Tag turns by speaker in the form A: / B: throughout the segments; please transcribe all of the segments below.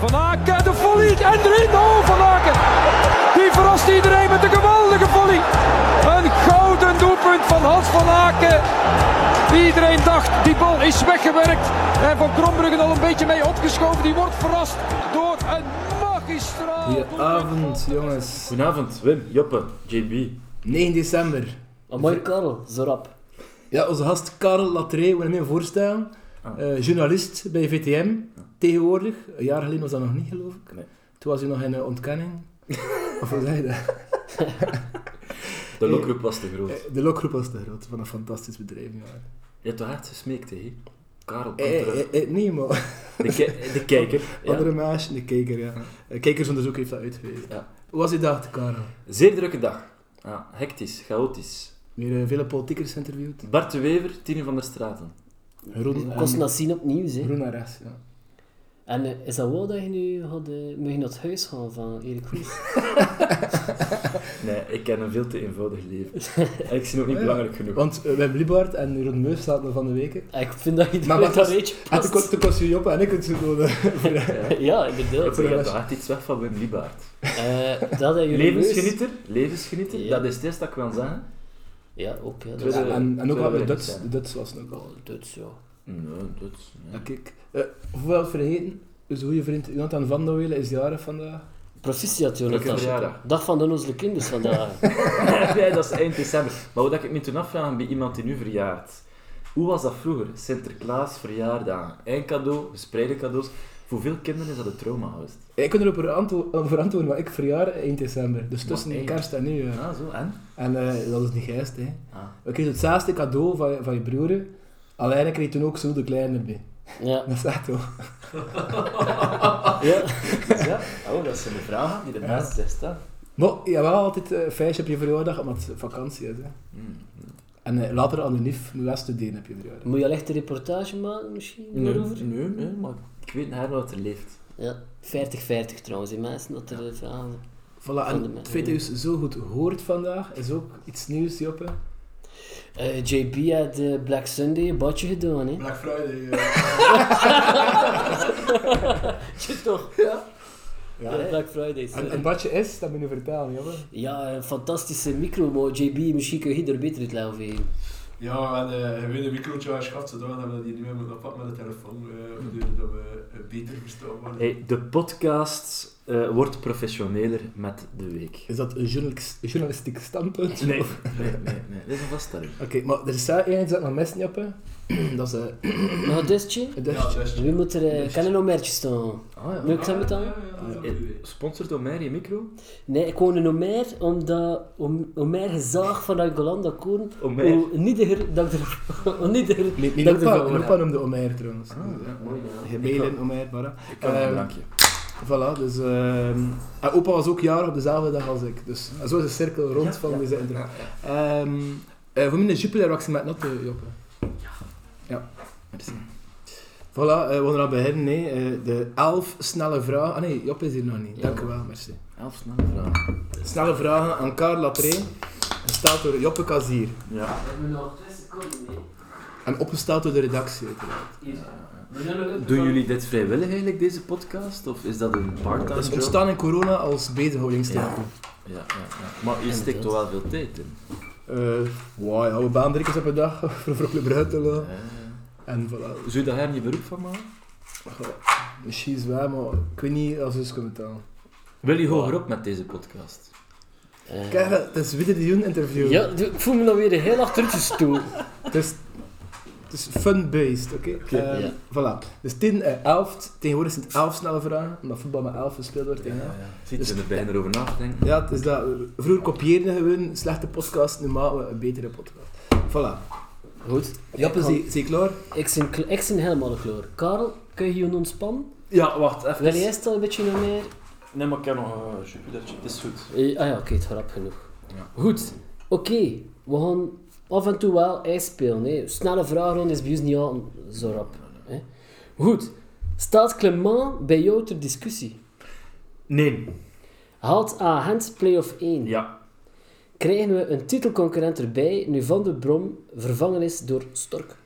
A: Van Aken, de volley en erin. Oh, Van Aken. Die verrast iedereen met een geweldige volley. Een gouden doelpunt van Hans van Aken. Iedereen dacht, die bal is weggewerkt. En Van Krombruggen al een beetje mee opgeschoven. Die wordt verrast door een magistraal.
B: Goedenavond, jongens.
C: Goedenavond, Wim, Joppe, JB.
B: 9 december.
D: Mooi Karel, zo rap.
B: Ja, onze gast Karel Latré wil hem even voorstellen.
C: Ah.
B: Eh, journalist bij VTM, tegenwoordig. Een jaar geleden was dat nog niet, geloof ik.
C: Nee.
B: Toen was hij nog in eh, ontkenning. of hoe zei je dat?
C: De lokroep was te groot.
B: Eh, De lokgroep was te groot, van een fantastisch bedrijf. Ja.
C: Je hebt toch hard gesmeekt, hè? Karel, kom
B: Eh, eh,
C: terug.
B: eh, eh, nee, maar
C: De, ki- de kijker.
B: andere
C: Ja.
B: meisje, de kijker, ja. Eh, Kijkersonderzoek heeft dat uitgewezen.
C: Ja.
B: Hoe was je dag, Karel?
C: Zeer drukke dag. Ja, hectisch, chaotisch.
B: Weer eh, vele politiekers interviewd.
C: Bart de Wever, Tine van der Straten.
B: Groen,
D: We kosten dat zien opnieuw, hè.
B: groen naar rechts, ja.
D: En eh, is dat wel dat je nu had, eh, mag je naar het huis gaan van Erik Hoes?
C: Nee, ik ken een veel te eenvoudig leven. En ik zie nog niet belangrijk genoeg.
B: Want eh, Wim Libaert en Jeroen Meus zaten van de weken.
D: Ah, ik vind dat je
B: Maar
D: dat
B: wat
D: een
B: was-
D: beetje
B: En Ah, toen kon-
D: past.
B: toen kon ze eh, Joppe en ik het zo doen.
D: Ja,
C: Ik
D: inderdaad.
C: zeg dat hard iets weg van Wim Liebaert.
D: Eh, dat en jullie neus.
C: Levensgenieter, levensgenieter,
D: Ja.
C: dat is het eerste dat ik wil zeggen.
D: dus- Ja, ook. Ja, dat
C: Tweede-
D: is-
B: En, en ook
C: Zullen
B: wel
C: we
B: de
C: er
B: Duts.
C: niet
B: De
C: zijn?
B: Duts was nog al.
D: Oh, Duits, ja.
C: Nee, dat is... nee.
B: Ja, kijk. Eh, hoewel vergeten, dus goede vriend Jonathan van der Welen is jarig vandaag.
D: Proficiat,
C: Gelukkig
D: Jonathan.
C: verjaardag.
D: Dag van de nozele kinders vandaag.
C: Nee, dat is eind december. Maar wat ik me toen afvraag bij iemand die nu verjaart. Hoe was dat vroeger? Sinterklaas, verjaardag, eindcadeau, gespreide cadeaus. Voor veel kinderen is dat een trauma geweest.
B: Ik kon erop verantwo- eh, verantwoorden, maar ik verjaar 1 december. Dus
C: Maar
B: tussen de
C: één.
B: kerst en nu. ja.
C: Ah, zo, en?
B: En eh, dat is niet geest, hè.
C: Ah.
B: We kregen hetzelfde cadeau van, je- van je broer. Alleen ik kreeg toen ook zo de kleine bij.
D: Ja.
B: Dat is echt toch.
C: Ah. Ja. ja. Oh, dat zijn de vragen die de beste ja. staan.
B: Maar je hebt wel altijd eh, een feestje op je verjaardag, omdat het vakantie is. Hè.
C: Mm,
B: En eh, later anonief, moet je wel studeren op je verjaardag.
D: Moet je al echt een reportage maken, misschien?
C: Nee,
D: daarover?
C: nee, nee, maar ik weet niet wat er leeft.
D: Ja. 50-50 trouwens, die mensen dat er eh, vragen.
B: Voilà,
D: Van de
B: en
D: mensen.
B: het feit dat je ze zo goed hoort vandaag, is ook iets nieuws, Joppe.
D: Eh, JP had eh, Black Sunday een badje gedaan, hè?
B: Black Friday.
D: Je toch? Ja,
B: Ja.
D: Black Fridays.
B: En,
D: eh.
B: en wat je is, dat moet je nu vertellen, jongen.
D: Ja, een fantastische micro, maar JB, misschien kun je er beter het lijf geven.
E: Ja, we hadden eh, gewoon een microotje aangeschaft, zodat we dat hier niet meer moeten oppakken met de telefoon, eh, waardoor dat we eh, beter verstaan worden.
C: Mm. Hey, de podcast eh, wordt professioneler met de week.
B: Is dat een journalis- journalistiek standpunt?
C: Nee,
B: Oké,
C: nee, nee, nee. Dat is een vaststelling.
B: maar er is zelf één iets dat ik nog mis, Joppe. dat is eh,
D: Nog een dustje?
B: het
E: Ja,
B: dustje.
E: juist.
D: We moeten eh, er... kan er nog merkjes staan?
C: Ah, ja.
D: Moet ik ze betalen?
E: Ja, ja, ja, dat is een goed
C: Eh,
E: idee.
C: Sponsor door mij je micro?
D: Nee, ik woon in Omer, omdat Om- Omer gezaag van Angolanda Koen.
C: Omer.
D: Hoe niediger dat ik er... Hoe niediger
B: Nee, nee,
D: dat ik
B: Lopa,
D: ervan word.
B: Lopa noemde Omer trouwens.
C: ja, mooi. ja.
B: Gemelen, Omer, bara.
C: Ik kan
B: Ehm,
C: dank je.
B: Voilà, dus... ehm, en opa was ook jaar op dezelfde dag als ik. Dus en zo is de cirkel rond van deze interview. Ehm, eh, voor mij een Jupiler was met natte, Joppe. Ja.
C: Merci.
B: Voilà, eh, we gaan er aan beginnen. hè. Eh, de elf snelle vragen... Ah nee, Joppe is hier nog niet. Dank u wel, merci.
C: Elf snelle vragen.
B: Snelle vragen aan Karl Latré. Gesteld door Joppe Kazier.
C: Ja.
D: We hebben nog twee seconden, nee.
B: En opgesteld door de redactie, uiteraard.
C: Doen jullie dit vrijwillig eigenlijk, deze podcast? Of is dat een part-time
B: Dat is Dus
C: job?
B: ontstaan in corona als bezighoudingstherapie.
C: Ja, ja, ja. Maar je steekt toch wel veel tijd in.
B: Eh, Wauw, ja, we baan drie keer op een dag voor vroegelijk bruid te lopen.
C: Eh,
B: En voilà.
C: Zou je daar geen beroep van maken?
B: Misschien is waar, maar ik weet niet als het komt aan.
C: Wil je hoger op met deze podcast?
D: Eh,
B: Kijk, het is weer de Jun interview.
D: Ja, du- ik voel me dan weer heel achteruitgestoken.
B: Het is, het is fun-based, oké? Ehm,
D: ja.
B: Voilà. Dus 10 en 11. Tegenwoordig zijn het 11 snelle vragen, omdat voetbal met 11 gespeeld wordt. Ja, ja.
C: Ziet je er bijna over na te denken?
B: ja, het is dat. Vroeger kopieerden we gewoon slechte podcast, nu maken we een betere podcast. Voilà.
D: Goed.
B: Jappe,
D: Ik ga-
B: zie zie je klaar?
D: Ik zijn, kle- ik zijn helemaal klaar. Karel, kun je je ontspannen?
C: Ja, wacht, even.
D: Wil jij eerst al een beetje naar meer?
C: Nee, maar ik heb nog een Jupitertje, het is goed.
D: Eh, ah ja, oké, het grap genoeg.
C: Ja.
D: Goed, oké. We gaan af en toe wel ijs spelen. Hè. Snelle vragen is bij ons niet aan zo rap. Hè. Goed, staat Clement bij jou ter discussie?
C: Nee.
D: Haalt Gent play-off 1?
C: Ja.
D: Krijgen we een titelconcurrent erbij nu Van der Brom vervangen is door Stork?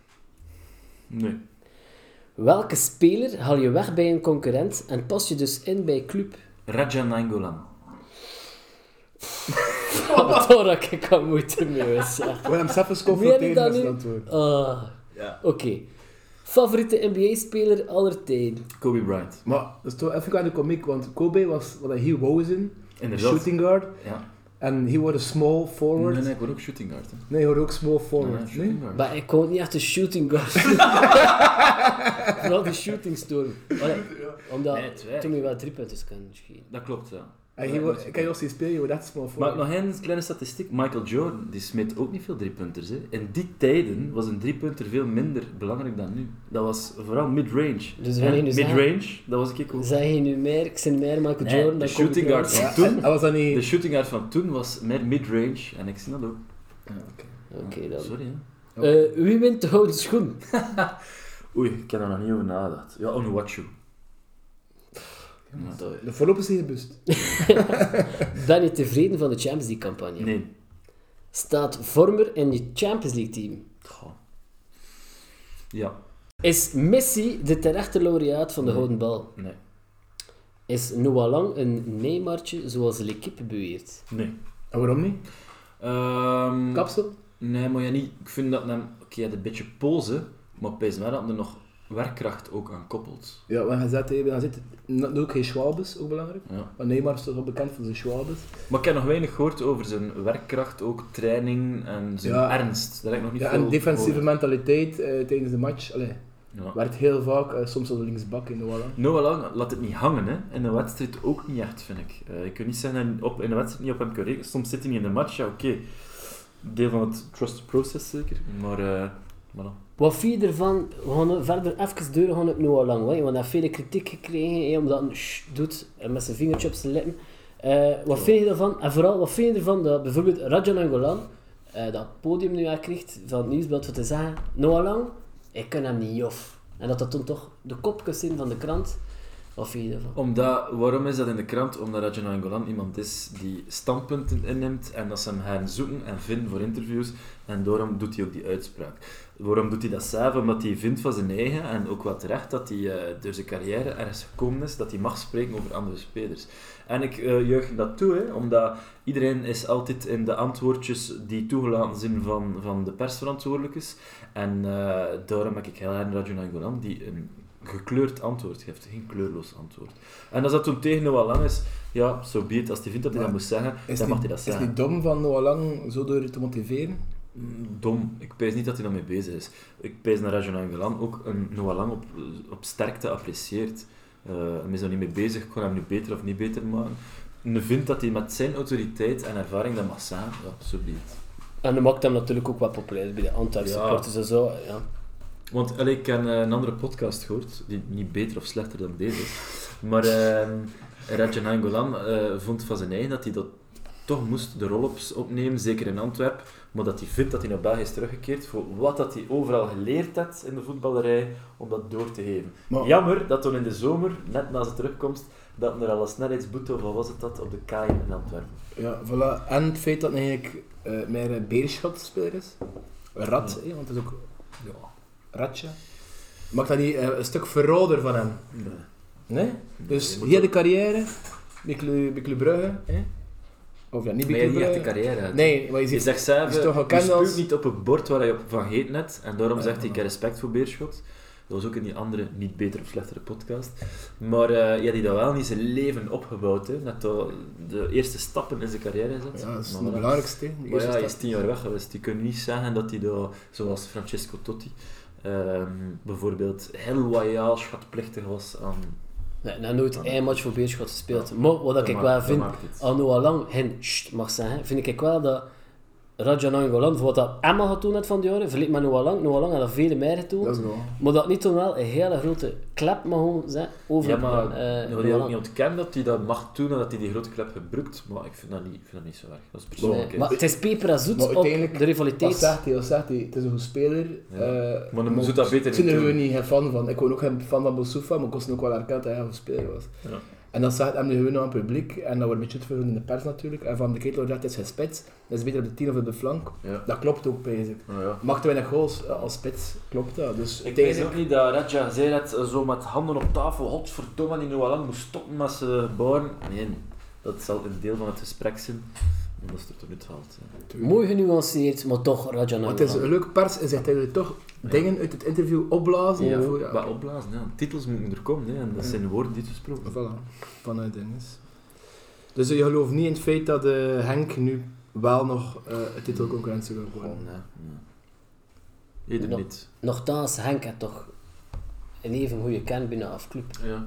C: Nee.
D: Welke speler haal je weg bij een concurrent en pas je dus in bij club?
C: Raja Nangolan.
D: Wat hoor ik ik al moeite mee was, ja.
B: We hebben zelf eens
D: Meen je
B: confronteren
D: dat
B: met zijn
D: nu?
B: antwoord.
D: Ah,
C: Ja.
D: Oké. Favoriete NBA-speler aller tijden?
C: Kobe Bryant.
B: Maar dat is toch even aan de komiek, want Kobe was wat hij hier wou zijn,
C: Inderdaad.
B: shooting guard,
C: Ja.
B: en hij wordt een small
C: Nee,
B: forward.
C: nee, ik word ook shooting guard. Hè.
B: Nee, hij wordt ook small
C: Nee,
B: forward.
C: shooting
B: Nee?
C: guard.
D: Maar ik kon niet echt een shooting guard. Vooral de shooting story. Allee, omdat
C: Nee, twee.
D: Tommy wel drie punten kan schieten.
C: Dat klopt, ja.
B: En
C: Ja,
B: hij wordt-
C: dat-
B: ik kan je als die spelen, je wordt echt small
C: Maar
B: forward.
C: nog een kleine statistiek. Michael Jordan, die smeet ook niet veel driepunters. Hè. In die tijden was een driepunter veel minder belangrijk dan nu. Dat was vooral mid-range.
D: Dus
C: En
D: wanneer nu zeggen-
C: Mid-range, dat was ik ook.
D: Zeg je nu meer, ik zijn meer Michael
C: Nee,
D: Jordan
C: de
D: dan
C: shooting guard
D: guards.
C: van
B: Ja,
C: toen.
B: en was dat
C: De
B: niet...
C: shooting guard van toen was meer mid-range. En ik zie dat ook. Ja,
D: Oké dan.
C: Sorry, hè.
D: Eh, wie wint de gouden schoen?
C: Oei, ik heb er nog niet over nagedacht. Ja, on watch you. Ja, dat-
B: De voorlopig is hij gebust.
D: Ben je tevreden van de Champions League campagne?
C: Nee.
D: Staat Vormer in je Champions League team?
C: Goh. Ja,
D: Is Messi de terechte laureaat van de Gouden Bal?
C: nee.
D: Is Noah Lang een Neymartje zoals L'Equipe beweert?
C: Nee.
B: En waarom niet?
C: Ehm,
B: Kapsel?
C: Nee, maar ja, niet. Ik vind dat hem... Oké, hij had een beetje pose, maar pees mij dat hij er nog werkkracht ook aan koppelt.
B: Ja, we gaan zetten, we gaan zitten. Dat doe ik geen Schwabes, ook belangrijk.
C: Ja.
B: Maar Neymar is toch wel bekend voor zijn Schwabes.
C: Maar ik heb nog weinig gehoord over zijn werkkracht, ook training en zijn
B: Ja.
C: ernst. Daar heb ik nog niet
B: Ja,
C: veel
B: en defensieve
C: gehoord.
B: mentaliteit eh, tijdens de match. Allee,
C: Ja.
B: werd heel vaak, eh, soms al linksbak in de wallen.
C: Noah Lang laat het niet hangen, hè. In de wedstrijd ook niet echt, vind ik. Eh je kunt niet zeggen dat je op, in de wedstrijd niet op hem kan rekenen. Soms zit hij niet in de match, ja, oké. Deel van het trust process, zeker. Maar, eh voilà.
D: Wat vind je ervan? We gaan verder even deuren gaan op Noah Lang. hè, Want hij heeft vele kritiek gekregen hè, omdat hij shh doet en met zijn vingertje op zijn lippen. Eh, wat vind je ervan? En vooral, wat vind je ervan dat bijvoorbeeld Rajan Angolan eh, dat podium nu aankrijgt van het nieuwsblad voor te zeggen Noah Lang, ik kan hem niet of. En dat dat dan toch de kopjes zijn van de krant. Wat vind je ervan?
C: Omdat, waarom is dat in de krant? Omdat Rajan Angolan iemand is die standpunten inneemt en dat ze hem gaan zoeken en vinden voor interviews. En daarom doet hij ook die uitspraak. Waarom doet hij dat zelf? Omdat hij vindt van zijn eigen en ook wat terecht dat hij eh, door zijn carrière ergens gekomen is dat hij mag spreken over andere spelers. En ik eh juich dat toe, hè, omdat iedereen is altijd in de antwoordjes die toegelaten zijn van, van de persverantwoordelijkes. En eh, daarom heb ik heel erg Rajan Angolan die een gekleurd antwoord geeft, geen kleurloos antwoord. En als dat toen tegen Noah Lang is, ja, zo so be it. Als hij vindt dat hij dat
B: Maar
C: moet zeggen,
B: Is het
C: dan mag hij
B: niet-
C: dat
B: Is
C: zeggen.
B: het niet dom van Noah Lang zo door te motiveren?
C: Mm, Dom. Ik pees niet dat hij daarmee bezig is. Ik pees naar Rajan Angelan ook een Noah Lang op, op sterkte apprecieert. Eh hij is er niet mee bezig, kon hem nu beter of niet beter maken. En vindt dat hij met zijn autoriteit en ervaring dat mag zeggen, ja, zo be it.
D: En dat maakt hem natuurlijk ook wat populair bij de Antwerp
C: Ja.
D: supporters en zo. Ja.
C: Want allee, ik heb eh, een andere podcast gehoord, die niet beter of slechter dan deze is. Maar eh, Rajan Angolan eh, vond van zijn eigen dat hij dat toch moest de rol op, opnemen, zeker in Antwerpen. Maar dat hij vindt dat hij naar België is teruggekeerd voor wat dat hij overal geleerd had in de voetballerij, om dat door te geven.
B: Maar-
C: Jammer dat toen in de zomer, net na zijn terugkomst, dat er al een snelheidsboete, of wat was het dat, op de kaai in Antwerpen.
B: Ja, voilà. En het feit dat hij eigenlijk eh meer een beerschot-speler is. Een rat, hè, want het is ook... Ja, ratje. Maakt dat niet eh, een stuk verroder van hem? Nee? Dus
C: je moet
B: hier de
C: ook-
B: carrière, bij Club, bij Club Brugge, hè? Of ja, niet bij Club Brugge.
C: carrière uit.
B: eh, Nee, maar je
C: Je
B: ziet...
C: zegt zelf,
B: is toch
C: je
B: gekend als- Ah,
C: spuugt niet op het bord waar je op van heet net. En daarom
B: Ja,
C: zegt hij, ik heb respect voor Beerschot. Dat was ook in die andere, niet beter of slechtere podcast. Maar eh ja, die dat wel niet zijn leven opgebouwd. Hè. Net dat de eerste stappen in zijn carrière gezet.
B: Ja, dat is
C: Maar
B: het
C: voilà.
B: belangrijkste. hè, de
C: Maar
B: eerste
C: ja, hij is
B: stap.
C: tien jaar weg geweest. Die kunnen niet zeggen dat hij dat, zoals Francesco Totti, ehm, bijvoorbeeld heel loyaal schatplichtig was aan...
D: Nee, nou nooit één match voor Beerschot gespeeld. Maar wat ik
C: maakt-
D: wel
C: dat
D: vind,
C: maakt het.
D: al Noah Lang hen sst mag zeggen, vind ik wel dat Rajan Angolan, voor wat dat Emma getoond had van die jaren, verleek met Noah Lang. Noah Lang had dat vele meer
B: Dat
D: getoond.
B: is wel...
D: Maar dat niet toen wel een hele grote klep mag gewoon zijn over
C: Ja, maar
D: eh,
C: uh,
D: Noah
C: wil ook
D: Lang.
C: niet ontkennen dat hij dat mag doen en dat hij die grote klep gebruikt. Maar ik vind dat niet, ik vind dat niet zo erg. Dat is
D: Nee,
C: persoonlijk. hè.
D: maar het is peperzoet
B: Maar
D: op
B: uiteindelijk-
D: de
B: Wat
D: rivaliteit.
B: zegt hij? Wat zegt hij? Het is een goed speler.
C: Ja.
B: eh,
C: Maar dan moet je dat beter
B: Toen
C: niet
B: zijn we
C: doen.
B: niet geen fan van. Ik was ook geen fan van Boussoufa, maar ik was ook wel erkend dat hij een goed speler was.
C: Ja.
B: En dat zegt hem nu gewoon aan het publiek. En dat wordt een beetje uitvergroot in de pers natuurlijk. En van de ketel dat is geen spits. Dat is beter op de 10 of op de flank.
C: Ja.
B: Dat klopt ook, basic.
C: Nou ja.
B: Mag te weinig goals eh, als spits. Klopt dat. Dus
C: Ik
B: deze-
C: denk ook niet dat Radja zei dat ze zo met handen op tafel, godverdomme, die Noalan moest stoppen met ze bouwen. Nee, dat zal een deel van het gesprek zijn, maar dat is er tot nu toe haalt.
D: Mooi genuanceerd, maar toch Raja
B: Maar het is een leuk pers en zegt dat jullie toch dingen uit het interview opblazen.
C: Ja,
B: voor,
C: maar opblazen, ja. titels moeten er komen, hè. en dat zijn woorden die gesproken
B: Voilà, vanuit Dennis. Dus je gelooft niet in het feit dat eh, Henk nu wel nog eh het titelconcurrentie wil worden.
C: worden. Oh, Nee, nee. Ieder
D: Ja.
C: niet.
D: Nochtans, Henk had toch een even goede kern binnen af club.
C: Ja.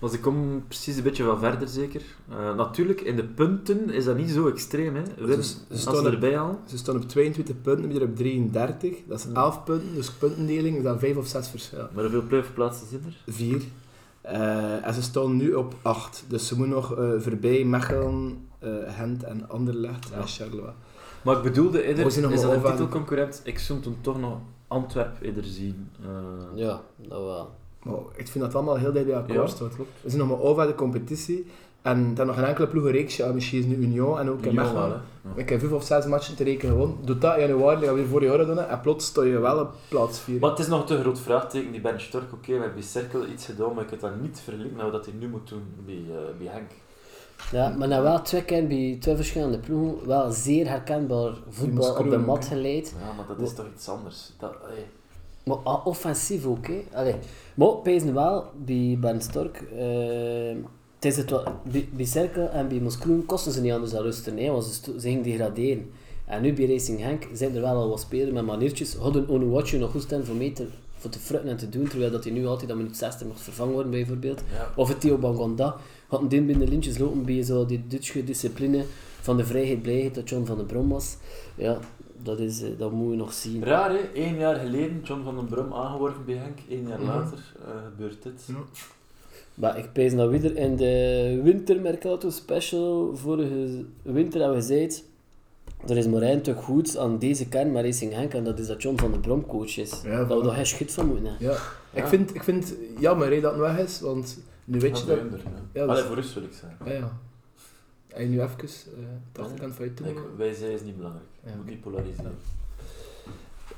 C: Maar ze komen precies een beetje van verder, zeker. Eh, natuurlijk, in de punten is dat niet zo extreem. Hè. Win,
B: ze
C: als
B: staan
C: ze
B: er-
C: erbij halen.
B: Ze staan op 22 punten, weer op 33. Dat is
C: Ja.
B: 11 punten, dus puntendeling is dan 5 of 6 verschil.
C: Maar hoeveel playoff-plaatsen zijn er?
B: 4. en ze staan nu op 8. Dus ze moeten nog eh, voorbij Mechelen, eh Gent en Anderlecht
C: Ja.
B: en Charleroi.
C: Maar ik bedoelde
B: Oh,
C: eerder,
B: we zien nog
C: is
B: wel
C: dat een
B: over-
C: titelconcurrent? Ik zou toen toch nog Antwerp eerder zien. Eh,
D: Ja, dat wel.
B: Maar ik vind dat allemaal heel dicht bij elkaar
C: Ja,
B: staat. We zijn nog maar over de competitie. En dan nog een enkele ploeg een reeksje. Ah, Misschien is nu Union en ook in
C: Lyon
B: Mechelen.
C: wel, hè. Ja.
B: Ik heb vijf of zes matchen te rekenen gewonnen. Doe dat in januari, dan gaan we weer vorig jaar doen. En plots sta je wel op plaats 4.
C: Maar het is nog een te groot vraagteken. Die Ben Stork, oké, we hebben bij Cirkel iets gedaan, maar ik kan dat niet verlinken met wat hij nu moet doen bij, eh, bij Henk.
D: Ja, maar dan wel twee keer bij twee verschillende ploegen, wel zeer herkenbaar voetbal op de
B: kroon,
D: mat
B: hè.
D: geleid.
C: Ja, maar dat is toch iets anders. Dat, eh, hey.
D: Maar ah, offensief ook, hè. Allee. Maar pezen wel, bij Ben Stork, eh, het is het wat, bij, bij Cerkel en bij Moskroen kosten ze niet anders dan rusten, hè, want ze, sto- ze gingen degraderen. En nu bij Racing Henk zijn er wel al wat spelers met maniertjes. Hadden Onuwatje nog goed staan voor mee te, voor te frutten en te doen, terwijl dat hij nu altijd aan minuut 60 mocht vervangen worden, bijvoorbeeld.
C: Ja.
D: Of het Theo Bangonda had een ding binnen de lintjes lopen bij zo die Duitse discipline van de vrijheid, blijheid dat John van den Brom was. Ja, dat, is, eh, dat moet je nog zien.
C: Raar hè, één jaar geleden John van den Brum aangeworven bij Henk, één jaar
B: Mhm.
C: later eh, gebeurt dit.
B: Ja.
D: Maar ik pees dat weer in de wintermercato special vorige winter hebben we gezegd. Er is maar één toch goed aan deze kern met Racing Henk en dat is dat John van den Brom coach is.
B: Ja,
D: dat we
B: voilà.
D: daar geen schut van moeten hebben.
B: Ja. Ik,
C: Ja.
B: vind, ik vind het jammer hè, dat het weg is, want nu weet je dat.
C: Onder, ja.
B: Ja, dat
C: Allee,
B: is-
C: voor ons wil ik zeggen.
B: Ja, ja. En je nu even eh de achterkant van je toe.
C: Kijk, wij zijn is niet belangrijk. Je
B: Ja.
C: moet niet polariseren.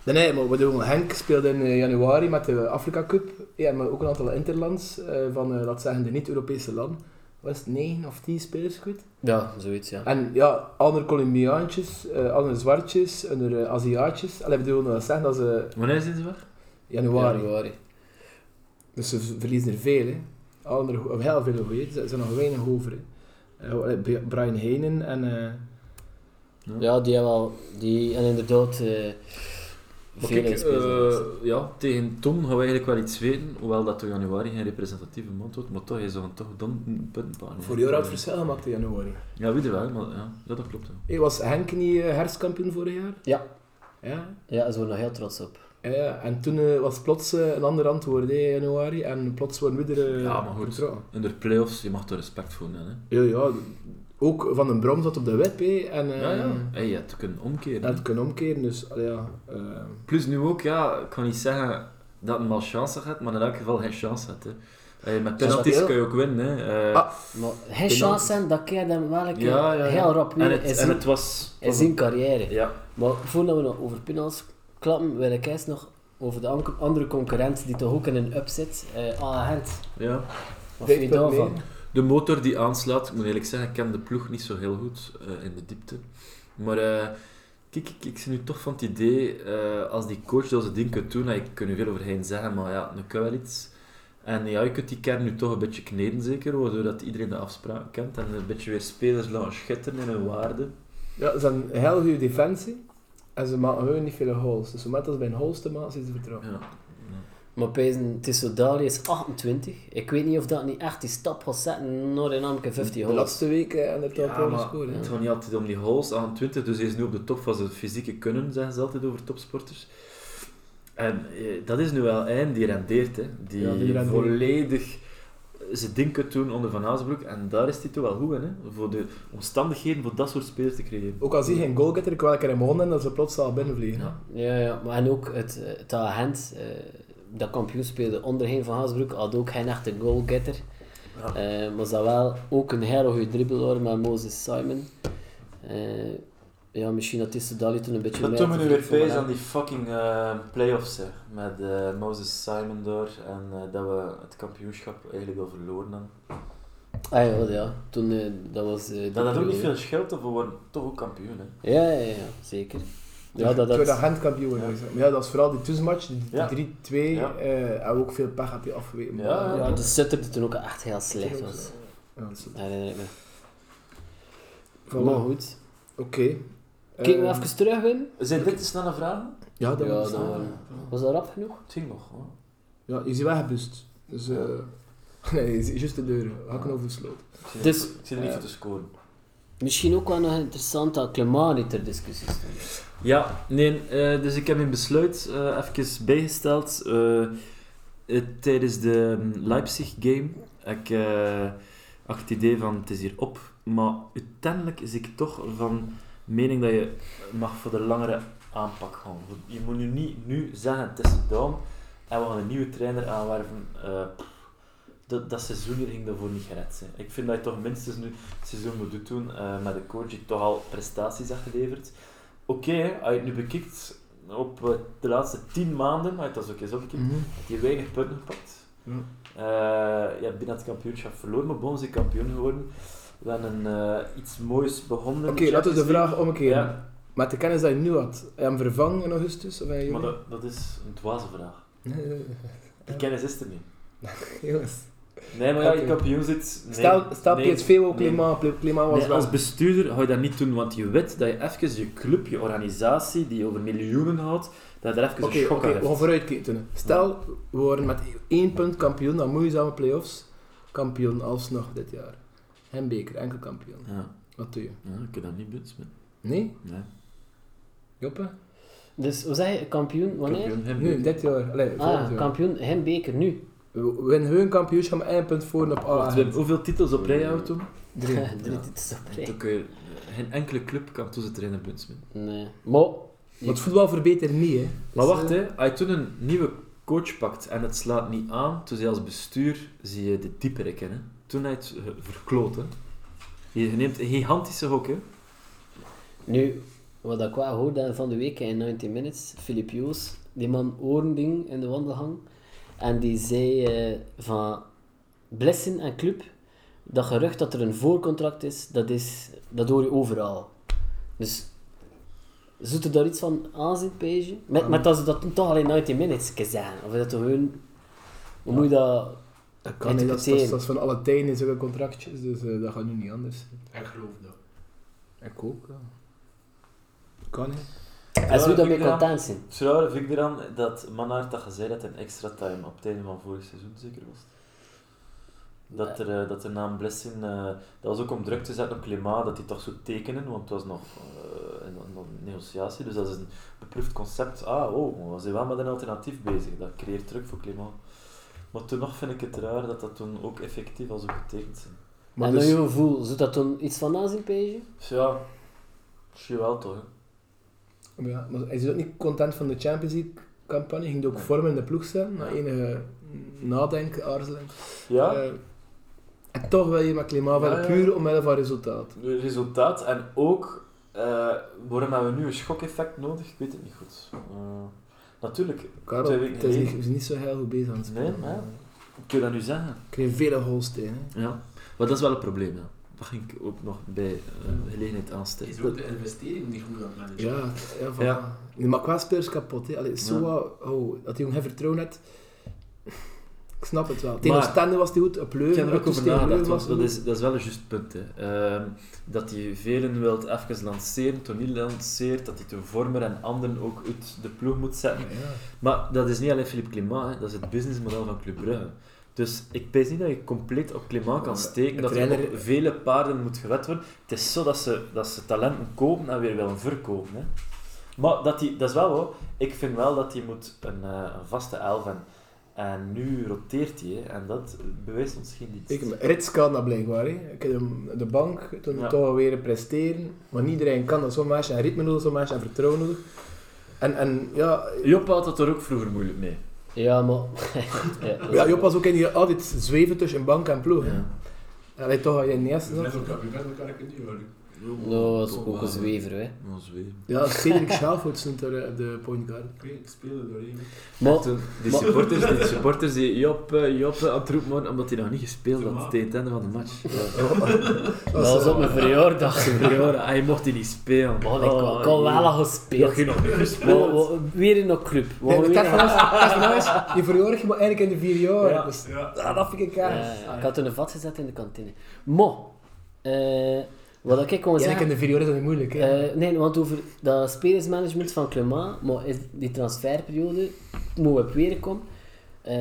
B: Nee, nee, maar we doen, Henk speelde in eh, januari met de Afrika Cup. Ja, maar ook een aantal interlands eh, van, eh laat zeggen, de niet-Europese land. Was het 9 of 10 spelers goed?
D: Ja, zoiets ja.
B: En ja, andere Colombiaantjes, eh, andere Zwartjes, andere Aziatjes. Allee, ik bedoel, dat zeggen dat ze
C: Wanneer zijn ze weg?
B: januari. Dus ze v- verliezen er veel, hè. Andere, go- heel veel goeie. Er zijn nog weinig over, hè. Eh, allee, Bri- Brian Heinen en... eh,
D: Ja, die hebben al, die, en inderdaad, eh
C: Maar
D: veel
C: kijk,
D: uitspelers.
C: eh, ja, tegen Tom gaan we eigenlijk wel iets weten, hoewel dat door januari geen representatieve maand wordt, maar toch is dat een toch dan een puntenpaar.
B: Voor jou had het verschil gemaakt in januari.
C: Ja, weet je wel, maar ja, ja, dat klopt. Ja.
B: Hey, was Henk niet eh, herfstkampioen vorig jaar?
D: Ja.
B: Ja?
D: Ja, daar zijn we nog heel trots op.
B: Ja, ja, en toen eh, was plots eh, een ander antwoord hè, in januari en plots waren we er. eh,
C: Ja, maar goed.
B: vertrokken.
C: In de play-offs, je mag er respect voor hebben. Hè.
B: Ja, ja, ook Van den Brom zat op de web hè, en eh,
C: ja, ja. Hey, je hebt het kunnen omkeren.
B: dat
C: hè.
B: had kunnen omkeren. Dus allee, ja, eh,
C: Plus nu ook, ja, ik kan niet zeggen dat een malchance gaat, maar in elk geval geen chance had. Hè. Hey, met
B: Dus dat
C: penalties
B: heel-
C: kun je ook winnen. Hè. Eh,
B: Ah,
D: Maar geen chance zijn, dat keer hem wel een keer
C: ja, ja, ja.
D: heel rap
C: En
D: weer
C: het,
D: in
C: en
D: zijn,
C: het was...
D: in zijn carrière.
C: Ja,
D: Maar voordat we nog over penalts klappen, wil ik eerst nog over de an- andere concurrent die toch ook in een up zit. Eh ah, Hent.
C: ja.
D: Wat
B: Dit
D: vind je
B: punt
D: daarvan?
B: meer.
C: De motor die aanslaat, ik moet eerlijk zeggen, ik ken de ploeg niet zo heel goed eh, in de diepte. Maar eh, kijk, ik, ik zit nu toch van het idee, eh, als die coach dat ze ding kunt doen, en ik kan er veel over hen zeggen, maar ja, nu kan wel iets. En ja, je kunt die kern nu toch een beetje kneden zeker, waardoor dat iedereen de afspraak kent en een beetje weer spelers laten schitteren in hun waarde.
B: ja, ze zijn een heel goede defensie en ze maken gewoon niet veel goals. Dus op het moment dat ze bij een goals te maken zijn ze vertrokken.
C: Ja.
D: Maar Pezen, Tissodali is 28. Ik weet niet of dat niet echt die stap gaat zetten naar een amke 50
B: De
D: holes.
B: laatste week eh, en er toch
C: Ja,
B: ja,
C: maar
B: gescoord. hè.
C: het gaat niet altijd om die goals, 28, dus hij is nu op de top van zijn fysieke kunnen, zeggen ze altijd over topsporters. En eh, dat is nu wel een die rendeert, hè. die,
B: Ja, die rendeert.
C: volledig eh, zijn ding kunt doen onder Van Azenbroek. En daar is hij toch wel goed in, hè. voor de omstandigheden voor dat soort spelers te creëren.
B: Ook als hij geen goal getter, ik wel een keer in mijn handen en dat ze plots al binnenvliegen.
C: Ja.
D: Ja, ja. Maar en ook het, eh, het dat Hent, eh, dat kampioen speelde onderheen van Haasbroek, had ook geen echte goalgetter.
C: Ja.
D: Eh, maar zou wel ook een hele goede dribbelaar met Moses Simon. Eh, ja, misschien dat Tisse Dali toen een beetje
C: Dat
D: meer
C: doen we nu weer
D: voor
C: feest
D: hem.
C: aan die fucking eh, playoffs hè, met eh, Moses Simon door en eh, dat we het kampioenschap eigenlijk al verloren hebben.
D: Ah ja, ja. toen eh, dat was... eh, die
C: Dat had ook niet
D: periode.
C: veel scheelt, of we worden toch ook kampioen. Hè.
D: Ja, ja, ja, zeker.
B: Dus
D: Ja, dat,
B: Tweede
D: dat,
B: handkampioen. Ja. Maar ja, dat is vooral die tussenmatch, die die
C: Ja.
B: 3-2.
C: Ja.
B: eh, en ook veel pech heb je afgeweken. maar-
C: Ja,
D: ja, de setup die toen ook echt heel slecht was.
B: Ja, dat is-
D: Dat herinner ik me.
B: Voilà.
D: Maar goed.
B: Oké.
D: Kijken we
B: Ehm,
D: even terug in.
C: Zijn dit de snelle vragen?
B: Ja, dat
D: Ja,
B: was
D: dat
B: ja,
D: waren- Was dat rap genoeg?
C: Het ging nog. Hoor.
B: ja, is hij weggebust. Dus, eh nee, is is juist de deur. Hakken over de sloot.
C: Ik zit er
D: Dus-
C: niet voor- ik zit er niet
B: Ja.
C: voor te scoren.
D: Misschien ook wel nog interessant dat klimaat niet ter discussie stond.
C: Ja, nee, eh, dus ik heb mijn besluit eh, even bijgesteld. Eh, eh, tijdens de mm, Leipzig-game heb ik eh, had het idee van het is hier op. Maar uiteindelijk is ik toch van mening dat je mag voor de langere aanpak gaan. Je moet nu niet nu zeggen het is gedaan en we gaan een nieuwe trainer aanwerven. Eh, pff, dat, dat seizoen hier ging daarvoor niet gered zijn. Ik vind dat je toch minstens nu het seizoen moet doen eh, met een coach die toch al prestaties heeft geleverd. Oké, hè, als je het nu bekijkt, op eh, de laatste tien maanden, maar dat is ook eens opgekeken,
B: Mhm.
C: heb je weinig punten gepakt.
B: Ja.
C: Eh, je hebt binnen het kampioenschap verloren, maar bon, ze zijn kampioen geworden. We hebben eh, iets moois begonnen. in
B: Oké, laten we de
C: Champions League.
B: vraag omkeren.
C: Ja,
B: Met de kennis die je nu had, heb je hem vervangen in augustus? Of heb je
C: maar dat, dat is een dwaze vraag.
B: Nee,
C: Die kennis is er niet.
B: jongens.
C: Nee, maar ja, je
B: Oké.
C: kampioen zit... Nee,
B: Stel, stel
C: nee,
B: PSV ook
C: nee.
B: klimaat, klimaat was
C: Nee,
B: wel.
C: als bestuurder ga je dat niet doen, want je weet dat je even je club, je organisatie, die over miljoenen houdt, dat je er even
B: Oké, oké,
C: een schok aan
B: we gaan
C: heeft.
B: vooruitkijken. Stel, we worden met één punt kampioen, dan moeizame play-offs. Kampioen alsnog dit jaar. En beker, enkel kampioen.
C: Ja,
B: Wat doe je?
C: ja, ik kan dat niet buiten.
B: Nee?
C: Nee.
B: Joppe?
D: Dus we zeggen kampioen wanneer?
C: Kampioen, geen
B: Nu,
C: beker.
B: dit eh, jaar. Allee, volgend
D: Ah,
B: jaar.
D: kampioen, hem beker nu.
B: We winnen hun kampioenschap maar één punt voor op
C: Wacht,
B: A.
C: Wim, hoeveel titels op rij houdt toen?
B: Drie.
D: Drie titels op rij.
C: Dan kun je- eh, Geen enkele club kan tussen trainer Bunsman.
D: Nee. Maar,
B: Want voetbal verbetert niet, hè.
C: Maar
B: Dus,
C: wacht,
B: eh,
C: hè. als je toen een nieuwe coach pakt en het slaat niet aan, toen zie je als bestuur zie je de diepere kennen. Toen hij het eh, verkloot. Hè. Je neemt een gigantische hok. Hè.
D: nu, wat ik wel hoorde van de week in 19 Minutes, Filip Joos, die man oorending in de wandelgang, en die zei eh, van Blessing en Club, dat gerucht dat er een voorcontract is, dat, is, dat hoor je overal. Dus, zoet er daar iets van aanzien, Peesje? Met, met dat ze dat toen toch al in 19 Minutes zeggen. Of is dat toch hun... Hoe moet je dat...
B: Dat kan niet, dat is- dat is,
D: interpreteren.
B: dat is van alle tijden zulke contractjes, dus eh, dat gaat nu niet anders.
A: Ik geloof dat.
B: Ik ook, ja. Kan, hè.
D: En zo
C: dat
D: dat
C: vind
D: mee
C: ik raar.
D: content zijn.
C: Het rare vind ik eraan dat Manhart dat gezegd had in extra time, op het einde van vorig seizoen zeker was. het. Dat, er, eh, dat de naam Blessing, eh, dat was ook om druk te zetten op Klimaat, dat hij toch zou tekenen, want het was nog eh, een, een negotiatie, dus dat is een beproefd concept. Ah, oh, we zijn wel met een alternatief bezig, dat creëert druk voor Klimaat. Maar toen nog vind ik het raar dat dat toen ook effectief al zo getekend zijn.
B: Maar
D: en
B: dus,
D: naar je gevoel, zou dat toen iets van aanzien, Peesje?
C: Dus ja, zie je wel toch. hè.
B: ja, maar hij is ook niet content van de Champions League campagne, ging ook
C: Nee.
B: vormen in de ploeg zetten, na
C: Ja.
B: enige nadenken, aarzelen.
C: Ja,
B: Eh, en toch wil je met klimaat wel
C: Ja, ja.
B: puur omwille van resultaat.
C: Het resultaat en ook eh, waarom hebben we nu een schokeffect nodig? Ik weet het niet goed. Eh, natuurlijk,
B: Karel,
C: Twee weken
B: het is niet,
C: geleden.
B: we zijn niet zo heel goed bezig aan het
C: Nee,
B: spelen.
C: maar ja. kun je dat nu zeggen?
B: Ik kreeg vele goals tegen. hè.
C: Ja, maar dat is wel een probleem. Ja. Dat ging ik ook nog bij eh, gelegenheid
A: Is
C: aansteken.
A: ook de investering niet goed aan het managen?
B: Ja, ja, van,
C: Ja.
B: Je maakt wel spelers kapot. Hè. Allee, Soa, oh, dat die jongen geen vertrouwen had. Ik snap het wel. Tegen
C: Maar-
B: Oostende was die goed, op
C: Ik
B: Leuven.
C: heb er ook
B: Artus
C: over
B: tegen
C: nagedacht,
B: Leuven was
C: want dat
B: goed.
C: is, dat is wel een juist punt. Hè. Ehm, dat hij velen wilt even lanceren, toen niet lanceert, dat hij toen vormer en anderen ook uit de ploeg moet zetten.
B: Ja.
C: Maar dat is niet alleen Philippe Clément, hè. dat is het businessmodel van Club Brugge. Dus ik denk niet dat je compleet op Clément kan steken,
B: De
C: dat er
B: trainer-
C: op vele paarden moet gewet worden. Het is zo dat ze, dat ze talenten kopen en weer willen verkopen. Hè. Maar dat, die, dat is wel hoor. Ik vind wel dat hij moet een, eh, een vaste elf hebben. En nu roteert hij, hè. en dat bewijst ons geen dienst.
B: Ik, Rits kan dat blijkbaar. Hè. Ik heb hem de bank toen
C: Ja.
B: toch weer presteren. Maar niet iedereen kan dat. Zo'n meisje en ritme nodig, zo'n meisje en vertrouwen nodig. En, en ja,
C: Job had dat er ook vroeger moeilijk mee.
D: Ja, maar... ja, dat is-
B: Ja, Job was ook in die audit zweven tussen bank en ploeg.
C: Ja.
B: En hij toch in de eerste zat.
F: Met elkaar, met elkaar kan ik niet houden.
D: Nou, dat is ook een zwever, hè.
C: Een zwever.
B: Ja, Cedric Schaalvoet stond er eh, op de point guard.
F: Ik weet, ik speel er doorheen.
D: Maar,
C: Toen, die,
D: Maar-
C: supporters, die supporters die Job, eh, Job eh, aan het roepen waren, omdat hij nog niet gespeeld
F: Ja.
C: had tegen het einde van de match.
D: dat was op mijn verjaardag.
C: Ja, hij ah, mocht die niet spelen. Oh,
D: Man, ik had- ik had wel al gespeeld.
C: Nog geen nog niet
D: Maar-
C: gespeeld.
D: maar- Weer in een club. We
B: Nee,
D: gaan
B: de
D: weer
B: tijd
D: naar-
B: van ons, tijd van ons, je verjaardag moet eigenlijk in de vier jaar.
C: Ja.
B: Dus,
F: Ja.
B: ah, dat vind ik
D: Ja,
B: kaars.
D: ja, ja. Ik had toen een vat gezet in de kantine. Maar, eh, wat ik kon
B: Eigenlijk
D: zeggen...
B: in de vier jaar is dat niet moeilijk. Hè?
D: Eh, nee, want over dat spelersmanagement van Clement, maar is die transferperiode moet op weer komen. Eh,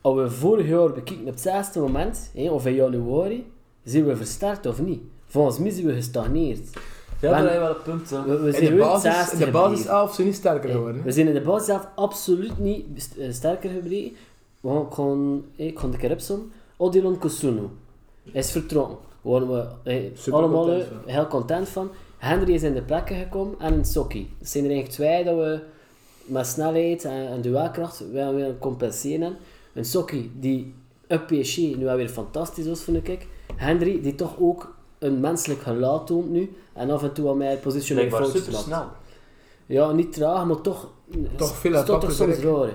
D: als we vorig jaar bekijken op het zesde moment, hè, of in januari, zijn we versterkt of niet? Volgens mij zijn we gestagneerd.
C: Ja,
D: Maar-
C: daar heb je wel een punt. hè.
D: We, we
B: in
D: zijn
B: de
D: weer het
B: basis,
D: dus zesde
B: in de basis
D: gebleven.
B: elf zijn niet sterker geworden.
D: Eh,
B: hè.
D: We zijn in de basis zelf absoluut niet best- eh, sterker gebleven. We gaan- Ik kon, ik kon de keer opzommen. Odilon Kusunu is vertrokken. Daar waren we eh,
B: Super
D: allemaal
B: content
D: eh,
B: van.
D: heel content van. Henry is in de plekken gekomen en een Sokkie. Het zijn er eigenlijk twee dat we met snelheid en, en duelkracht wel weer compenseren. Een Sokkie die op PSG nu wel weer fantastisch was, vond ik. Henry die toch ook een menselijk geluid toont nu. En af en toe al mij positioneel
C: Blijkbaar
D: fouten maakt.
C: supersnel.
D: Ja, niet traag, maar toch...
B: Toch veel
D: is toch
B: uitpakken,
D: soms
B: zeg.
D: raar.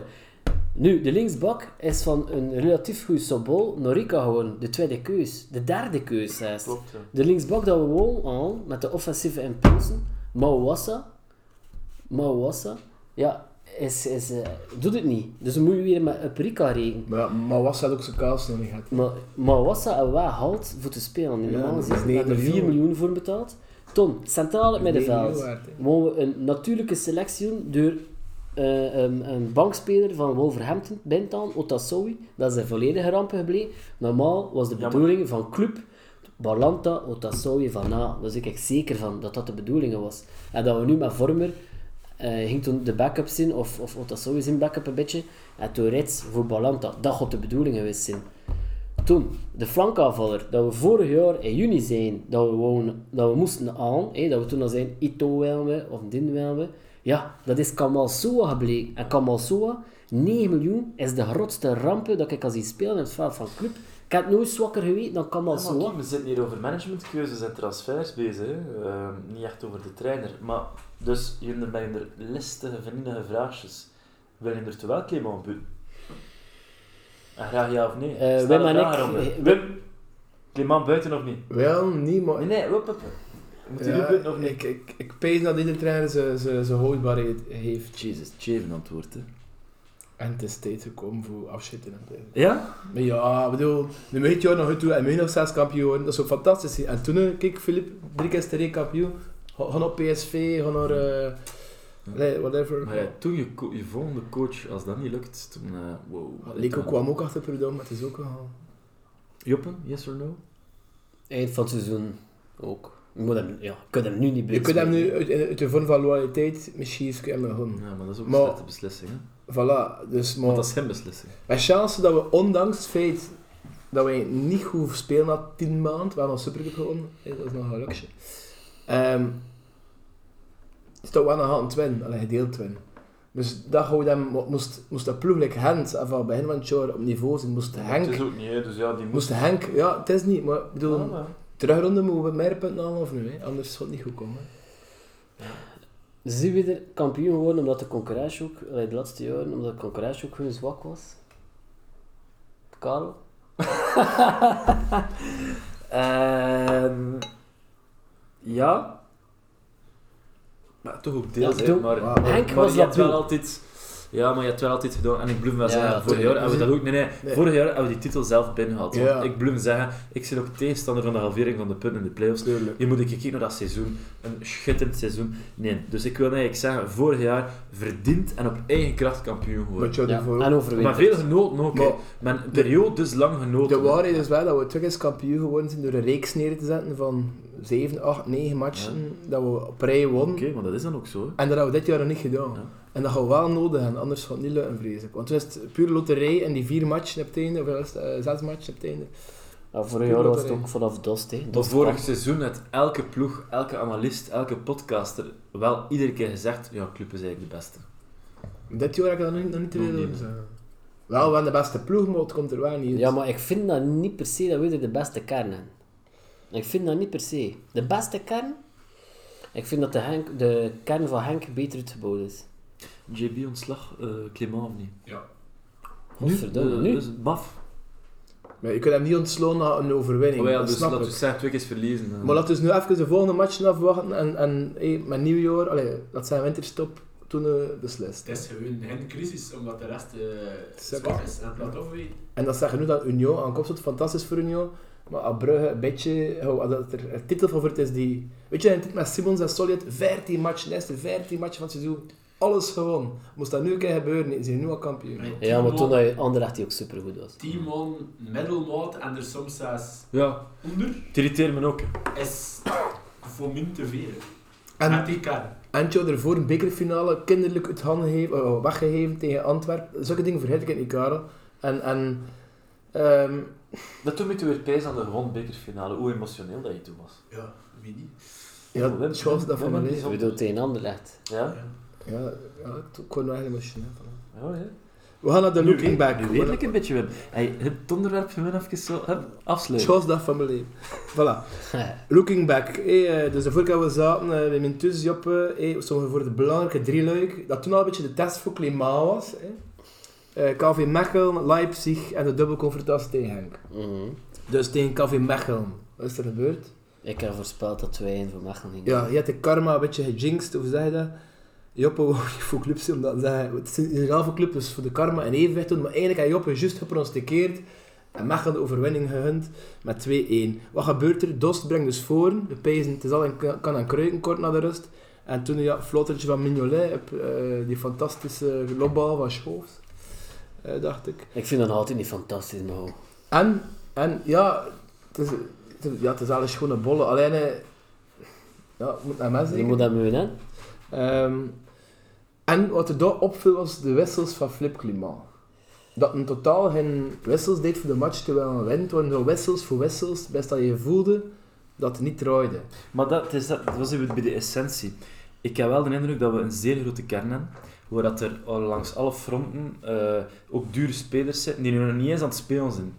D: Nu, de linksbak is van een relatief goede Sobol Norika gewoon de tweede keus. De derde keus, zelfs.
C: Klopt, ja.
D: De linksbak dat we gewoon al met de offensieve impulsen, Mawassa, Mawassa, ja, is, is, eh, doet het niet. Dus dan moet je weer met op Rika rekenen.
B: Maar, ja, maar was dat ook zijn kaas nog niet gehad?
D: Maar Mawassa en Wa houdt voor te spelen.
B: Ja,
D: Normaal
B: dat is
D: gezien hebben we
B: negen
D: er 4
B: miljoen.
D: miljoen voor betaald. Ton, centraal het middenveld.
B: Negen miljoen waard, hè.
D: Mogen we een natuurlijke selectie doen door eh, een, een bankspeler van Wolverhampton, Bentan, Otasowi. Dat is een volledige rampen gebleven. Normaal was de
C: Jammer.
D: bedoeling van club Balanta, Otasowi, Van A. Dus ik kijk zeker van dat dat de bedoeling was. En dat we nu met Vormer eh, ging toen de backup in, of, of Otasowi zijn backup een beetje. En toen Reds voor Balanta. Dat had de bedoeling geweest zijn. Toen, de flankaanvaller, dat we vorig jaar in juni zijn, dat we, wonen, dat we moesten aan, hè, dat we toen al zijn Ito wilden of Din wilden. Ja, dat is Kamal Soa gebleken. En Kamal Soa, 9 miljoen, is de grootste rampen dat ik al zie spelen in het veld van club. Ik heb het nooit zwakker geweten dan Kamal
C: Ja, maar
D: Soa.
C: kijk, we zitten hier over managementkeuzes en transfers bezig. hè. Ehm, niet echt over de trainer. Maar dus, je hebt er bij er listige, vriendige vraagjes. Wil je er te wel Clement buiten? En graag ja of nee?
D: Eh,
C: Stel
D: Wim
C: een
D: en
C: vraag
D: ik-
C: eronder.
D: eh,
C: Wim, Clement buiten of niet?
B: Wel, niet, maar...
C: Nee, nee, wup, wup, wup. Moet je
B: Ja,
C: nu buiten of niet?
B: Ik, ik, ik pees dat iedere trainer zijn- zijn zijn houdbaarheid heeft.
C: Jezus, Cheven antwoord, hè.
B: En het is tijd gekomen voor afschitten. en dergelijke.
C: Ja?
B: Maar ja, ik bedoel, nu weet je nog goed toe en we zijn nog zes kampioen. Dat is ook fantastisch. En toen, eh, kijk, Filip, drie keer sterk kampioen. Ga ga naar PSV, ga naar... eh, nee, whatever.
C: Maar ja, toen je, co- je volgende coach, als dat niet lukt, toen... eh, wow.
B: Maar Lico kwam ook achter Prudhomme, maar het is ook al...
C: Joppen, yes or no?
D: Eind van het seizoen ook. Je moet hem, ja, je kunt hem nu niet
B: Je kunt hem nu uit, uit de vorm van loyaliteit misschien eens kunnen gewoon.
C: Ja, maar dat is ook
B: Maar-
C: een slechte beslissing, hè.
B: Voilà, dus maar...
C: Want dat is zijn beslissing.
B: Wij chance dat we ondanks het feit dat wij niet goed spelen na 10 maanden, we hebben al Supercup gewonnen, hè, dat is nog een gelukje. Ehm is toch wel nog een twin, een gedeeld twin. Dus dat houdt hem, moest, moest dat ploegelijk Hent, van het begin van het jaar op niveau zijn, moest
C: Het is
B: Henk,
C: ook niet, hè, dus ja, die
B: moest Henk, ja, het is niet, maar ik bedoel,
C: Ah, maar.
B: terugronde moeten we meer punten halen of nu, hè? anders zal het niet goed komen. hè.
D: Zijn we er kampioen geworden omdat de concurrentie ook, allee, de laatste jaren, omdat de concurrentie ook gewoon zwak was? Karel?
C: Ehm, ja. Maar toch ook deels,
D: Ja,
C: hè,
D: doe-
C: maar,
B: Wauw.
C: maar
D: Henk was
C: je
D: dat
C: hebt wel
D: doel.
C: altijd... Ja, maar je hebt wel altijd gedaan, en ik blijf wel
D: Ja,
C: zeggen,
D: ja,
C: vorig
B: tuurlijk.
C: jaar hebben we dat ook... Nee, nee,
B: Nee.
C: vorig jaar hebben we die titel zelf binnengehaald. want
B: Ja.
C: Ik blijf zeggen, ik zit ook tegenstander van de halvering van de punten in de playoffs.
B: Tuurlijk.
C: Je moet een keer kijken naar dat seizoen. Een schitterend seizoen. Nee, dus ik wil eigenlijk zeggen, vorig jaar verdiend en op eigen kracht kampioen geworden.
B: Wat je
D: Ja,
B: ervoor ook-
D: en overwinterd.
C: Maar veel genoten ook, hè.
B: Maar-
C: Men een periode dus lang genoten.
B: De waarheid is wel dat we terug eens kampioen geworden zijn door een reeks neer te zetten van 7, 8, 9 matchen. Dat we op rij wonnen.
C: Oké, maar dat is dan ook zo, hè.
B: En dat hebben we dit jaar nog niet gedaan.
C: Ja.
B: En dat gaan we wel nodig hebben, anders gaat het niet lukken, vrees ik. Want toen is het puur loterij en die vier matchen op het einde, of wel, eh, zes matchen op het einde.
D: Ja, vorig jaar was het ook vanaf Dost, hè.
C: Maar
D: Dost
C: vorig seizoen had elke ploeg, elke analist, elke podcaster wel iedere keer gezegd, ja, Club is eigenlijk de beste.
B: Dit jaar heb ik dat nog, nog niet te
C: Nog
B: veel
C: niet,
B: over zeggen. Wel, we hebben de beste ploeg, maar het komt er wel niet uit.
D: Ja, maar ik vind dat niet per se dat we er de beste kern hebben. Ik vind dat niet per se. De beste kern? Ik vind dat de, Henk, de kern van Henk beter uitgebouwd is.
C: JB ontslag, eh Clément of niet?
A: Ja.
D: Godverdomme,
C: Eh,
D: nu?
C: Dus baf.
B: Maar je kunt hem niet ontslaan na een overwinning.
C: Oh ja,
B: dat
C: dus
B: snap
C: laten we
B: ik.
C: zeggen, twee keer verliezen. eh.
B: Maar laten we dus nu even de volgende match afwachten en, en hey, met nieuwjaar, allee, dat zijn winterstop, toen eh, beslist.
A: Het is gewoon hen crisis, omdat de rest eh
B: Sukker.
A: zwak is en plateau weet.
B: En dat zeggen nu dat Union aan kop staat, fantastisch voor Union. Maar aan Brugge, een beetje, hou- dat er een titelfavoriet is die... Weet je, een titel met Simons en Solid, 14 matchen, de eerste 14 matchen van het seizoen, alles gewonnen. Moest dat nu een keer gebeuren, is hij nu al kampioen.
A: Met
D: Ja, maar
A: Timon-
D: toen dat je Anderlecht die ook supergoed was.
A: Timon, middelmaat en er soms zelfs
C: Ja,
A: onder,
C: het irriteert me ook. hè.
A: is voor min te veel.
B: En
A: Met die kern.
B: en het jaar ervoor een bekerfinale kinderlijk uit handen gegeven, eh, weggegeven tegen Antwerpen. Zulke dingen vergeet ik in Karel. En, en ehm,
C: Dat toen moeten we weer pijs aan de rondbekerfinale, hoe emotioneel dat je toen was.
A: Ja, wie niet?
B: ja,
C: Oh, Wim,
B: het was
C: Wim,
B: dat van mijn
C: Wim,
B: leven.
D: Ik bedoel tegen Anderlecht.
C: Ja?
B: Ja, ja, ik kon wel emotioneel van.
C: Oh, ja.
B: We gaan naar de looking back.
C: Nu weet ik een beetje, Wim. Hey, het onderwerp gewoon even zo hup,
B: Het
C: afsluiten.
B: was dag van mijn leven. Voilà. Looking back. Hey, eh, dus de vorige keer we zaten eh, bij mijn tussenjoppen, hey, sommigen eh, voor de belangrijke drieluik, dat toen al een beetje de test voor klimaat was. hè. Eh, KV Mechelen, Leipzig en de dubbelconfrontatie tegen Henk.
D: Mhm.
B: Dus tegen KV Mechelen. Wat is er gebeurd?
D: Ik heb voorspeld dat 2-1 voor Mechelen ging.
B: Ja, je hebt de karma een beetje gejinxed, hoe zeg je dat? Joppe wou niet voor clubs zijn, omdat hij, het is een halve club, dus voor de karma en evenwicht doen. Maar eigenlijk had Joppe juist gepronosticeerd en Mechelen de overwinning gegund met 2-1. Wat gebeurt er? Dost brengt dus voor, de pijzen, het is al in K- kan aan kruiken kort na de rust. En toen ja, flottertje van Mignolet, op, eh, die fantastische lobbal van Schoofs, eh, dacht ik.
D: Ik vind dat nog altijd niet fantastisch, maar goed.
B: En, en ja, het is, het is- ja, het is wel een schone bolle, alleen... eh, ja, het moet naar mij
D: je
B: zeggen.
D: moet dat meen, hè?
B: Ehm, en wat er daar opviel was de wissels van Flip Klimaat. Dat een totaal geen wissels deed voor de match terwijl een wint. waren zo wissels voor wissels, best dat je voelde dat het niet draaide.
C: Maar dat, het is dat, dat was even bij de essentie. Ik heb wel de indruk dat we een zeer grote kern hebben, waar dat er al langs alle fronten eh, ook dure spelers zitten die nu nog niet eens aan het spelen zijn.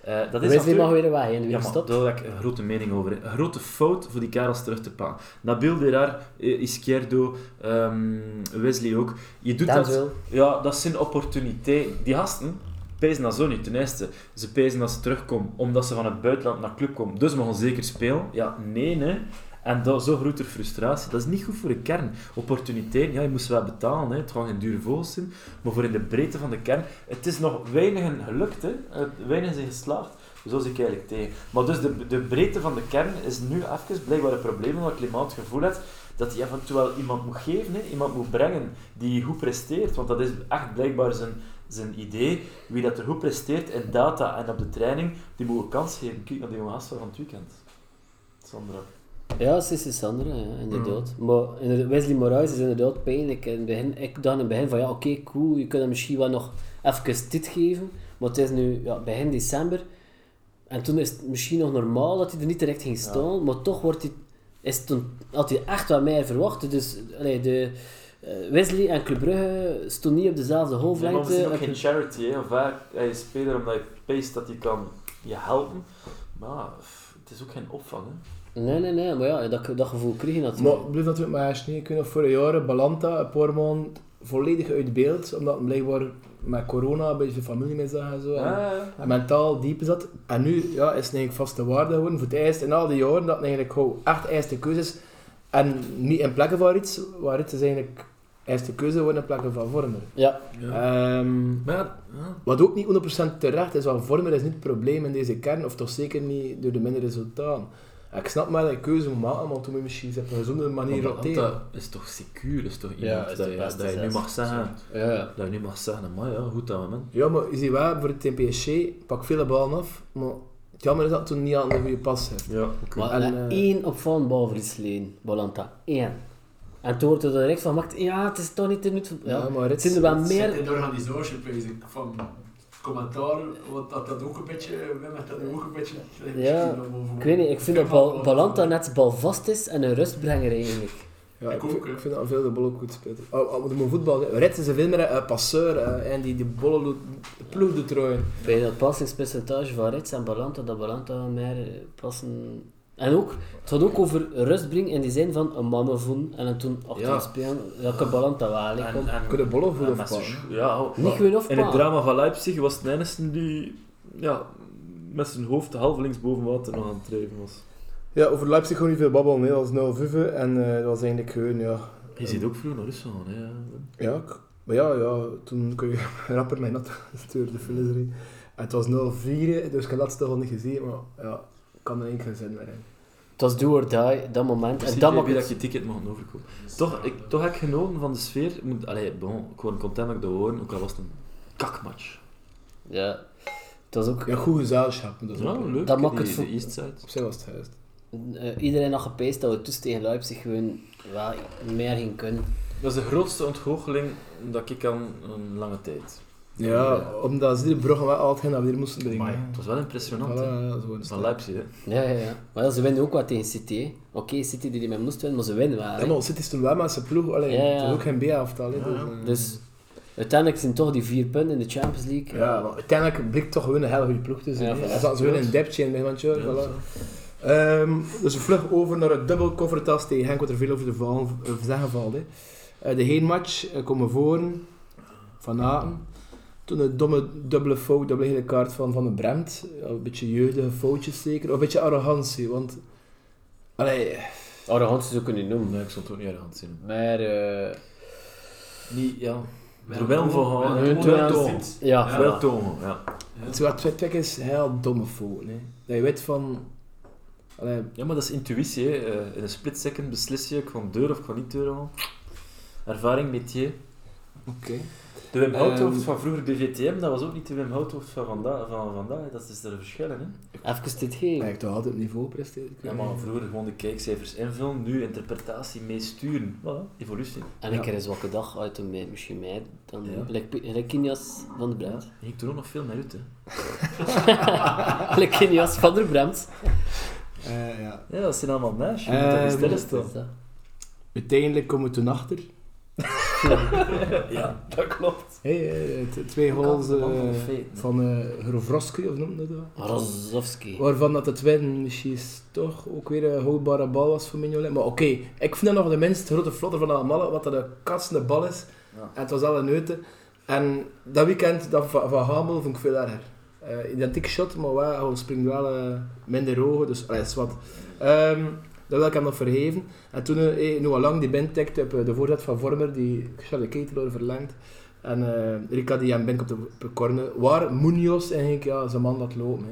C: Eh, dat is
D: Wesley
C: natuurlijk...
D: mag weer weg, hè?
C: Ja,
D: Weer
C: maar
D: gestopt.
C: daar heb ik een grote mening over. hè. Een grote fout voor die karels terug te pakken. Nabil Deraar, eh, Izquierdo, ehm, Wesley ook. Je doet dat...
D: Denzel.
C: Ja, dat zijn opportuniteiten. Die gasten pezen dat zo niet. Ten eerste, ze pezen dat ze terugkomen omdat ze van het buitenland naar de club komen. Dus mogen zeker spelen. Ja, nee, nee. En dat, zo groeit er frustratie. Dat is niet goed voor de kern. Opportuniteiten, ja, je moest wel betalen. Hè. Het gaat geen dure vogels zijn. Maar voor in de breedte van de kern, het is nog weinigen gelukt. Hè. Eh, Weinigen zijn geslaagd. Zo zit ik eigenlijk tegen. Maar dus de, de breedte van de kern is nu even blijkbaar een probleem omdat Clément het gevoel heeft dat hij af en toe wel iemand moet geven, hè. iemand moet brengen die goed presteert. Want dat is echt blijkbaar zijn, zijn idee. Wie dat er goed presteert in data en op de training, die moet een kans geven. Kijk naar die jonge gast van het weekend. Sandra.
D: Ja, Sissi Sandra, ja, inderdaad.
C: Mm.
D: Maar inderdaad, Wesley Moraes is inderdaad pijnlijk. In het begin, ik dacht in het begin van, ja, oké, cool, je kunt hem misschien wel nog even dit geven. Maar het is nu ja, begin december. En toen is het misschien nog normaal dat hij er niet direct ging staan. Maar toch wordt hij, is het toen, had hij echt wat meer verwacht. Dus allee, de, eh, Wesley en Club Brugge stonden niet op dezelfde
C: Nee, maar we
D: golflengte.
C: zien ook geen charity. Hè. Of hij, hij is speler omdat hij peest dat hij kan je helpen. Maar pff, het is ook geen opvang. Hè.
D: nee, nee, nee. Maar ja, dat, dat gevoel kreeg je
B: Maar
D: natuurlijk.
B: het bleef natuurlijk maar snee kunnen. Vorig jaar Balanta, een paar maanden volledig uit beeld, omdat hij blijkbaar met corona bij zijn familie mee zag en zo. En-
C: Ja, ja.
B: En mentaal diep is dat. En nu ja, is het eigenlijk vaste waarde geworden. Voor het eerst in al die jaren dat het eigenlijk gewoon echt eerste keuze is. En niet in plekken van iets, waar iets is eigenlijk eerste keuze geworden in plekken van Vormer.
D: Ja,
B: Ehm,
C: Maar ja,
B: wat ook niet 100% terecht is, want Vormer is niet het probleem in deze kern, of toch zeker niet door de minder resultaten. En ik snap maar dat je keuze moet maken, maar toen moet je misschien op een gezonde manier
C: Maar
B: roteren.
C: dat is toch secuur, is toch
D: Ja,
C: iemand
D: is de
C: dat, je,
D: beste
C: dat je nu
D: zes.
C: mag zeggen,
D: ja, ja.
C: dat je nu mag zeggen, maar ja, goed dat moment.
B: Ja, maar je ziet wel, voor het TPSC, pak vele ballen af, maar het jammer is dat het toen niet aan de goede pas heeft.
C: Ja,
D: Maar
B: En, eh,
D: na één opvallend balverlies leen, Bolanta. Eén. En toen wordt er direct van gemaakt, ja, het is toch niet de minuut van... Ja,
B: Ja, maar
D: het
B: het-
D: zijn er wel
B: het
A: Zit
D: meer...
A: in de organisatie bezig van commentaar, want dat dat ook een
E: eh,
A: beetje, Wim heeft dat nu ook een beetje...
D: Ja, Ik weet niet, ik vind dat Bal- Balanta net balvast is en een rustbrenger eigenlijk.
B: Ja,
G: Ik
B: ik,
G: ook,
B: vind-
G: hè.
B: ik vind dat veel de Bolle goed speelt. Oh, oh, maar voetbal, hè. Red is een veel meer eh, passeur eh, en die de Bolle doet, de ploeg doet rooien.
D: Bij dat passingspercentage van Rits en Balanta, dat Balanta meer eh, passen... En ook, het gaat ook over rust brengen in die zin van een mannen voelen en dan toen achter
C: Ja.
D: spelen. Dat kan Balanta wel, ik kom.
C: en,
B: Kunnen Bolle voelen
C: en
B: of
C: met zijn
B: pakken?
C: scho- Ja, oh,
D: Niet
C: maar
D: gewoon of
C: In het drama van Leipzig was het enige die ja, met zijn hoofd half links boven water nog aan het drijven was.
H: Ja, over Leipzig gewoon niet veel babbelen. Hè. Dat was 0-5 en eh, dat was eigenlijk gewoon, ja...
C: Je ziet ook vroeg naar Rusland gaan, hè.
H: Ja, ik- maar ja, ja, toen kon je rapper mij nat sturen, de finiserie. En het was 0-4, dus ik heb dat stuk al niet gezien, maar ja, ik kan er één geen zin meer in.
D: Het was do or die, dat moment.
C: Dus
D: En
C: ik
D: dat
C: dat
D: maakt
C: dat
D: het...
C: je ticket mag overkopen. Toch, ik, toch heb ik genoten van de sfeer. Ik Moet, allee, bon, ik word content dat ik dat hoor, ook al was het een kakmatch.
D: Ja. Het was ook...
B: Ja, goed gezelschap. Dat, is
C: Ja,
B: ook, eh,
C: leuk.
D: Dat maakt
C: die-
D: het voor-
C: de East Side.
B: Op zich was het juist.
D: eh, iedereen had gepeest dat we toen tegen Leipzig gewoon wel meer gingen kunnen.
C: Dat is de grootste ontgoocheling dat ik kan een lange tijd.
B: Ja,
H: Omdat ze die bruggen wel altijd naar weer moesten brengen.
C: Maar het was wel impressionant, hè.
B: dat is gewoon
C: Van Leipzig, hè.
D: Ja, ja, ja. Maar ja, ze winnen ook wat tegen City. hè. Oké, City die ermee moest winnen, maar ze winnen wel. hè.
B: Ja, maar City is toen wel met zijn ploeg, alleen
D: Ja, ja.
B: het is ook geen B-aftal. hè, dus, eh.
D: Dus uiteindelijk zijn toch die vier punten in de Champions League.
B: Ja, maar uiteindelijk blikt toch gewoon een hele goede ploeg te
D: Ja,
B: zijn.
D: voilà.
B: Ja, ze winnen een depje in, want je,
C: Ja,
B: voilà.
C: zo.
B: Ehm, dus we vlug over naar het dubbel koffertas tegen Henk, wat er veel over te vallen, eh, zeggen valt. Hè. Eh, de heenmatch eh, komen voor van Aten. Toen een domme dubbele fout, dubbele gele kaart van Van de Bremt. Ja, een beetje jeugdige foutjes zeker, of een beetje arrogantie, want... Allee,
D: Arrogantie zou kunnen noemen.
C: Nee, ik zal het ook niet aan de hand zien.
D: Maar eh
C: Niet, ja. Er wel voor houden.
D: hun
C: hè.
D: toen
C: Wel
D: aan-
C: toon.
D: ja,
G: Ja.
C: Wel toon, ja.
B: het is wat het is, heel domme fout. Hè. Dat je weet van... Allee,
C: Ja, maar dat is intuïtie. Hè. Eh, in een split second beslis je, ik ga deur of ik ga niet deur halen. Ervaring, métier.
B: Oké.
C: De Wim Houthoofd
B: Ehm.
C: van vroeger BVTM, dat was ook niet de Wim Houthoofd van vandaag. Van vandaag. Dat is er een verschil in. Hè?
D: even dit geven.
B: eigenlijk toch altijd op niveau presteren.
C: Ja, maar vroeger gewoon de kijkcijfers invullen, nu interpretatie meesturen. Voilà, evolutie.
D: En een keer een zwakke dag uit hem mee, misschien meer dan
C: Ja.
D: gelijk Pi- gelijk Kinias van de Bremt.
C: En ik doe ook nog veel naar uit. Hè.
D: Gelijk Kinias van de Bremt.
B: Eh, ja.
C: Ja, dat zijn allemaal meisjes. Je moet dat
B: Ehm.
C: niet
D: Dat
C: stilstaan.
D: is dat.
B: Uiteindelijk komen we toen achter.
C: Ja, dat klopt.
B: Hey, eh, t- twee
C: Hoe kan
B: goals
C: het, man,
B: eh,
C: van de feiten?
B: van eh Hrovrovski, of noemde dat?
D: Rozovski.
B: Waarvan dat het winnen misschien toch ook weer een houdbare bal was voor Mignolet. Maar oké, ik vind dat nog de minst grote flotter van allemaal, wat dat een katsende bal is.
C: Ja.
B: En het was al een neute. En dat weekend dat van, van Hamel vond ik veel erger. Eh, identiek shot, maar wel, hij springt wel eh, minder hoog, dus allee, is wat. Ehm, dat wil ik hem nog vergeven. En toen, eh eh, Noah Lang, die bintikt op eh, de voorzet van Vormer, die Charlie Keteloor verlengt. En eh Rika die hem bindt op de op de corner. Waar Munoz eigenlijk ja, zijn man laat lopen.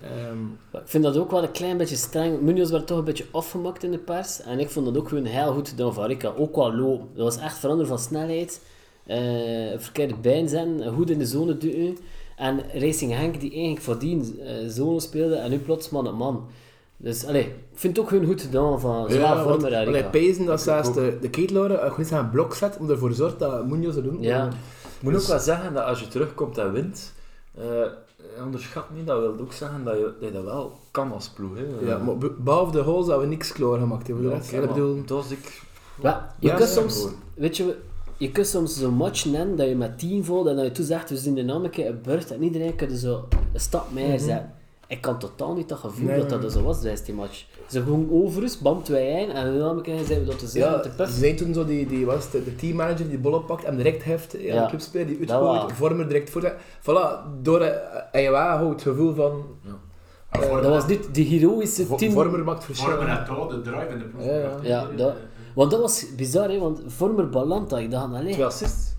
B: Hè. Ehm,
D: Maar Ik vind dat ook wel een klein beetje streng. Munoz werd toch een beetje afgemakt in de pers. En ik vond dat ook gewoon heel goed gedaan van Rika. Ook wel lopen. Dat was echt veranderen van snelheid. eh verkeerde bijn zijn. Goed in de zone duwen. En Racing Henk die eigenlijk voordien eh zone speelde. En nu plots man op man. Dus allee, ik vind het ook gewoon goed gedaan van zowel
B: ja, want-
D: Vormer en
B: want hij
D: Rika.
B: pezen dat zelfs de, de Keteloor eh, goed zijn blok zet om ervoor zorgt dat Eh, dus- Munoz er doen.
D: Ja.
C: Ik moet ook wel zeggen dat als je terugkomt en wint, eh, onderschat niet, dat wil ook zeggen dat je dat, je dat wel kan als ploeg. Hè.
B: Ja, maar be- behalve de goals hebben we niks klaar gemaakt. hè, Voor de rest,
C: oké,
B: ik
C: maar
B: bedoel...
C: dat is ik...
D: Ja, je
B: Ja,
D: kunt
B: ja,
D: soms,
C: gewoon.
D: weet je, je kunt soms zo'n match nemen dat je met 10 voelt en dat je toen zegt, we zien de naam een keer op beurt en iedereen kan er zo een stap meer zetten. Ik kan totaal niet dat gevoel
B: Mhm. Nee,
D: dat dat zo was tijdens die match. Ze gewoon over is, bam, 2-1 en de naam een keer zijn we dat te zeggen,
B: Ja,
D: te
B: ze
D: pers.
B: zijn toen zo die, die, was de, de teammanager die bollen pakt en direct heft. Ja,
D: Ja.
B: De clubspeler die
D: Dat wel.
B: uitgooit, vormer direct voor. Voilà, door eh, en je wel houdt het gevoel van...
D: Eh, Dat was niet die heroïsche
B: vo-
D: 10
B: Vormer maakt verschil.
G: Vormen had al de drive in de ploeg.
B: Ja, ja.
G: gebracht.
D: Ja, dat- Want dat was bizar, hè, want Vormer Balanta, ik dacht, alleen.
C: Twee assists.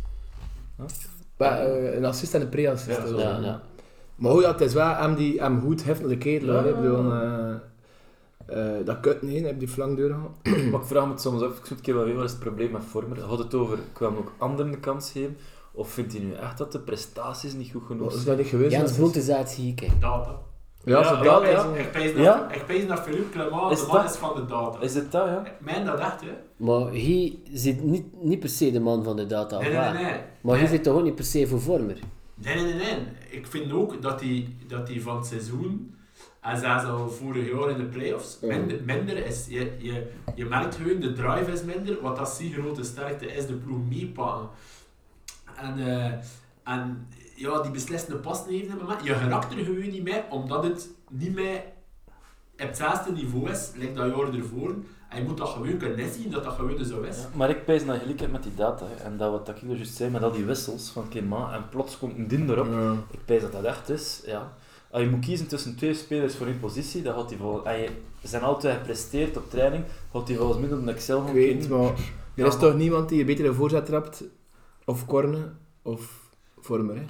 B: Maar, eh, een assist en een pre-assist.
G: Ja,
B: hè,
G: zo.
B: zo.
D: Ja, ja.
B: Maar hoe dat is wel hem, die, hem goed heft naar de ketel. hè. Ik bedoel, eh, eh, dat kut niet, heb die flank doorgehaald.
C: Maar ik vraag me het soms af, ik zoek een keer wel weer wat is het probleem met Vormer. Had het over, kwam ook anderen de kans geven? Of vindt hij nu echt dat de prestaties niet goed genoeg
B: Wat is
C: zijn?
B: dat niet geweest?
D: Jens
B: hè?
D: Bond is uit Hieke.
G: Data.
B: Ja,
C: Ja,
B: zo
C: wel,
B: dat
C: ja.
B: is...
G: Ik pees
C: Ja?
G: naar- Ik pees naar Philippe Clement,
C: Is
G: de man
C: dat-
G: is van de data.
C: Is het dat, ja?
G: Mijn dat echt, hè?
D: Maar hij zit niet, niet per se de man van de data,
G: Nee,
D: of
G: nee,
D: waar?
G: nee. nee.
D: Maar hij zit toch ook niet per se voor Vormer?
G: Nee, nee, nee, nee. Ik vind ook dat hij dat die van het seizoen En zelfs al vorig jaar in de playoffs. Minder, minder is, je, je, je merkt hun, de drive is minder. Wat dat zijn grote sterkte is, de ploeg meepakken. En, eh, en ja, die beslissende pas heeft hebben gemaakt. Je geraakt er gewoon niet meer, omdat het niet meer op hetzelfde niveau is, lijkt dat jaar ervoor. En je moet dat gewoon kunnen zien, dat dat gewoon zo is.
C: Ja, maar ik pijs dat je gelijk hebt met die data. hè. En dat wat dat ik er juist zei, met al die wissels van Kema en plots komt een ding erop. Ik pijs dat dat echt is, ja. Als je moet kiezen tussen twee spelers voor een positie, dan gaat die volgens... En je zijn altijd gepresteerd op training, gaat die volgens mij op een Excel
B: Ik
C: gaan
B: weet het,
C: kijken.
B: maar er is toch niemand die je betere voorzet trapt, of corner, of vormer, hè?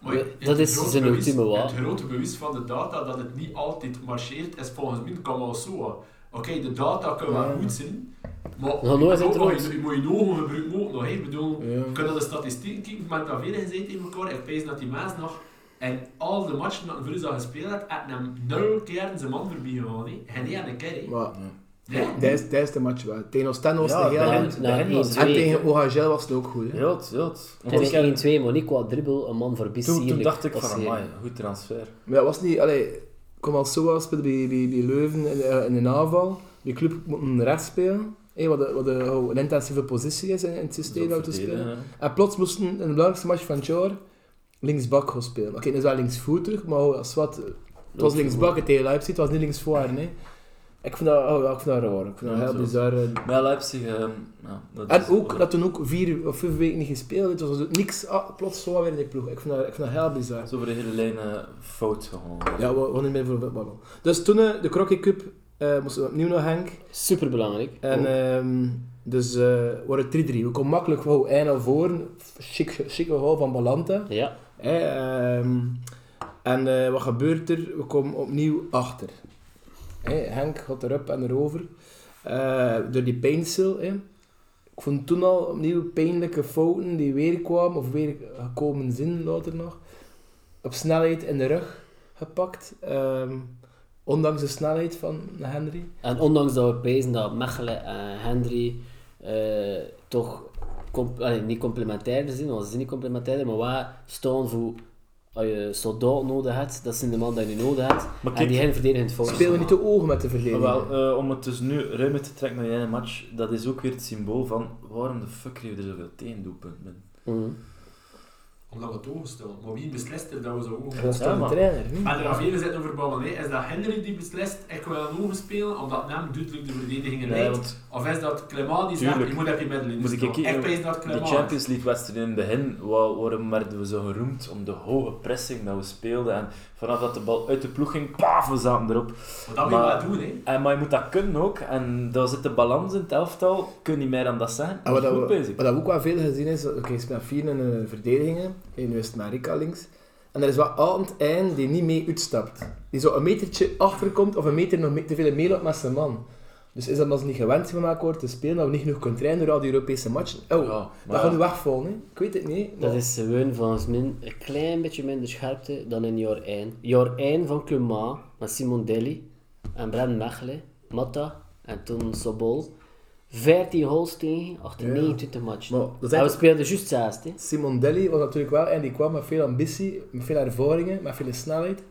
G: Maar
D: Ja,
G: het
D: dat is
G: grote
D: zijn
G: bewijs-
D: ultieme waar.
G: Het grote bewijs van de data dat het niet altijd marcheert, is volgens mij Kamal Soa. Oké, de data kan wel goed zijn, maar
D: Ja, nooit
G: je moet
D: het
G: ook-
D: rood.
G: je moet je ogen gebruiken ook nog. hè. Ik bedoel,
B: Ja.
G: we kunnen de statistieken kijken, maar dat veel gezeten in elkaar. Ik wijs dat die mens nog en al de matchen dat hij voor ons gespeeld had, had hem nul keer zijn man voorbij gegaan. hè. En niet aan de kerry.
B: Maar
G: Nee.
B: dat is, dat is de match wel. Tegen Oostende was
C: Ja,
B: het heel
C: bij
B: goed.
C: hen- bij hen was
B: En
D: twee.
B: tegen Ogagel was het ook goed, hè?
C: Jot, jot. Want
D: Het
C: ik
D: is
C: heb-
D: 1-2, maar niet qua dribbel, een man voor BC.
C: Toen, toen
D: eerlijk
C: dacht ik van,
D: passeren.
C: amai, goed transfer.
B: Maar dat was niet... Allee, kom al zo als bij, bij, bij Leuven in, eh, in een aanval. Die club moet rechts spelen. Hé, wat de, wat de, hoe een intensieve positie is in, in het systeem dat we te spelen. En plots moesten in de belangrijkste match van het jaar linksbak gaan spelen. Oké, dat is wel linksvoetig, maar oh, als wat... Het was linksbak en tegen Leipzig, het was niet linksvoor, nee. Ik vind dat, oh, ja, ik vind dat raar. Ik vind dat
C: Ja,
B: heel
C: zo.
B: bizar. eh.
C: Bij Leipzig, ehm, ja, dat
B: En
C: is-
B: ook, dat toen ook vier of vijf weken niet gespeeld werd. Het was ook niks, ah, plots zo weer in die ploeg. Ik vind dat, ik vind dat heel bizar.
C: Zo voor de hele lijn eh, fout gegaan.
B: Ja, we hadden niet meer voor de babbel. Dus toen eh, de Crocky Cup eh, moesten we opnieuw naar Henk.
D: Superbelangrijk.
B: En
D: Oh.
B: ehm, dus eh waren het 3-3. We konden makkelijk wou één naar voren. Chic, chic goal van Balanta.
C: eh,
D: Ja,
B: Hè, ehm, en eh, wat gebeurt er? We komen opnieuw achter. Hè, Henk gaat erop en erover. Eh, door die pijnstil. hè. Ik vond toen al opnieuw pijnlijke fouten die weer kwamen, of weer gekomen zijn later nog. Op snelheid in de rug gepakt. ehm, ondanks de snelheid van Henry.
D: en ondanks dat we pezen dat Mechelen en Henry eh, toch com- allee, niet complementairder zijn, want ze zijn niet complementairder, maar waar staan voor als je soldaat nodig hebt, dat zijn de man die je nodig hebt.
C: Maar
D: en
C: kijk,
D: die hen verdedigend volgens
B: Spelen we niet de ogen met de verdediging.
C: Wel, eh, om het dus nu ruimer te trekken naar die ene match, dat is ook weer het symbool van waarom de fuck kreeg je er zoveel tegendoelpunten in?
D: Mhm.
G: Omdat we het overstellen. Maar wie beslist er dat we zo ogen
B: dat is toch
C: Ja,
B: een
C: maar-
B: trainer? niet?
G: Maar er gaan veel zitten over babbelen. hè. Is dat Henry die beslist, ik wil aan ogen spelen, omdat hem duidelijk de verdediging
C: Nee,
G: leidt?
C: want
G: Of is dat Clement die zegt,
C: Tuurlijk.
G: je moet heb je middelen
C: Moet ik
G: staan.
C: kijken,
G: Ik pees dat
C: de
G: Clement.
C: Champions League wedstrijden in het begin, wa- waarom werden we zo geroemd? Om de hoge pressing dat we speelden. En vanaf dat de bal uit de ploeg ging, paf, we zaten erop.
G: Maar dat moet je
C: Maar-
G: wel doen, hè.
C: En, maar je moet dat kunnen ook. En daar zit de balans in het elftal. Kun je niet meer dan dat zijn.
B: En wat,
C: Dat is
B: dat
C: goed
B: we,
C: bezig.
B: wat dat we ook wel veel gezien is, oké, je speelt vier in eh, de verdedigingen, en nu is het Marika links. En er is wel altijd één die niet mee uitstapt. Die zo een metertje achterkomt of een meter nog mee- te veel meeloopt met zijn man. Dus is dat omdat ze niet gewend zijn gemaakt worden te spelen, dat we niet genoeg kunnen trainen door al die Europese matchen? Oh,
C: Ja,
B: dat
C: maar
B: gaat
C: ja.
B: nu wegvallen, hè? ik weet het niet.
D: Dat
B: maar-
D: is gewoon volgens mij een klein beetje minder scherpte dan in jaar 1. Jaar 1 van Clement met Simon Deli en Bran Mechelen, Matta en toen Sobol. 14 goals tegen, achter 29 matchen.
B: Maar dat is
D: en we
B: echt-
D: speelden juist zesde. hè.
B: Simon Deli was natuurlijk wel en die kwam met veel ambitie, met veel ervaringen, met veel snelheid.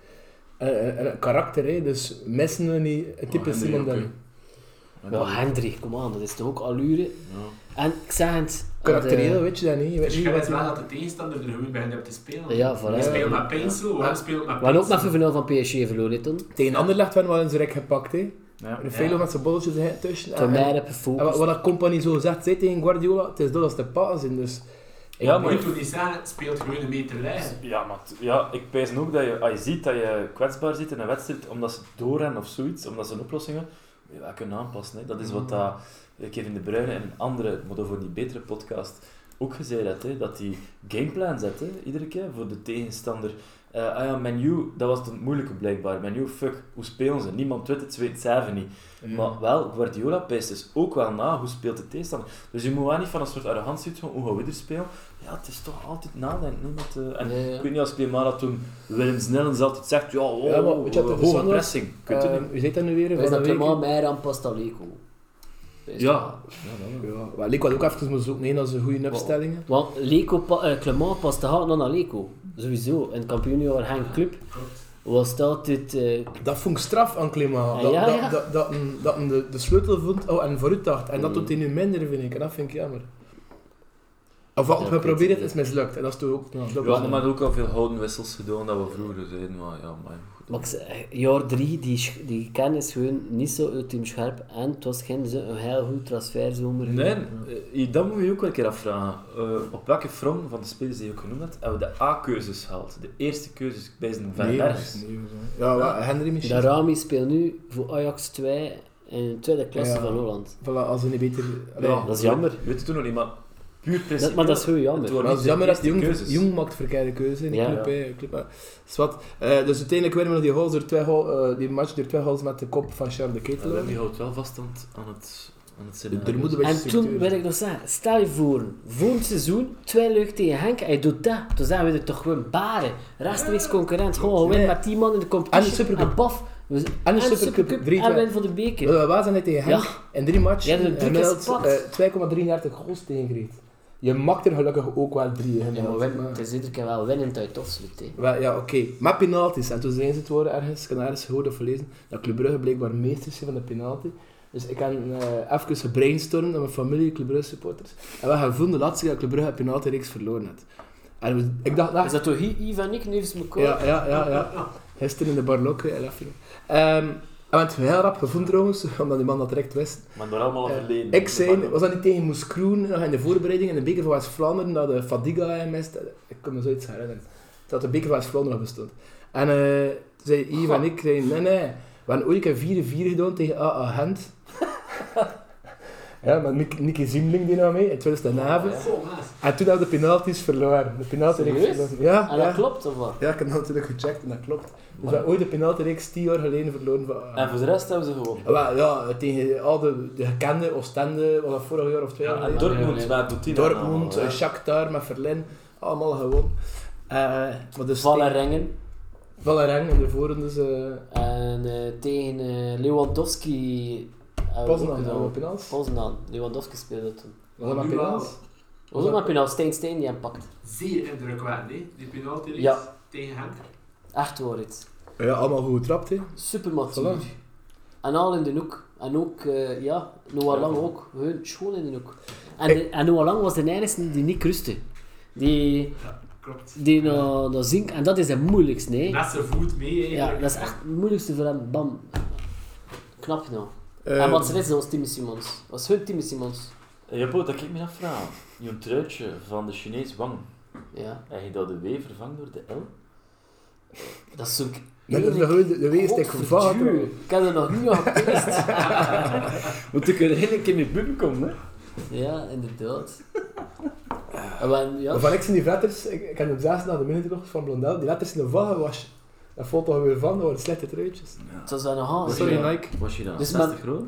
B: En, en, en karakter, hè? dus missen we niet het type
C: Oh, Henry
B: Simon
C: ook,
B: Deli.
C: hè.
D: Maar Hendry, kom aan, dat is toch ook allure. En ik zeg het... eh,
B: Karakterieel
D: dat,
B: weet je dat niet. Je
G: Het
B: weet niet
G: verschil
B: wat
G: is
B: die-
G: Dus wel dat de tegenstander er gewoon bij hebt te spelen.
D: eh, Ja, voilà.
G: Hij speelt
D: We
G: met pencil, waarom speelt met
D: hadden ook
G: pencil?
D: met 5-0 van PSG verloren hè, toen.
B: Tegen Anderlecht werden we wel eens rek gepakt, hè.
C: Ja.
B: De Velo met zijn bolletjes er tussen. Eh,
D: Toen
B: En,
D: mij
B: en,
D: heb
B: en wat
D: gefocust.
B: wat dat compagnie zo zegt zei tegen Guardiola, het is dat als de paas zijn, dus...
C: Ja,
G: Maar
C: maar
G: je moet toch niet zeggen, speelt gewoon een meter lijn.
C: Ja, maar t- ja, ik pijs ook dat je, als je ziet dat je kwetsbaar zit in een wedstrijd omdat ze doorrennen of zoiets, omdat ze een oplossing hebben, moet je dat kunnen aanpassen. Hè. Dat is
B: Mm.
C: wat dat eh, Kevin De Bruyne en een andere, maar dan voor die betere podcast, ook gezegd had, hè, dat die gameplan zet, hè, iedere keer, voor de tegenstander. Eh, ah ja, menu, dat was het moeilijke blijkbaar. Menu, fuck, hoe spelen ze? Niemand weet het, ze weten het zelf niet.
B: Mm.
C: Maar wel, Guardiola pijst dus ook wel na, hoe speelt de tegenstander? Dus je moet wel niet van een soort arrogantie uitgaan, hoe gaan we er spelen? Ja, het is toch altijd nadenken. hè, Met, eh, en
D: Ja, ja.
C: ik weet niet als Clemara toen Willem Snellens altijd zegt, ja, wow,
B: Ja, maar weet je wat
C: hoge
B: interessant was?
C: pressing. Ik weet het
B: eh,
C: niet.
B: Wie zit dat nu weer?
D: Dat is
B: Van
D: dat
B: de
D: Clement
B: week?
D: mij aan Pastaleco.
C: Ja,
B: Ja, maar Leek had ook even moeten zoeken, hè, naar zijn goede opstellingen.
D: Want Leco pa eh, Clement past te hard aan naar Leco. Sowieso. In het kampioenjaar Henk Club. was het altijd... eh,
B: Dat vond ik straf aan Klima. Dat,
D: Ah, Ja,
B: dat,
D: ja.
B: dat, dat, hem- dat hem de, de sleutel vond oh, en vooruit dacht. En
C: Mm.
B: dat doet hij nu minder, vind ik. En dat vind ik jammer. Of wat
D: Ja,
B: we
D: ik weet
B: proberen,
D: het
B: het is mislukt. En dat is toch ook... Ja,
C: We hadden maar ook al veel houden wissels gedaan dat we vroeger zeiden, maar ja, maar goed.
D: Maar ik zeg, eh, jaar drie, die, sch- die kern is gewoon niet zo ultiem scherp. En het was geen zo- een heel goed transferzomer.
C: Nee, eh, dat moet je je ook wel een keer afvragen. Eh, op welke front van de spelers die je ook genoemd hebt, hebben we de A-keuzes gehaald? De eerste keuzes bij zijn Van Bergs.
B: Ja, wel, Henry misschien.
D: Dat Rami speelt nu voor Ajax 2 in de tweede klasse
B: Ja.
D: van Holland.
B: Voilà, als hij niet beter... Allee,
C: Ja,
D: dat is jammer.
C: Weet je toen nog niet, maar puur principe.
D: Dat, maar dat is gewoon jammer.
C: Het wordt
B: Maar
C: niet
B: het
C: de
B: is jammer dat
C: eerste
B: Jong,
C: keuzes.
B: Jong maakt verkeerde keuze in die
D: Ja,
B: club. hè. club hè. Zwat. Eh, dus uiteindelijk winnen we die, goals door twee goal, eh, die match door twee goals met de kop van Charles de
C: Ja,
B: Ketel.
C: Lemmy houdt wel vast aan het, aan het, aan het scenario.
B: er moet een beetje
D: En toen
B: structuur
D: wil
B: zijn.
D: ik nog zeggen, stel je voor, volgend seizoen, twee lucht tegen Henk, hij doet dat. Toen zijn we er toch gewoon baren. Rechtstreeks concurrent, gewoon gewoon winnen
B: Nee.
D: met 10 man in de competitie.
B: En de Supercup.
D: En baf. We, en
B: de Supercup, drie,
D: en
B: twee.
D: win van de beker.
B: We waren net tegen Henk
D: Ja.
B: in drie
D: Ja, dat
B: matchen
D: is drie keer
B: gemiddeld
D: spot.
B: eh, 2,33 goals tegen Greet. Je maakt er gelukkig ook wel drie in
D: Ja,
B: gemiddeld.
D: maar eh, win,
B: Maar-
D: het is iedere keer wel winnend uit Tofslut. hè.
B: Wel, ja, oké. Maar penalties. En toen zijn ze het worden ergens, ik kan ergens gehoord of gelezen, dat Club Brugge blijkbaar meesters zijn van de penalty. Dus ik heb eh even gebrainstormd met mijn familie, Club Brugge supporters. En we hebben gevonden de laatste keer dat Club Brugge een penalty reeks verloren had. En we- ik dacht, nou,
D: Is dat toch I- Yves en ik, nevens elkaar?
B: ja, ja, ja, ja. Gisteren in de Barlokke, en dat viel. Ehm, en we hebben het heel rap gevonden trouwens, omdat die man dat direct wist.
C: Maar dat allemaal
B: Eh,
C: verleden.
B: Ik zei, was dat niet tegen Moes Kroen nog in de voorbereiding in de Beker van West-Vlaanderen dat de Fadiga hem mist? Ik kan me zoiets herinneren. Dat de Beker van West-Vlaanderen nog bestond. En eh, toen zei Yves en ik, zei, nee, nee, we hebben ooit een keer 4-4 gedaan tegen AA Gent. ja, maar Nick- Nicky Ziemling die nou mee in 2011. En toen hebben we de penalties verloren. De penaltyreeks
D: Serieus?
B: verloren. Ja,
D: En dat
B: ja.
D: klopt of wat?
B: ja, ik heb dat natuurlijk gecheckt en dat klopt. Dus we
C: Maar-
B: hebben ooit de penaltyreeks 10 jaar geleden verloren van AA.
C: En voor de rest hebben ze gewonnen.
B: Wel, ja, tegen al de, de gekende Oostende, was dat vorig jaar of twee jaar
C: Ja, en
B: geleden.
C: eh, Dortmund, waar doet die dat
B: Dortmund,
C: allemaal,
B: eh,
C: hè?
B: Shakhtar met Verlin, allemaal gewoon. Eh maar dus
D: Vallerengen.
B: Vallerang in de voorronde is eh
D: En eh, tegen eh, Lewandowski... eh, hebben we ook
B: Poznan,
D: gedaan.
B: hadden we penals. Was
D: Poznan. Lewandowski speelde toen.
B: dat maar
G: Nu wel.
B: penals?
D: Was ook maar penal. Steen Steen nou die hem pakt.
G: Zeer indrukwekkend, hè? Die penalty reeks
D: Ja.
G: tegen Henk.
D: Echt waar, het.
B: Ja, allemaal goed getrapt hè.
D: Super matuur. En al in de hoek. En ook, eh, ja, Noah Lang ook. Gewoon schoon in de hoek. En, de- en Noah Lang was de enige die niet rustte. Die,
G: Klopt.
D: die naar, naar zink. En dat is het moeilijkste, nee.
G: Met zijn voet mee,
D: Ja,
G: eigenlijk.
D: dat is echt het moeilijkste voor hem. Bam. Knap nou.
B: Eh,
D: en wat ze wisten was Timmy Simons. Was hun Timmy Simons.
C: Jabo, dat kan ik me afvraag. Je truitje van de Chinees Wang,
D: Ja.
C: heb je dat de W vervangt door de L?
D: Dat is zo'n...
B: dat is de goede- de wees die ik vervaat,
D: Godverduur. Ik heb er nog niet aan getest.
C: Moet ik er geen keer mee buiten komen, hè?
D: ja, inderdaad. En we- ja.
B: Maar Van ik zijn die letters, ik, ik heb hem zelfs na de minuut nog van Blondel, die letters in de vallen was. Dat valt toch weer van, dat waren slechte truitjes.
D: Het was wel een haas.
B: Sorry
C: ja.
B: Nike.
C: Was je dan
D: Dus
C: 60 groot?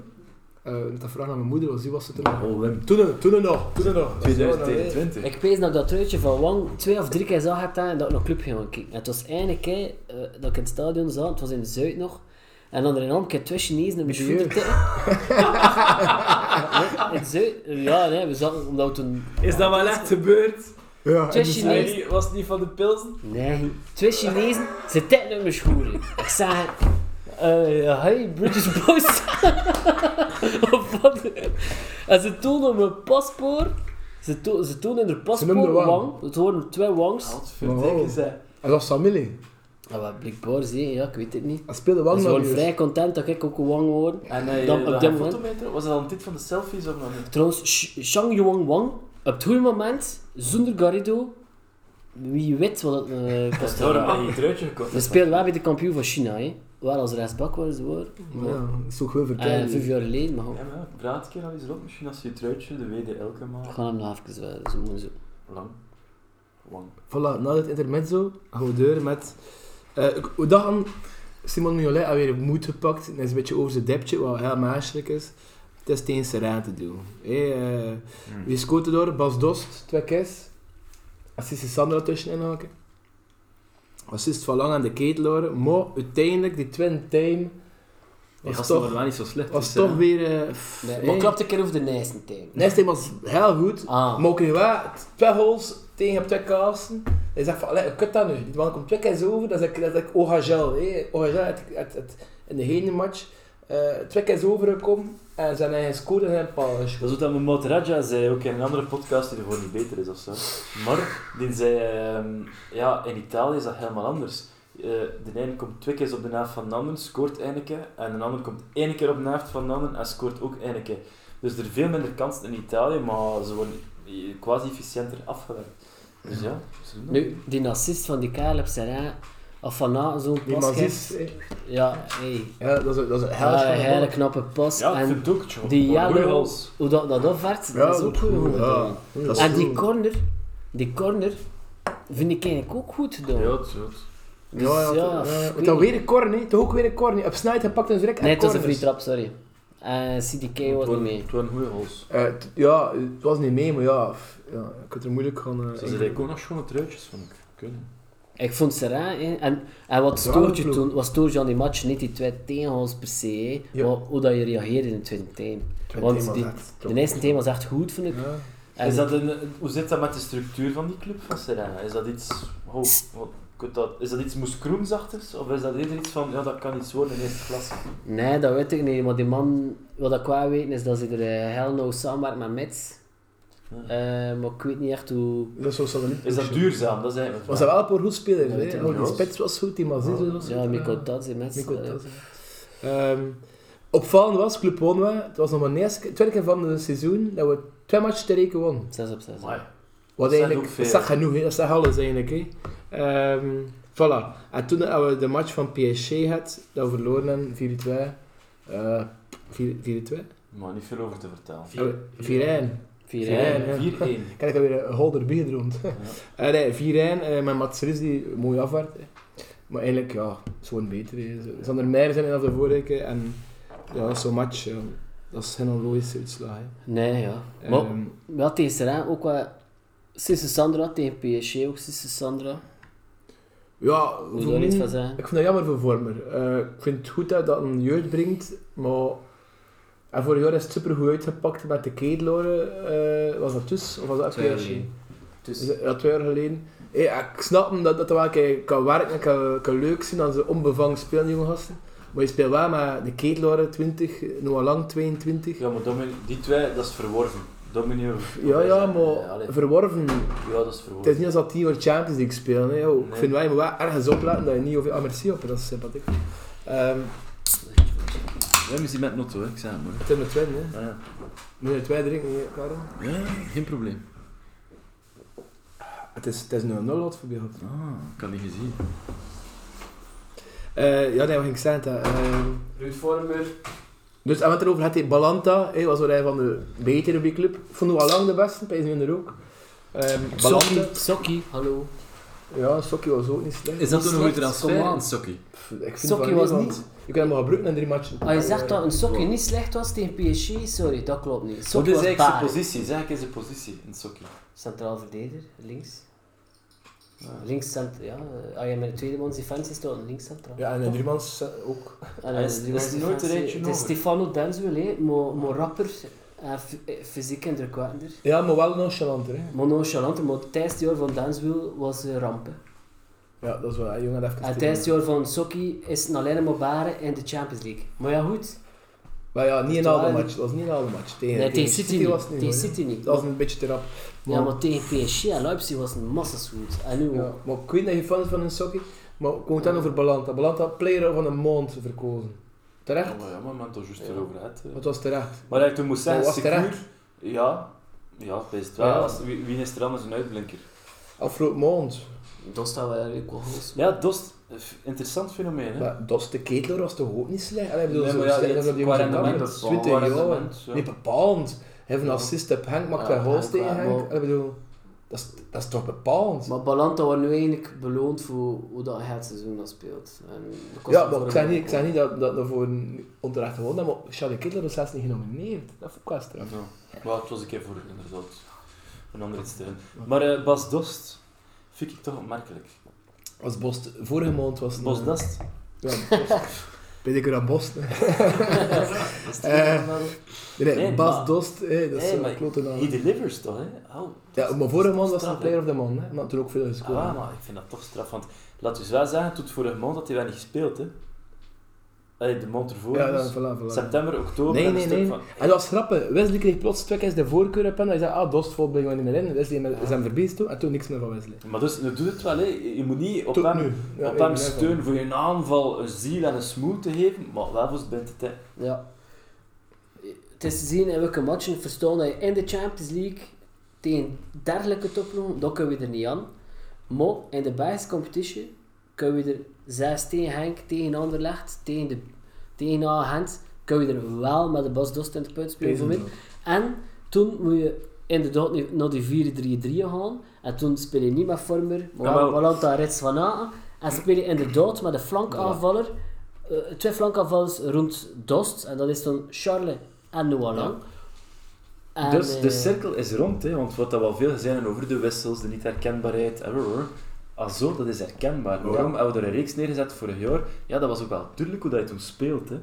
B: Eh, dat vraag aan mijn moeder was, die was het er nog.
C: Oh, Wim.
B: Toen, toen nog, toen nog. Dat is wel nog, hè.
C: 2022.
D: Ik weet dat ik dat truitje van Wang twee of drie keer zag had en dat ik naar club ging gaan kijken. En het was één keer eh, dat ik in het stadion zat, het was in Zuid nog. En dan er een andere keer twee Chinezen in mijn
B: Die
D: voeten tikken. Nee, in Zuid? Ja, nee, we zaten omdat we toen...
C: Is dat wel echt gebeurd?
B: Ja,
D: Twee
B: en dus- die-
D: Chinezen.
C: Hij was het niet van de pilsen?
D: Nee, twee Chinezen, ze tikken in mijn schoenen. Ik zei... eh hey, British boys. of wat? En ze toonden mijn paspoort. Ze, to ze toonden hun paspoort,
B: noemden Wang.
D: Wang. Het worden twee Wangs.
B: Ah, Wow. En dat is familie.
D: Ja, wat blijkbaar zie ja, ik weet het niet.
B: Hij speelde
D: Ik
B: Wang
D: was
B: nog
D: wel
B: niet.
D: vrij content dat ik ook een Wang word.
C: En hij,
D: Dan-
C: dan,
D: op
C: op
D: dat
C: dat
D: moment-
C: fotometer, was dat een tit van de selfies of nog niet?
D: Trouwens, Sh- Shang Yuan Wang, op het goede moment, zonder Garrido, wie weet wat het eh kost.
C: Daarom heb je een truitje gekocht.
D: We speelden wel bij de kampioen van China, hè. Wel als rechtsbak waren ze hoor.
B: Ja, dat is ook Dus heel
D: Eh,
B: verkeerd.
D: vijf jaar geleden, maar goed.
C: Ja, maar ja, praat een keer al eens rond. Misschien als je je truitje de WDL kan
D: We
C: maken.
D: gaan hem nog even eh, zo moeten zo.
C: Lang. Lang.
B: Voilà, na het intermezzo gaan we door met... eh, ik- we dachten, Simon Mignolet had weer moed gepakt. Hij is een beetje over zijn dipje, wat heel maagdelijk is. Het is tegen Serrain te doen. Hey, eh,
C: Hmm.
B: Wie scoort door? Bas Dost, twee kees. Assist is Sandra tussenin haken. Assist van Lang aan de ketel horen. Maar uiteindelijk, die twin time...
C: Die
B: Was
C: gasten
B: toch,
C: waren wel niet zo slecht.
B: was
C: dus,
B: toch
C: eh,
B: weer... eh pff,
D: Nee,
B: hey.
D: maar klopt een keer over de Nijsten tijd.
B: Nijs team was heel goed.
D: Ah,
B: Maar ook weer waar, twee goals tegen op twee kaarsen. Hij zegt van, allee, kut dat nu. Die man komt twee keer zo over. Dat is like, dat is like Ogagel. hè. Ogagel had- had- had in de hele match eh, twee keer zo overgekomen. En zijn hij gescoord en zijn paal geschoten.
C: Dat is wat mijn maat Raja zei, ook in een andere podcast die ervoor niet beter is ofzo. Maar, die zei, ehm, ja, in Italië is dat helemaal anders. Eh, de ene komt twee keer op de naaf van de ander, scoort één keer. En de ander komt één keer op de naaf van de ander en scoort ook één keer. Dus er zijn veel minder kansen in Italië, maar ze worden quasi-efficiënter afgewerkt. Dus ja, ze doen dat.
D: Nu, die assist van die kerel op Serrain, of van na zo'n
B: Die
D: pas
B: man
D: geeft.
B: ziet, eh,
D: Ja, hey.
B: ja, dat is, dat is een hel.
D: Ja, een hele knappe pas.
C: Ja, ik
D: en
C: vind het ook, joh.
D: die
C: Wat een goeie
D: Jallo-
C: goals.
D: hoe dat, dat opwerkt, dat is ook goed. gedaan.
B: Dat is
D: En die
B: goed.
D: corner, die corner, vind ik eigenlijk ook goed gedaan.
C: Ja, het is goed.
D: Dus
B: Ja, ja,
D: ja,
B: ja,
D: ik
B: ja.
D: weet
B: Dan
D: niet.
B: weer een corner, hè. toch ook weer een corner. Op snelheid gepakt en direct. en
D: Nee, het was een
B: corners.
D: free trap, sorry. Eh, En CDK was
C: Het
D: niet
C: waren-
D: mee.
C: Het waren goede goals.
B: Eh, t- ja, het was niet mee, maar ja, f- ja ik had er moeilijk gaan. eh,
C: Ze zijn ook nog schone truitjes, vond ik. Kunnen.
D: Ik vond Serrain, hè, en, en wat stoort je toen, wat stoort je aan die match? Niet die twee tegenhouders per se, hè,
B: Ja.
D: maar hoe dat je reageerde in de tweede time.
B: Tweede
D: Want
B: team
D: die,
B: was echt
D: de eerste time was echt goed, vond ik.
B: Ja.
D: En
C: Is dat een, hoe zit dat met de structuur van die club van Serena? Is dat iets, oh, wat- kunt dat, is dat iets moeskroemsachtigs? Of is dat eerder iets van, ja, dat kan iets worden in eerste klasse?
D: Nee, dat weet ik niet. Maar die man, wat ik wel weet, is dat ze er eh, heel nauw samenwerkt met Mets.
C: Ja.
D: Eh, maar ik weet niet echt hoe...
B: Dat is zo satelliet.
C: Is dat duurzaam? Dat is eigenlijk
B: Was
C: mijn
B: dat wel een paar goed spelers,
D: Ja,
B: hè?
D: die
B: Oh, die
C: was-
B: Spits was goed, die Mazis was
D: Ja,
B: goed,
D: Mikko Tadze, Mets.
B: Mikko
D: eh,
B: Tadze. Ehm, opvallend was, Club won we. Het was nog maar de eerste, tweede keer van het seizoen dat we twee matches ter reken wonnen.
D: Zes op zes.
C: Amai.
B: Wat
C: Dat
B: eigenlijk,
C: zegt ook
B: dat
C: veel.
B: zag genoeg, hè. dat zag alles eigenlijk. Hè. Ehm, voilà. En toen hebben we de match van PSG gehad, dat we verloren hebben, 4-2. Eh, 4-2?
C: Maar niet veel over te vertellen.
B: Eh, 4-1.
D: Vier,
B: Vier,
D: hè.
B: hè. ja.
C: 4-1.
B: Kijk, ik heb weer een holder biegedroomd. Eh nee, 4-1 eh, met Mats Ries die mooi afwerkt. hè. Maar eigenlijk, ja, zo'n beter. hè. Zo- Zonder Meijer zijn dan de vorige keer. En ja, dat is zo'n match. ja. dat is geen onlogische uitslag. hè.
D: Nee, ja. Maar
B: Ehm,
D: wel tegen Serrain ook wel... Sisse Sandra tegen PSG ook, Sisse Sandra.
B: ja,
D: Moet je
B: voor
D: daar iets
B: mij-
D: van zeggen?
B: ik vind dat jammer voor Vormer. Eh, ik vind het goed dat dat een jeugd brengt, maar... En vorig jaar is het supergoed uitgepakt met de keedeloren. eh was dat dus? Of was dat
I: Twee jaar
B: PSG?
I: geleden.
B: Dus ja, twee jaar geleden. Hey, ik snap hem dat dat er wel een keer kan werken en kan, kan leuk zijn als ze onbevangen spelen, jonge gasten. Maar je speelt wel met de Keetlaren 20, Noah Lang 22.
C: Ja, maar Dominic, die twee, dat is verworven. Dominic...
B: Ja, ja,
C: Ja,
B: maar
C: allee.
B: verworven.
C: Ja, dat is
B: Het is
C: verworven.
B: niet als dat die voor Champions League spelen. Hè. joh. Ik
C: Nee.
B: vind wel, je moet wel ergens opletten dat je niet over... Ah, merci op, dat is sympathiek. Ehm
C: We hebben met Notto, hè. ik zei het maar.
B: het is met twee, hè.
C: Ah, ja.
B: Moet je er twee drinken, hè, Karel?
C: ja, geen probleem.
B: Het is, het is 0-0 wat voorbeeld.
C: Ah, ik had niet gezien.
B: Eh ja, nee, wat ging ik zeggen? dat, ehm,
G: Ruud Vormer.
B: Dus en wat erover had hij Balanta, hè, was wel een van de betere bij club. Vonden we al lang de beste, bij zijn er ook. Ehm Balanta,
D: Sokkie, Sokkie, hallo.
B: ja, Sokkie was ook niet slecht.
C: Is dat
D: Niet
C: een goede
D: slecht,
C: transfer,
D: kom aan.
C: een sokkie?
B: Pff, ik vind
D: Sokkie
B: van
D: was
B: want
D: niet-
B: Je kan hem maar gebruiken in drie matchen. Eh,
D: Ah, je
C: Eh,
D: zegt dat een Sokkie niet slecht was tegen PSG? Sorry, dat klopt niet.
C: Wat
D: Sokkie
C: is
D: was
C: eigenlijk zijn
D: baar.
C: positie? Zeg ik eens zijn positie, een sokkie.
D: Centraal verdediger, links. Ah, Links cent, ja. eh, Als je met de tweede man defensie staat, links centraal. Ah,
B: Ja, en de driemans eh, ook.
D: En
C: Hij
D: dan
C: is-
D: de Russe
C: hij is nooit
D: defensie.
C: een rijtje
D: Het is
C: hoger.
D: Stefano Denzuel, hè, maar, maar rapper en f- eh, fysiek indrukwekkender.
B: Ja, maar wel nonchalanter. Hè.
D: Maar nonchalanter, maar tijdens het jaar van Denzuel was eh, ramp. hè.
B: Ja, dat is wel, hè, jongen, dat even
D: En tijdens Ah, het jaar van Sokki is het alleen maar baren in de Champions League. Maar ja, goed.
B: Maar ja, niet een
D: Terwijl-
B: halve match. Het was niet een halve match. Tegen,
D: Nee, tegen City niet.
B: was het niet.
D: Tegen
B: hoor, hè.
D: City niet.
B: Dat was een beetje te rap.
D: Ja, maar tegen PSG en Leipzig was een massas goed. En nu
B: ja,
D: ook.
B: maar ik weet dat je fan is van een Sokkie. Maar ik kom het dan over Balanta. Balanta, player van de maand verkozen. Terecht?
C: Ja, maar ja, maar men toch juist erover uit. eh? hè.
B: Het was terecht.
C: Maar hij toen moest zeggen,
B: Maar was het
C: secuur... Ja, ja, best wel.
B: Ja.
C: Als- Wie, wie is er anders een uitblinker?
B: Afgelopen maand.
D: Dat staan we eigenlijk wel goed.
C: Ja, Dost, eh, interessant fenomeen, hè?
B: Maar Dos de Ketelaar was toch ook niet slecht? Allee, ik bedoel,
C: Nee,
B: zo
C: maar ja,
B: slecht
C: die
B: als dat die
C: qua
B: jongens in België,
C: rendement bepaald.
B: 20
C: Qua
B: jaar.
C: rendement, ja.
B: Niet bepaald. Hij heeft een assist op Henk, maakt
D: Ja,
B: twee goals
D: Henk,
B: tegen
D: maar-
B: Henk.
D: maar-
B: Allee, ik bedoel, dat is, dat is toch bepaald?
D: Maar Balanta wordt nu eigenlijk beloond voor hoe dat hij het seizoen al speelt. En de kosten
B: ja, maar
D: voor
B: ik
D: hem
B: zeg niet, ik
D: ook.
B: zeg niet dat dat dat voor een onterecht gewonnen maar Charles Kittler is zelfs niet genomineerd. Dat vond ik wel straf.
C: Ja. Maar het was een keer voor, inderdaad. Een andere steun. Maar eh, Bas Dost vind ik toch opmerkelijk.
B: Als Bos vorige maand was... het
C: Bos
B: een-
C: Dost?
B: Ja, Bos. Ben ik er aan Bos? Nee,
J: Dat is die naam wel.
B: nee,
J: Nee,
B: Bas
J: maar-
B: Dost, eh, dat is
J: Nee,
B: zo'n
J: maar
B: klote naam.
J: He delivers toch, hè? Oh,
B: Ja, maar vorige maand was hij
J: straf,
B: player of the man, hè? Maar toen ook veel gescoord.
J: Ah, maar ik vind dat toch straf. Want laat dus wel zeggen, tot vorige maand had hij wel niet gespeeld, hè? Allee, de maand ervoor.
B: ja,
J: dus.
B: dan, voilà, voilà.
J: September, oktober.
B: Nee,
J: en
B: nee,
J: een stuk
B: nee.
J: Van,
B: En dat was grappig. Wesley kreeg plots twee keer de voorkeur op hem. Hij zei, ah, Dost valt bij in erin. Wesley met- is
J: Ah.
B: hem verbeest toe. En toen niks meer van Wesley.
J: Maar dus, nu doet het wel, hè. Je moet niet op
B: Tot
J: hem,
B: nu. Ja,
J: op
B: ik
J: hem
B: ben
J: steun voor je aanval een ziel en een smoel te geven, maar wel voor zijn binnen te
D: Ja. Het is te zien in welke matchen verstaan dat je in de Champions League tegen dergelijke topploegen, dat kunnen we er niet aan. Maar in de Belgische competition kunnen we er zes tegen Henk, tegen Anderlecht, tegen, de, tegen Gent, kunnen we er wel met de Bas Dost in de punt spelen. voor mij. En toen moet je inderdaad nu naar die 4-3-3 gaan. En toen speel je niet met Vormer, maar
J: Jawel.
D: wel Malanta Rits van Aken. En speel je inderdaad met een flankaanvaller. eh, twee flankaanvallers rond Dost. En dat is dan Charles en Noalang.
B: Ah,
D: En,
C: Dus de
D: eh,
C: cirkel is rond, hè, want wat dat we al veel gezegd hebben over de wissels, de niet-herkenbaarheid, en hoor, hoor. Ah zo, dat is herkenbaar. Waarom hebben we er een reeks neergezet vorig jaar? Ja, dat was ook wel duidelijk hoe dat je toen speelt. Hè.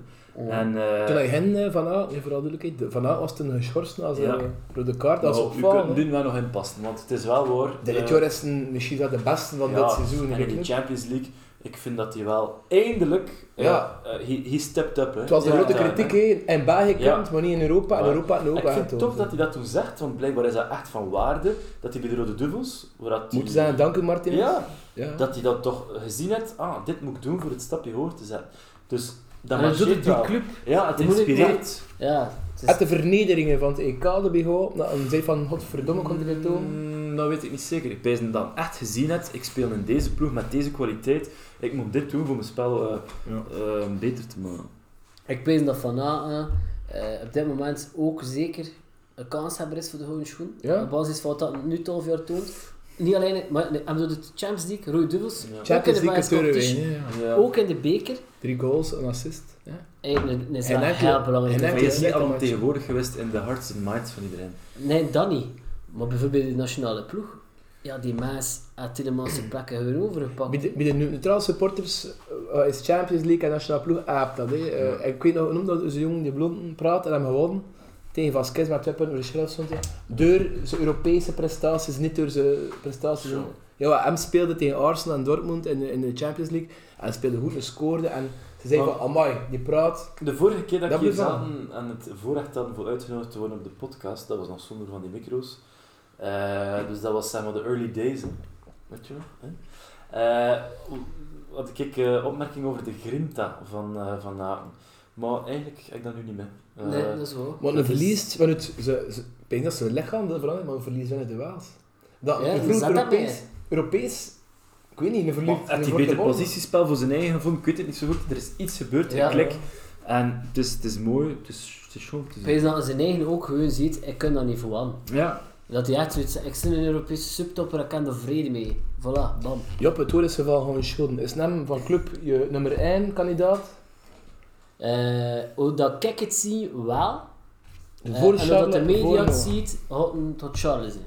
C: En, eh,
B: Toen hij hen eh, van A, ja, vooral duidelijkheid, de- van A was toen geschorst na zijn
C: Ja.
B: eh, rode kaart. Dat was
C: nou, u
B: opvallend.
C: kunt
B: hè.
C: nu wel nog inpassen, want het is wel hoor.
B: De
C: eh,
B: Ritjor is een- misschien wel de beste van dit seizoen.
C: En
B: weet
C: in
B: je
C: de
B: niet.
C: Champions League, ik vind dat hij wel eindelijk.
B: Ja.
C: Ja. eh, he, he stepped up. Hè.
B: Het was de
C: Ja,
B: grote
C: daar, hè.
B: kritiek hè. in België
C: Ja.
B: kant, maar niet in Europa. En
C: Maar
B: Europa had
C: Ik
B: ook
C: vind het tof
B: aangetoond.
C: dat hij dat toen zegt, want blijkbaar is dat echt van waarde. Dat hij bij de Rode Duvels. waar dat
B: Moeten
C: hij-
B: zeggen, dank u Martin.
C: Ja,
B: Ja.
C: dat hij dat toch gezien heeft. Ah, dit moet ik doen voor het stapje hoger te zetten. Dus dat
D: en dat doet
C: marcheert
D: het die
C: wel.
D: club.
C: Ja, het
D: Je moet het
C: inspireert.
D: Ja, het is-
B: Uit de vernederingen van het E EK erbij geholpen. Dat een zei van, godverdomme, komt er dit doen.
C: Mm, dat weet ik niet zeker. Ik ben dan echt gezien het. Ik speel in deze ploeg met deze kwaliteit. Ik moet dit doen voor mijn spel eh, eh, beter te maken.
D: Ik weet dat Van Aken eh, op dit moment ook zeker een kanshebber is voor de gouden schoen.
B: Ja.
D: Op basis van wat dat nu 12 jaar toont. Niet alleen, maar nee, en door de Champions League, Roy Duvels, ook in
B: Champions League
D: de Bayern's
B: cultuur
D: competition,
B: winnen. ja.
C: Ja.
D: ook in de beker.
B: Drie goals, een assist. Ja.
D: Hey, dat is
B: En
D: wel
B: dan-
D: heel
B: en
D: belangrijk.
B: dan-
C: Maar je is niet
B: Lekker
C: allemaal
B: match.
C: tegenwoordig geweest in de hearts and minds van iedereen.
D: Nee, dat niet. Maar bijvoorbeeld de nationale ploeg. Ja, die Maas had Tillemans zijn plekken gewoon overgepakt.
B: Bij de, bij de neutrale supporters eh, is Champions League en nationale ploeg aap dat. hè. Eh, Ik weet nog, hoe noemde dat onze jongen die blond praat en hem gewonnen. Tegen Vasquez met twee punten voor de schrijf stond hij. Door zijn Europese prestaties, niet door zijn prestaties. Ja, hem speelde tegen Arsenal en Dortmund in de, in de Champions League. En speelde goed en scoorde. En ze zeiden
C: Maar-
B: van, amai, die praat.
C: De vorige keer dat,
B: Dat
C: ik hier zat
B: bevalt
C: en het voorrecht had voor uitgenodigd te worden op de podcast, dat was nog zonder van die micro's. Eh, dus dat was zeg maar de early days. hè. Weet je wel? hè? Eh, had ik eh opmerking over de grinta van, eh van Aken. Maar eigenlijk heb ik dat nu niet mee. Eh,
D: nee, dat is wel.
B: Want een verliest vanuit... Ze, ze, ik denk dat ze lichaam dat verandert, maar een verlies vanuit de Waals. Dat,
D: Ja,
B: een
D: dus
B: vroeg
D: zet dat
B: Europees, Europees... Ik weet niet, een verlies...
C: maar had
B: een
C: hij
B: verlies-
C: beter positiespel voor zijn eigen gevonden? Ik weet het niet zo goed. Er is iets gebeurd,
D: Ja.
C: een klik. En het is, het is mooi, het is, het is schoon te
D: Ik
C: zien.
D: weet dat zijn eigen ook gewoon ziet, ik kan dat niet voor aan.
C: Ja,
D: Dat hij echt zoiets ik zit in een Europese subtopper, ik kan er vrede mee. Voilà, bam.
B: Ja, het is geval gewoon schulden. Is hem van club je nummer 1 kandidaat?
D: Eh, hoe dat ik het zie, wel.
B: De
D: Eh,
B: voor
D: en hoe dat
B: Charles,
D: de
B: voor
D: media het
B: Noah.
D: ziet, houdt hem tot Charles. hè.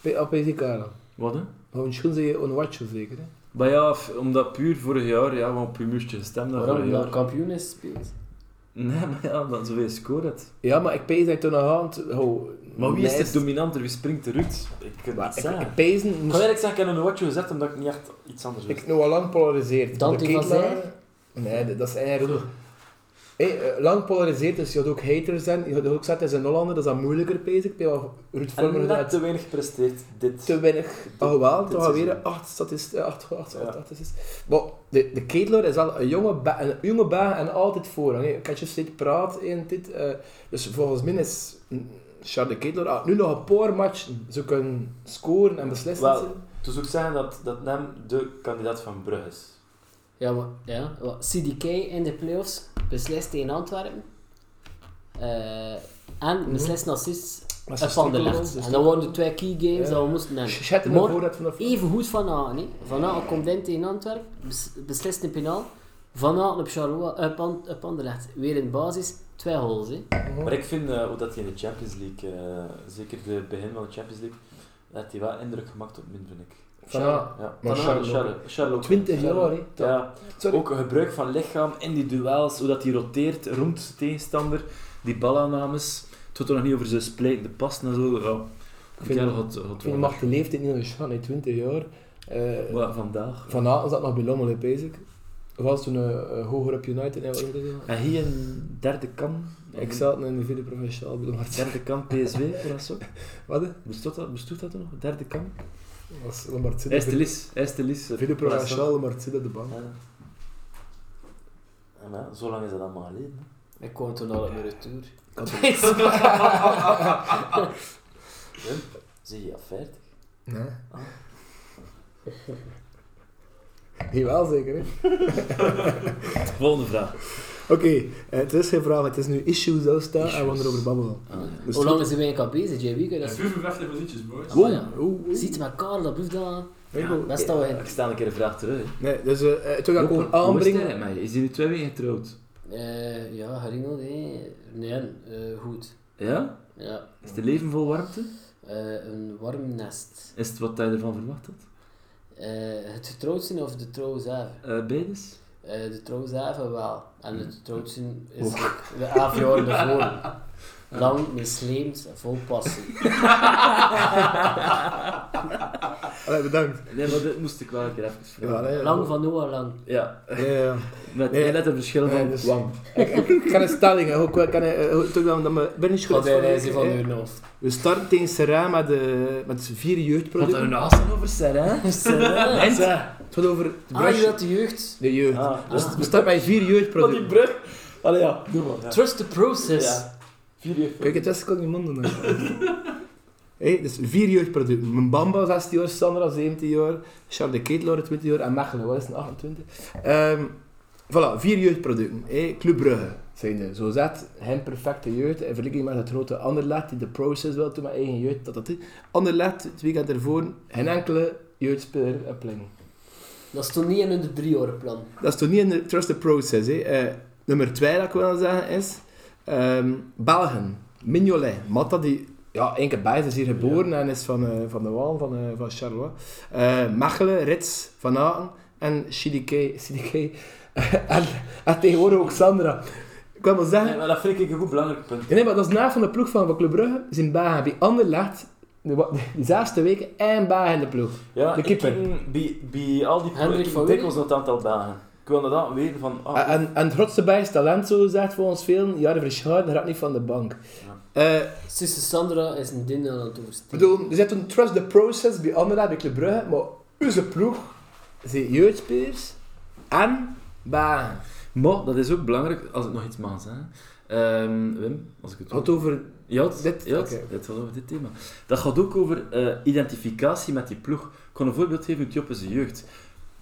B: Bij APZ Karen.
C: wat hè?
B: Gewoon schulden zeg je onwatchel zeker. Hè?
C: Maar ja, f- omdat puur vorig jaar, ja, want op je muurtje gestemd dat
D: Waarom
C: vorig
D: dat
C: jaar.
D: kampioen is speelt.
C: Nee, maar ja, dan zoveel score het.
B: Ja, maar ik pees dat toen nog aan. het- Oh,
C: Maar wie is
B: meest-
C: het dominanter? Wie springt eruit? Ik kan
B: Maar
C: het
B: ik,
C: niet
B: ik
C: zeggen.
B: pees
C: Ik
B: moest
C: kan eerlijk zeggen, ik heb een watje gezet omdat ik niet echt iets anders wist.
B: ik nog al lang polariseerd.
D: Dante
B: De
D: van
B: Ketelaar-
D: Zijl?
B: Nee, dat, dat is eigenlijk... Hey, eh, lang polariseerd, dus je had ook haters zijn. Je had ook zat in Hollander, dat is dan moeilijker pees ik. Bij wat Ruud Vormer
C: En net
B: gedaan.
C: te weinig gepresteerd, dit.
B: te weinig. Oh, wel,
C: dit
B: toch alweer
C: seizoen.
B: 8 statisten. 8, 8,
C: Ja.
B: 8 statisten. Maar de, de Keitler is al een jonge, ba een jonge baan en altijd voorrang. hè. Katjes zit praat in dit. eh, dus volgens mij is mm, Charles de Keitler ah, nu nog een paar matchen. Ze kunnen scoren en beslissen.
C: Wel, het is ook zeggen dat, dat Nem de kandidaat van Brugge is.
D: Ja, maar, ja. maar CDK in de playoffs beslist in Antwerpen. Eh, en beslist als assist
B: Maar Mhm. ze
D: op Anderlecht.
B: struikelen, ze
D: En dat waren de twee key games
B: Ja.
D: dat we moesten nemen.
B: Schetten
D: Maar-
B: de voorraad vanaf.
D: Even goed Van Aken. hè. Van Aken komt in tegen Antwerpen, bes- beslist een penal. Van Aken op, Charlois, op, An- op Anderlecht. Weer in de basis, twee holes. Hè.
C: Maar ik vind, eh, hoe dat hij in de Champions League, eh, zeker het begin van de Champions League, dat hij wel indruk gemaakt op min, vind ik.
B: Van, ja,
C: Ja.
B: maar Charles ook.
C: Charles, Charles ook.
B: 20 jaar, hè. Dat-
C: Ja,
B: Sorry.
C: ook gebruik van lichaam in die duels, hoe dat die roteert rond de tegenstander, die balaannames. Het gaat er nog niet over zijn splijtende passen en zo. Ja. Ik
B: vind-
C: vind dat het
B: Ik vind, je mag de leeftijd niet aan de Sean, hè. 20 jaar. Eh,
C: vandaag.
B: Vanavond zat nog bij Lommel, hè, basic. Of was toen eh, eh, hoger op United, hè, wat moet ik zeggen?
C: En hier een derde kan.
B: Ik zat in de vierde provinciaal bij de Martijn.
C: Derde kan PSV, voor dat zo.
B: Wat? hè?
C: Bestond dat, bestond dat nog? Derde kan?
B: Dat was Lombard Zidde.
C: Eerste lis. Eerste lis.
B: Vierde provinciaal, Lombard Zidde, de bank.
C: En ja, zo lang is dat allemaal geleden. hè.
D: Ik kwam toen al op mijn retour.
C: Zie je, ja, 40.
B: Nee. Jawel, zeker, hè?
C: Volgende vraag.
B: Oké, eh, het is geen vraag, het is nu issues zo staan en we gaan erover babbelen. Dus
D: Hoe lang is die wijn al bezig, JB? Kun je dat zien?
G: 55 minuutjes, boys.
D: Ah, maar ja.
B: Oeh, oeh, oeh.
D: Ziet maar Karel, dat blijft dan.
B: Nee, goed.
D: Dat staan we in.
C: Ik stel een keer een vraag terug. hè.
B: Nee, dus eh, eh, toen ga ik
C: Hoe-
B: gewoon
C: Hoe is
B: aanbrengen.
C: hij met je? Is hij nu twee weken getrouwd?
D: Eh, ja, geringeld, hè. Nee, eh, goed.
C: Ja?
D: Ja,
C: Is het leven vol warmte?
D: eh, een warm nest.
C: Is het wat hij ervan verwacht had?
D: Eh, het getrouwd zijn of de trouw zelf?
C: Eh beides?
D: Eh, de trouw zelf wel. En
B: Hm.
D: het getrouwd zijn is de elf jaar ervoor. Lang, misleemd, vol passie.
B: Allee, bedankt.
C: Nee, maar dit moest ik wel een keer even vragen.
B: Ja,
C: Ja,
B: nee,
D: Lang van Noah lang.
B: Ja,
C: met
B: Nee.
C: net een verschil van
B: Nee, dus-
C: wang.
B: Ik kan een stelling, hè, ook wel, kan een, eh, toen dan dat me binnen
D: Wat
B: schuld
D: hij reizen van uw hoofd.
B: We starten tegen Serra met, eh, met vier
C: Wat er
B: jeugdproducten.
C: een haast over zijn, hè?
D: Ah,
B: Het gaat over de
D: je
B: brush.
D: dat de jeugd?
B: De jeugd.
C: Ah,
B: Dus we starten met vier jeugdproducten.
C: brug. Allee, ja, doe maar. Ja.
D: Trust the process.
C: Ja. Vier uur.
B: Kijk, het is kan niet monden. Hé, dus vier jeugdproducten. Mbamba 16 jaar, Sandra 17 jaar, Charles de Ketelaar 20 jaar en Mechelen, wat is het, 28? Ehm voilà, vier jeugdproducten. Hé, Club Brugge zijn er. Zo zet hem perfecte jeugd in vergelijking met het grote Anderlecht die de process wil doen met eigen jeugd. Dat, dat, dat. Anderlecht, het weekend ervoor, geen enkele jeugdspeler op planning.
D: Dat stond niet in hun driejarenplan.
B: Dat is toch niet in de trust the process. Hè. Eh, nummer twee dat ik wil zeggen is... ehm Belgen. Mignolet. Matta die... Ja, één keer bij is, is hier geboren en is van, eh, van de Waal, van, eh, van Charleroi. Eh, Mechelen, Rits, Van Aken en Chidike. Chidike. en, en tegenwoordig ook Sandra. Ik wil maar zeggen...
C: Nee, maar dat vind ik een goed belangrijk punt.
B: Nee, maar dat is na van de ploeg van van Club Brugge. Zijn Belgen bij Anderlecht... De, wa- die zesde weken en Belgen in de ploeg.
C: Ja,
B: De keeper.
C: ik- Bij, bij al die
D: Hendrik
C: ploegen
D: van
C: dikwijls dat aantal dagen. Ik wil inderdaad weten van... Ah,
B: En, en het grootste bij is talent, zo zegt volgens velen. Jaren Verschuilen raakt niet van de bank. Eh,
D: Sisse Sandra is een ding aan het
B: Ik
D: oversteken.
B: bedoel, er zit een trust the process bij Anderlecht, bij Club Brugge, maar onze ploeg zijn jeugdspelers en baan.
C: Maar, dat is ook belangrijk, als ik nog iets mag zeggen. Ehm, Wim, als ik het
B: Wat over...
C: Ja, het-
B: Dit-
C: ja, het-
B: oké.
C: het gaat over dit thema. Dat gaat ook over eh, identificatie met die ploeg. Ik kan een voorbeeld geven uit Joppe zijn jeugd.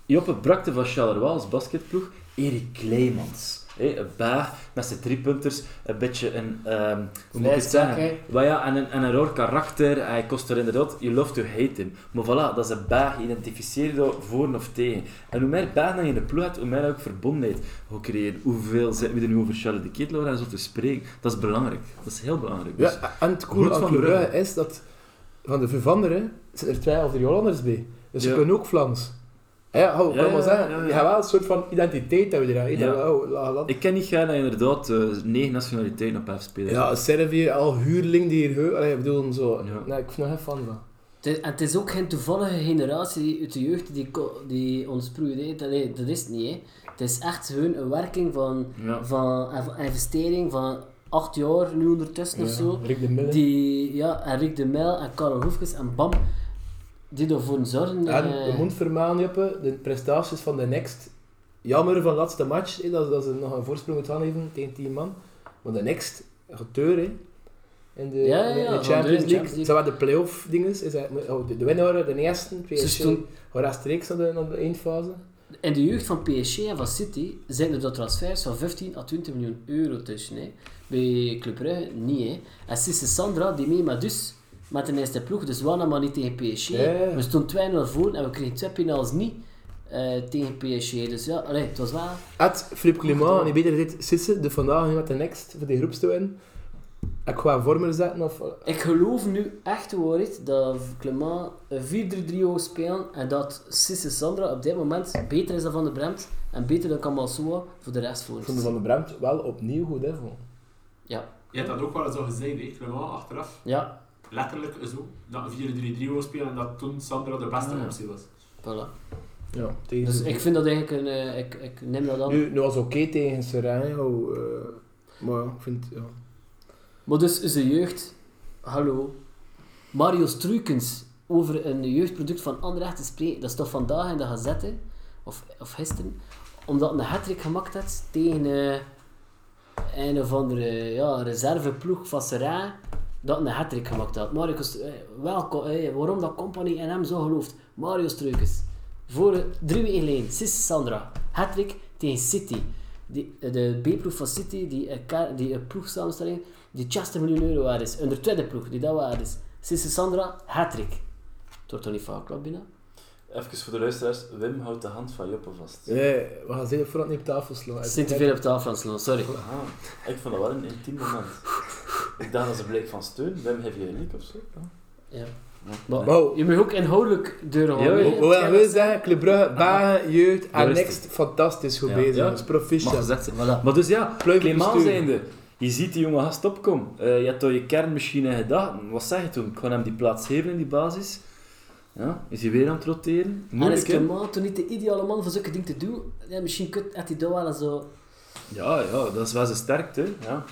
C: Joppe brakte van Charleroi als basketploeg Erik Kleimans. Hé, een baag met zijn driepunters, een beetje een... ehm hoe moet ik het
D: Vleeszak,
C: zeggen? Wel ja, en een, en een roor karakter. Hij kost er inderdaad... You love to hate him. Maar voilà, dat is een baag. Identificeer dat voor of tegen. En hoe meer baag dat je in de ploeg hebt, hoe meer ook verbondenheid gaat creëren. Hoeveel zitten we er nu over Charles de Ketelaar en zo te spreken? Dat is belangrijk. Dat is heel belangrijk. Dus-
B: Ja, en het coole
C: Goed
B: aan
C: van
B: Club
C: Brugge.
B: Brugge is dat van de vervanderen zitten er twee of drie Hollanders bij. Dus ze
C: Ja.
B: kunnen ook Vlaams. Ja, hou, ik
C: Ja,
B: wil maar
C: ja,
B: zeggen,
C: ja, ja.
B: je hebt wel een soort van identiteit hebben we daar. hè.
C: Ja.
B: Dat we, oh, la- la-
C: Ik ken niet graag dat je inderdaad eh, negen nationaliteiten op elf spelers
B: Ja,
C: hebt.
B: Servië, al huurling die hier... heu- Allee, ik bedoel, zo...
C: Ja.
B: Nee, ik vind er geen fan van.
D: Het- En het is ook geen toevallige generatie uit de jeugd die, ko- die ons proeide. Allee, dat is het niet. Hè. Het is echt gewoon een werking van,
C: Ja.
D: van en van investering van acht jaar nu ondertussen of zo.
B: Rick de Mille.
D: Die, ja, en Rick de Mijl en Karel Hoefkes en Bam. Die ervoor zorgen.
B: En
D: eh,
B: de mondvermaan, Joppe, de prestaties van de next. Jammer van de laatste match, hè, dat, dat ze nog een voorsprong moeten aangeven tegen 10 man. Maar de next, geteur, hè. In de,
D: Ja, ja,
B: in de
D: ja, want er is
B: Champions League.
D: Champions League.
B: Ze waren de play-off dinges. Is dat, oh, de, de winnaar, de eerste,
D: Ze
B: PSG,
D: stonden-
B: Horace Treeks aan de, aan de eindfase.
D: In de jeugd van PSG en van City zijn er door transfers van 15 à 20 miljoen euro tussen. Hè. Bij Club Brugge niet. Hè. En Sisse Sandra, die mee maar dus met de eerste ploeg, dus we maar niet tegen PSG.
B: Ja.
D: We stonden 2-0 voor en we kregen twee penals niet eh, tegen PSG. Dus ja, allee, het was wel...
B: Had Philippe Clément, en die beter dit Sisse, de vandaag nu met de next, voor die groeps te winnen. Ik ga vormen zetten of...
D: Ik geloof nu echt Worit dat Clement een 4-3-3 gaat spelen en dat Sisse Sandra op dit moment beter is dan Van de Bremt en beter dan Kamalsoa voor de rest voor
B: Ik vond Van de Bremt wel opnieuw goed, hè, voor.
D: Ja,
G: Je hebt dat ook wel eens al gezegd, hè, Clement, achteraf.
D: ja,
G: Letterlijk zo. Dat een 4-3-3 wou spelen en dat toen Sandra de
D: Ah.
G: beste optie was.
D: voilà.
B: Ja, tegen...
D: Dus ik vind dat eigenlijk een... eh, ik, ik neem dat aan.
B: Nu, nu was oké tegen Serijn, maar ja, ik vind... Ja.
D: Maar dus zijn jeugd... Hallo. Mario Struikens over een jeugdproduct van Anderlecht te spreken, dat is toch vandaag in de gazette, of, of gisteren, omdat een hat-trick gemaakt had tegen eh, een of andere ja, reserveploeg van Serrain, dat een hat-trick gemaakt had. Mario Stru- eh, welkom, eh, waarom dat compagnie in hem zo gelooft? Mario Struikens. Voor eh, drie weken geleden, Sis Sandra, hat-trick tegen City. Die, eh, de B-ploeg van City, die, eh, ka- die eh, ploegsamenstelling, die 60 miljoen euro waard is. Een tweede ploeg, die dat waard is. Sisse Sandra, hat-trick. Het wordt toch niet vaak, klopt binnen?
C: Even voor de luisteraars, Wim houdt de hand van Joppe vast.
B: Nee, we gaan zeker voordat niet op tafel slaan.
D: Het zit te veel op tafel aan slaan, sorry.
C: Ah, ik vond dat wel een intiem moment. Ik dacht dat ze bleek van steun. Wim, heb je een of zo?
D: Ja.
B: Maar,
D: Maar
B: wow.
D: je mag ook inhoudelijk deuren
C: Ja,
D: houden.
C: ja.
D: hè.
B: Hoewel, we zeggen, Club Brugge, Bagen, Jeugd
C: Daar
B: en
C: is het.
B: Next, fantastisch goed
C: Ja.
B: bezig.
C: Ja.
B: Dat is proficiat.
C: Mag gezegd zijn.
D: Voilà.
C: Maar dus ja,
B: Pluim
C: Clément
B: bestuur.
C: zijnde. Je ziet die jonge gast opkomen. Eh, je hebt al je kernmachine in gedachten. Wat zeg je toen? Ik ga hem die plaats geven in die basis. Ja, is hij weer aan het roteren?
D: En is
C: Moeilijk, hè?
D: Clement toch niet de ideale man voor zulke dingen te doen? Ja, misschien kunt had hij dat wel zo...
C: Ja, ja, dat is wel zijn sterkte. Ja.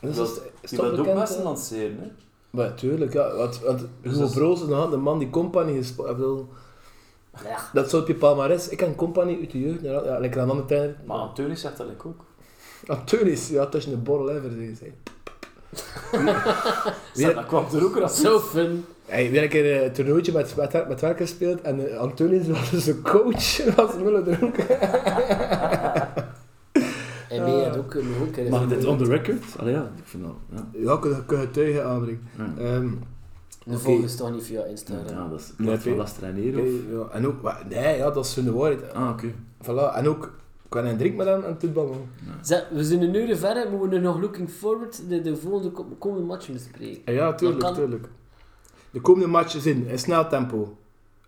B: Dat is
C: Dat-
B: st-
C: Je wilt ook
B: stopbekend,
C: mensen
B: hè.
C: lanceren. Hè?
B: Maar tuurlijk, ja. Want, want
C: Dus
B: Hugo
C: dat is-
B: Broos, nou, de man die Company gespeeld ik bedoel,
D: Ja.
B: Dat staat op je palmarès. Ik ken Company uit de jeugd. Ja, ja, lekker aan de andere tijd.
C: Maar Antonis zegt dat eigenlijk ook.
B: Natuurlijk, ja, tussen de borrel en verzekerd zijn.
C: Zeg, dat kwam er ook racist.
D: Zo fun.
B: Hey, weer een keer eh, een toernooitje met, met, met werken gespeeld en eh, Antonis was dus een coach, was willen dronken.
D: En mij had ook een hoek. hè.
C: Mag dit on the record? Allee, ja, ik vind dat... Ja,
B: Ja, kun je kun je getuigen aanbrengen.
C: Ja.
B: Ehm,
D: De volgende is toch niet via Instagram.
C: ja dat is
B: Nee,
C: klopt van
B: oké.
C: Laster en Nero.
B: oké, eh, ja, en ook, wa- nee, ja, dat is hun waarheid.
C: Ah, oké.
B: Voilà, en ook, ik kan een drink met hem en het doet babbel.
D: Zeg, we zijn een uur verder, moeten we nu nog looking forward de, de volgende ko- komende match bespreken.
B: Ja, Ja, tuurlijk,
D: Dat kan.
B: tuurlijk. De komende matches in, in snel tempo.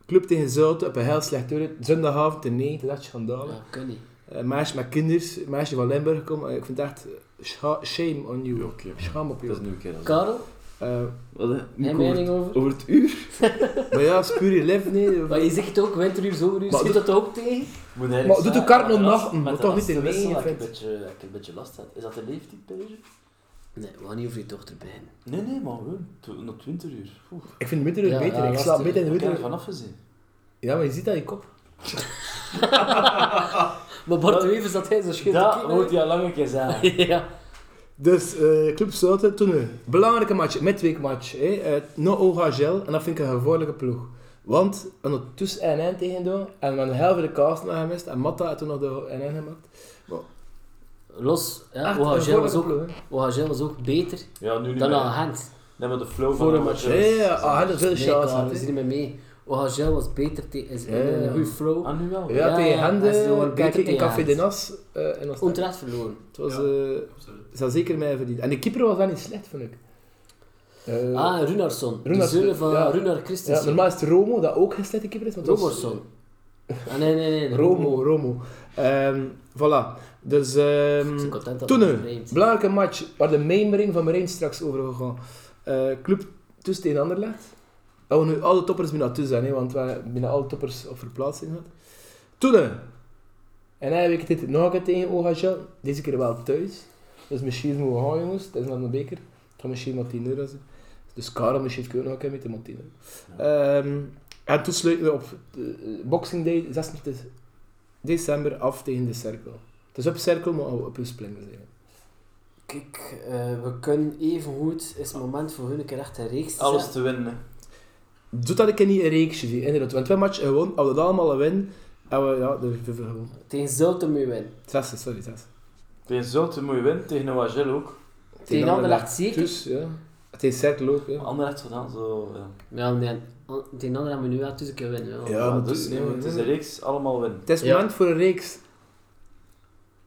B: Club tegen Zuid op een heel slecht uur. Zondagavond in 9, dat is schandalig.
D: Ja, kan niet.
B: Een meisje met kinders, een meisje van Limburg komen. Ik vind het echt scha- shame on you. Schaam op
C: Dat
B: jou.
C: is nu een keer als...
D: Karel,
B: Eh,
C: Wat, hè?
D: mijn
C: Over-
D: mening over?
C: Over het uur?
B: maar ja, spuur je leven, nee.
D: Maar je zegt ook winteruur, zomeruur,
B: Maar
D: zit dat ook tegen?
C: Moet eigenlijk
B: Maar doet
C: zijn,
B: de kaart nog
C: met de
B: nog,
C: last-
B: maar
C: met de
B: toch niet
C: laatste
B: in
C: wissel
B: mee,
C: dat ik een
B: vind.
C: beetje- dat ik een beetje last had. Is dat de leeftijdperiode?
D: Nee, we gaan niet over je dochter beginnen.
C: Nee, nee, maar gewoon. tw- Nog 20 uur. Oeh,
B: Ik vind de winteruur
D: Ja,
B: beter.
D: ja,
B: ik slaap
D: lastig.
B: beter in de
C: ik heb er
B: winteruur.
C: vanaf gezien.
B: Ja, maar je ziet dat in je kop.
D: Maar Bart de Wever zat hij zo schitterend
C: Dat moet je al lang een keer zijn.
D: ja.
B: Dus, eh, Club Zuid, toen nu. Belangrijke match, midweekmatch. hè. Eh, no Ogagel, en dat vind ik een gevaarlijke ploeg. Want ondertussen en eind tegen doen, en we hebben heel veel kaas nog gemist, en Matta heeft toen nog de en eind gemaakt.
D: Los, ja,
B: Echt
D: OHG
B: een
D: was, ook-
B: gevaarlijke ploeg, hè.
D: OHG was ook beter
C: Ja, nu niet
D: dan aan
C: meer.
D: Gent.
C: Nee, maar de flow
D: Voor
C: van
D: een
C: match.
D: match.
B: Ja, ja, ja, ah, hij had veel
D: Nee,
B: chance.
D: Karel,
B: hè.
D: we zijn niet meer mee. OHG was beter tegen, is een
B: ja.
D: goede flow.
C: Ah, nu wel.
B: Ja,
D: Ja,
B: tegen
D: ja, en ze
B: Hende,
D: worden
B: kijk
D: beter
B: ik in
D: tegen
B: Café de
D: Gent.
B: Nas. eh, in Oostenrijk.
D: Onterecht verloren.
B: Het was,
E: Ja.
B: eh,
E: Absoluut.
B: ze had zeker mij verdiend. En de keeper was wel niet slecht, vond ik. Eh,
D: Ah, Runarsson. De
B: Runarsson,
D: zoon van
B: ja.
D: Runar
B: ja,
D: Christensen.
B: normaal is het Romo, dat ook geen slechte keeper is. want het was-
D: Robertson. Ah, nee, nee, nee.
B: Romo, Romo. Ehm, voilà. Dus,
D: Ik ben
B: ehm
D: content dat
B: toen,
D: het
B: hè.
D: vreemd is.
B: belangrijke match waar de mijmering van Marijn straks over gegaan. Eh, club tussen tegen Anderlecht. Dat we nu alle toppers bijna tussen zijn, hè, want we hebben bijna alle toppers op verplaatsing gehad. Toen, hè. en hij week dit nog een keer tegen Ogagel. Deze keer wel thuis. Dus misschien moeten we gaan, jongens. Het is nog een beker. Het gaat misschien maar 10 euro zijn. Dus Karel, misschien kun je nog een keer met de Montino. Ehm, en toen sluiten we op eh, Boxing Day, 26 december, af tegen de cirkel. Het is op cirkel, maar op een splinter zijn.
D: Kijk, eh, we kunnen even goed. Is het moment voor hun een keer echt een reeks te
C: Alles
D: zetten.
C: te winnen.
B: Doet dat ik in die reeksje zie, inderdaad. Want twee matchen gewonnen, hadden we dat allemaal win. En we, ja, de VV gewonnen.
D: Tegen Zulten moet je winnen.
B: Zes, sorry, zes.
C: Tegen Zulte moet je winnen, tegen Noagel ook.
D: Tegen Anderlecht zeker.
B: Dus, ja. Tegen cirkel ook,
C: Maar
B: ja.
C: Ander heeft gedaan, zo... Ja,
D: Ja, nee. oh, Tegen anderen hebben we nu wel tussen keer winnen. Ja.
B: Ja,
C: dus nee, maar het is een reeks, allemaal winnen.
B: Het is
D: Ja.
B: moment voor een reeks.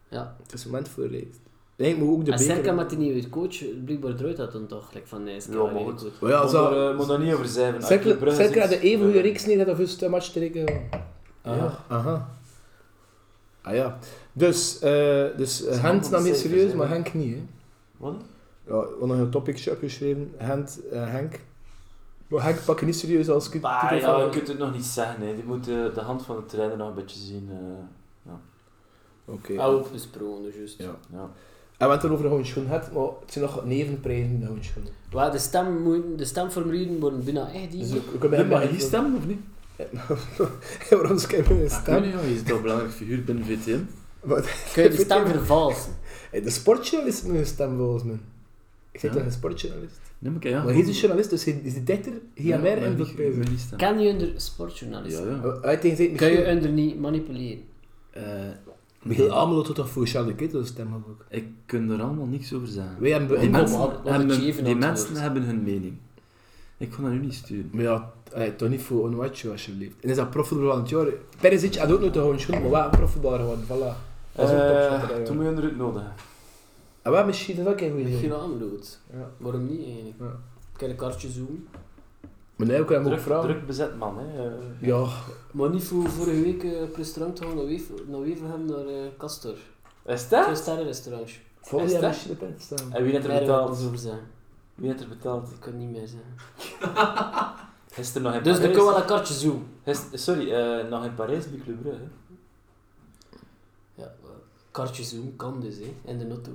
D: Ja.
B: Het is moment voor een reeks. Nee, maar ook de
D: En Serka
B: beker.
D: met die nieuwe coach, blijkbaar eruit had dan toch, like van nee, is
C: Ja,
D: Kara
C: maar
D: weer
C: goed.
D: goed.
B: Maar ja,
C: Moet
B: zo-
C: daar, eh, moet daar niet over zijn. Als je
B: Zeker
C: Brugge
B: zeker
C: ziet-
B: had de even goede reeks neer dat of een match trekken.
C: Ja.
B: Aha. Ah ja. Dus, eh dus eh, Gent nam je
C: cijfers,
B: serieus,
C: hè,
B: maar
C: hè?
B: Henk niet. Hè.
C: Wat?
B: Ja, we hadden nog een topicje opgeschreven. Gent, eh, Henk. Maar Henk pak je niet serieus als kut.
C: Bah,
B: titel
C: Ah,
B: van-
C: ja, je kunt het nog niet zeggen. Hè. Je moet eh, de hand van de trainer nog een beetje zien. eh,
B: Oké.
D: Oude besproken, dus juist.
B: Ja.
C: ja.
B: En we hebben het erover gewoon schoen gehad, maar het zijn nog nevenprijzen die gewoon schoen.
D: Waar de, stem moet, de stemformulieren worden bijna echt eh, die.
B: Dus
D: Ja,
B: ik, ik heb
C: Heb
B: helemaal
C: je hier stemmen of niet?
B: Waarom zou ik mijn
C: Ik weet
B: stem?
C: niet, joh. je zit al een belangrijk figuur binnen VTM.
B: Wat-
D: Kun je de stem vervalsen?
B: Hey, De sportjournalist moet een stem volgens mij. Ik zeg
C: Ja.
B: toch een sportjournalist?
C: Neem ik, ja.
B: Maar hij is een journalist, dus hij is de dichter. Hij
C: Ja,
B: heeft meer
C: maar
B: invloed
C: niet-
B: prijzen.
C: maar niet stemmen.
D: Kan je onder sportjournalist?
C: Ja, ja.
B: Hij tegen zijn
D: Kun je onder niet manipuleren?
C: Eh,
B: Michiel Amelo doet dat voor Charles de Kit, dat stem heb ook.
C: ik kan er allemaal niks over zeggen.
B: Wij hebben...
C: Die
B: in-
D: man-
C: mensen,
D: wat- wat
C: hebben,
D: het
C: hun-
D: geven
C: die
D: antwoord.
C: mensen hebben hun mening. Ik kon dat nu niet sturen.
B: Maar ja, hey, toch niet voor Onwacho alsjeblieft. En is dat profvoetbal van het jaar? Perisic had ook nog de gewoon schoen, maar wel een profvoetballer geworden, voilà. Dat is ook topshot, hè, ja.
C: toen moet je onder het nodig.
B: En wel, misschien is dat ook een goede idee.
D: Michiel Amloot.
B: Ja.
D: Waarom niet eigenlijk?
B: Ja.
D: Kan een kaartje zoomen.
B: Maar nee, we kunnen hem ook
C: Druk,
B: vragen.
C: druk bezet man, hè. Eh,
B: Ja,
D: Maar niet voor vorige week eh, op restaurant te gaan naar Wever- naar Wevergem, naar eh, Castor.
C: Is dat?
D: Twee sterren restaurant.
B: volgend
C: Is
B: jaar
C: dat-
B: misschien de pen staan.
C: En wie heeft er
D: Daar wil ik
C: betaald?
D: niet over zijn.
C: Wie heeft er betaald?
D: Ik kan niet meer zijn.
C: Is er nog in
D: Dus dan
C: Parijs?
D: kunnen we wel een kaartje zoomen.
C: Is- sorry, eh, nog in Parijs bij Club Brugge. hè.
D: Ja, eh, kaartje zoomen kan dus, hè. In de notto.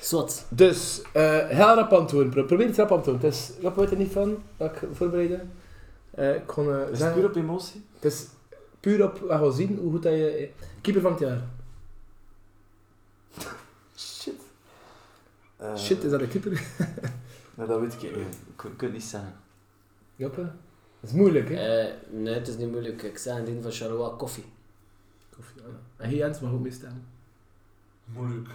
D: Zwat.
B: Dus, eh heel rap antwoorden. Pro- Probeer het rap antwoorden. Het is, ik weet er niet van, dat ik voorbereidde. Eh ik kon eh,
C: Is het
B: zeggen...
C: puur op emotie?
B: Het is puur op, we gaan zien hoe goed dat je... Keeper van het jaar.
C: Eh,
B: Shit, is dat een keeper?
C: nou, dat weet ik niet. Ik ik kan het niet zeggen.
B: Joppe. Dat is moeilijk, hè?
D: Eh, nee, het is niet moeilijk. Ik zei aan het van Charlois koffie.
B: Koffie, ja. En geen Jens mag ook meestaan.
E: Moeilijk.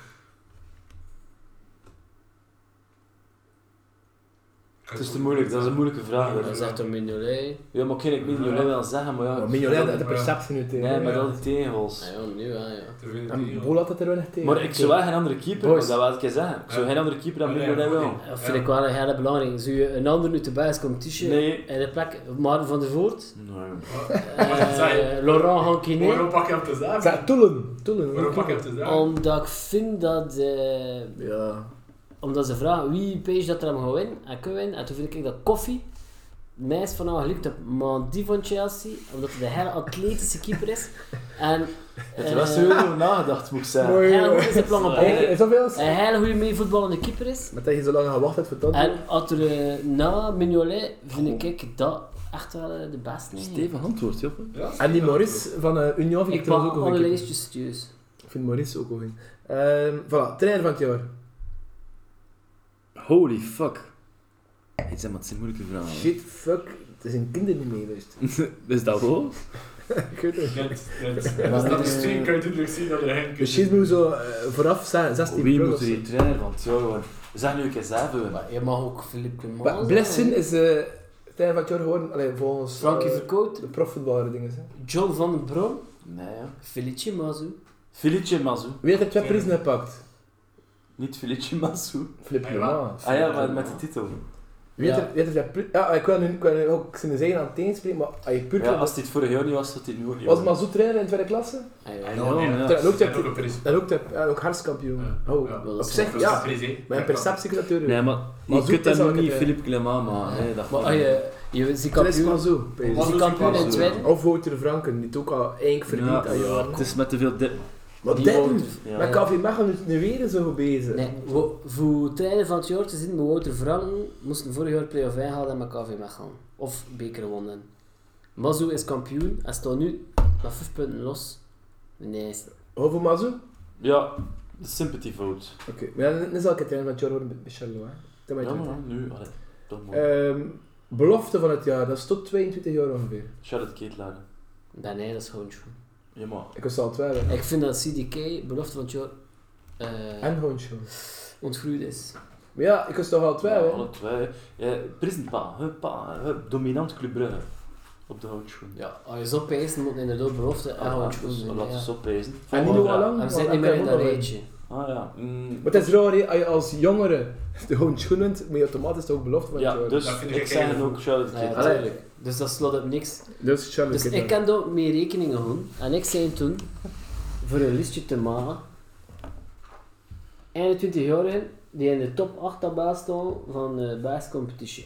C: Het is te moeilijk, dat is een moeilijke vraag.
D: Dan
C: hè.
D: zegt hij Mignolet.
C: Ja, maar ken ik niet, jullie wel zeggen, maar ja...
B: Maar Mignolet had de perceptie nu tegen.
C: Nee, maar
E: ja.
C: dat is tegenhols.
D: Ah, ja, nu, ja, ja.
E: Te veel
B: En
E: dingen.
B: Bol had dat er weinig tegen.
C: Maar ik zou wel geen andere keeper,
B: Boys.
C: maar dat wil ik je zeggen. Ik zou
E: Ja.
C: geen andere keeper dan
E: Nee,
C: Mignolet
E: goed,
C: wel.
E: nee.
D: Dat vind ik wel een hele belangrijk. Zou je een ander nu te buis komt tussen
C: Nee.
D: en de plek Maarten van der Voort,
C: Nee.
D: eh,
E: zei-
D: Laurent
E: Waarom
D: Hankiné,
E: pak je hem te zagen?
B: Zeg, Toelen. Toelen.
E: Waarom pak je hem te zagen?
D: omdat ik vind dat, eh,
B: Ja.
D: omdat ze vragen wie pees dat er hem gaat winnen en kan winnen, en toen vind ik dat Koffie het meest van haar gelukt heeft, maar die van Chelsea, omdat hij een hele atletische keeper is en
C: Het
D: eh,
C: was heel over nagedacht, moet ik zeggen.
D: een
B: Mooi.
D: hele goede zijn plannen
B: Hey,
D: bal,
B: Is dat wel eens?
C: Eh.
D: een hele goede meevoetballende keeper is.
B: Maar dat je zo lang aan gewacht hebt voor dat.
D: En als er eh, na Mignolet vind ik dat echt wel eh, de beste. is.
C: Steven antwoord, joh.
B: En die Maurice van eh, Union vind ik
D: Ik pak
B: trouwens ook een
D: alle
B: goeie keeper.
D: lijstjes thuis.
B: Ik vind Maurice ook een goeie. Ehm, Voilà, trainer van het jaar.
C: Holy fuck. Het zijn maar het zijn moeilijke vragen.
B: Shit, fuck. Het is een kinder die meeluistert.
C: Is dat wel?
B: Ik weet het niet.
E: Gent, Gent. Als dat is stream, kan je natuurlijk zien dat er Henk is.
B: Misschien moeten we zo eh, vooraf zijn, 16
C: Wie
B: plus
C: moet
B: of
C: er
B: zo.
C: die trainer van het jaar worden? Zeg nu een keer zeven.
D: Maar je mag ook Philippe
B: Maar
D: Maas.
B: Blessin is eh trainer van het jaar geworden, allee, volgens...
D: Frankie
B: eh,
D: Verkoot,
B: De profvoetballer dingen. hè.
D: John van den Brom,
C: Nee, ja.
D: Felice Mazu.
C: Felice Mazou.
B: Wie heeft er twee prijzen gepakt?
C: Niet Felice Mazou.
B: Flip
E: Ah, ja.
B: Lema.
C: Ah ja, maar met de titel.
B: Wie heeft er- wie heeft er twee pri- Ja, ik wil nu ik wil nu ook zijn zeggen aan het tegenspreken, maar als je puur...
C: Ja, ah, als dit vorig jaar niet was, had dit nu ook niet.
B: Was Mazou trainer in tweede klasse?
D: Ah,
E: Ja,
D: ja.
E: ja, ja.
C: ja.
B: Dat loopt
E: En
B: heb
E: ook een prijs.
B: dat loopt heb ja, ook hartskampioen.
E: Ja.
B: Oh,
E: Ja.
D: Wel,
B: op
D: dat is
B: zich,
E: Dat is een
B: ja.
E: prijs, hè.
B: Mijn perceptie kan dat deuren.
C: Nee, maar je
B: Mazou
C: kunt dat
B: is al
C: nog niet
B: een-
C: Philippe Clement maken. hè, dat
D: Maar
C: gaat
D: ah,
C: niet.
D: je, je
B: Chris
D: ziet kampioen, je
B: Oh, Mazou, bij
E: Mazou.
D: ziet kampioen in tweede.
B: Of Wouter Franken, die het ook al eigenlijk verdient.
C: Ja,
B: aan jaren.
C: Het is met te veel dip.
B: Maar
D: Die
B: dit,
D: Wouter-
C: Ja,
B: met KV Mechelen is het nu weer zo goed bezig.
D: Nee, wo- voor trainer van het jaar te zien met Wouter Franken moesten vorig jaar play-off inhalen met KV Mechelen. Of beker wonnen. Mazu is kampioen en staat nu met 5 punten los. Nee,
B: Hoeveel Mazou?
C: Ja, de sympathy vote.
B: Oké, maar ja, dan zal ik het einde van het jaar worden met Charlo, hè. Dat weet
C: Ja,
B: je
C: maar
B: wel.
C: dan nu. Allee, toch mooi.
B: Ehm, belofte van het jaar, dat is tot 22 jaar ongeveer.
C: Charlotte Keetlaar.
D: dat nee, dat is Hoonschoen.
C: Ja, maar
B: Ik was al 12 hè.
D: Ik vind dat CDK, belofte van het jaar, eh,
B: En gewoon show.
D: ontgroeid is.
B: Maar ja, ik was toch al 12
C: Ja,
B: hè.
C: alle twee. Ja, Prisonpa, hupa, hup, dominant Club Brugge. Op de houtschoen.
D: Ja, als je zo peest, moet je inderdaad belofte aan
C: Ah,
D: Hoonschoen
C: dus
D: doen.
C: Laten we
D: ja.
C: eens opwijzen.
B: En
C: Volgende
B: niet hoe
C: vraag.
B: lang?
D: En we zitten niet meer in dat rijtje.
J: Ah ja. Mm,
B: Maar het is raar, hè, als je als jongere gewoon tunend, moet je automatisch ook belofte van
J: ja,
B: horen.
J: dus
G: Dat vind ik
J: ik
G: echt
J: zeg het
G: heel
J: ook Charlotte
D: Ja,
J: Kid.
B: Allee.
D: natuurlijk. Dus dat slaat op niks.
B: Dus Charlie
D: Dus ik kan daar mee rekeningen doen. En ik zei toen, voor een listje te maken, 21-jarigen die in de top 8 tabel staan van de basiscompetitie.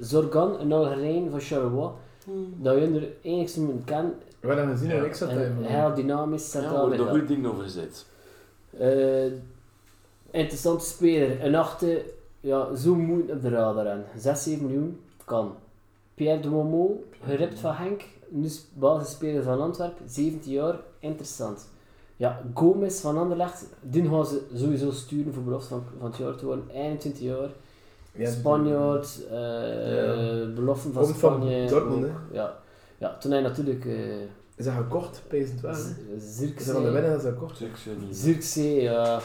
D: Zorgan, een Algerijn van Charleroi, dat je er enigszins moet kennen.
B: We hebben hem gezien en ik zat daar.
D: En
B: man.
D: heel dynamisch
J: Ja,
D: centraal
J: worden er
D: middenveld.
J: goede dingen over gezet.
D: Eh, interessante speler. Een achter, ja, zo moet op de radar aan. 6, 7 miljoen, kan. Pierre de Momo, geript van Henk, nu s- basisspeler van Antwerpen, 17 jaar, interessant. Ja, Gomez van Anderlecht, die gaan ze sowieso sturen voor belofte van, van het jaar te worden. 21 jaar,
B: Ja,
D: Spanjaard, eh beloften van
B: Komt van
D: Spanje.
B: Dortmund, hè?
D: Ja. ja, toen hij natuurlijk eh
B: Is dat gekocht, peesend wel? hè? Is dat van de
D: Zirkzee...
B: winnen dat is dat gekocht?
D: Zirkzee, ja,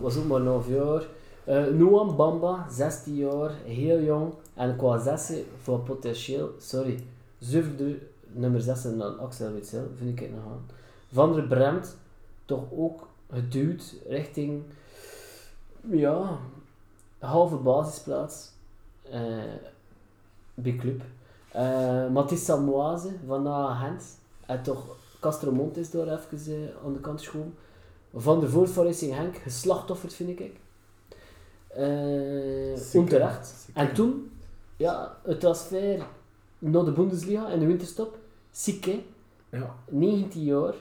D: was ook maar 9 jaar. Eh Noam Bamba, 16 jaar, heel jong. En qua zessen voor potentieel, sorry, zuiverder nummer 6 dan Axel Witsel, vind ik het nog aan. Van der Bremt, toch ook geduwd richting, ja, halve basisplaats eh, bij club. Eh Mathis Samoise van Naga Gent, en toch Castro Montes daar even eh, aan de kant geschoven. Van de Voort van Racing Henk, geslachtofferd vind ik. Eh
B: Zeker,
D: onterecht.
B: zeker.
D: En toen, ja, het transfer naar de Bundesliga en de winterstop. Sikke,
B: Ja.
D: 19 jaar.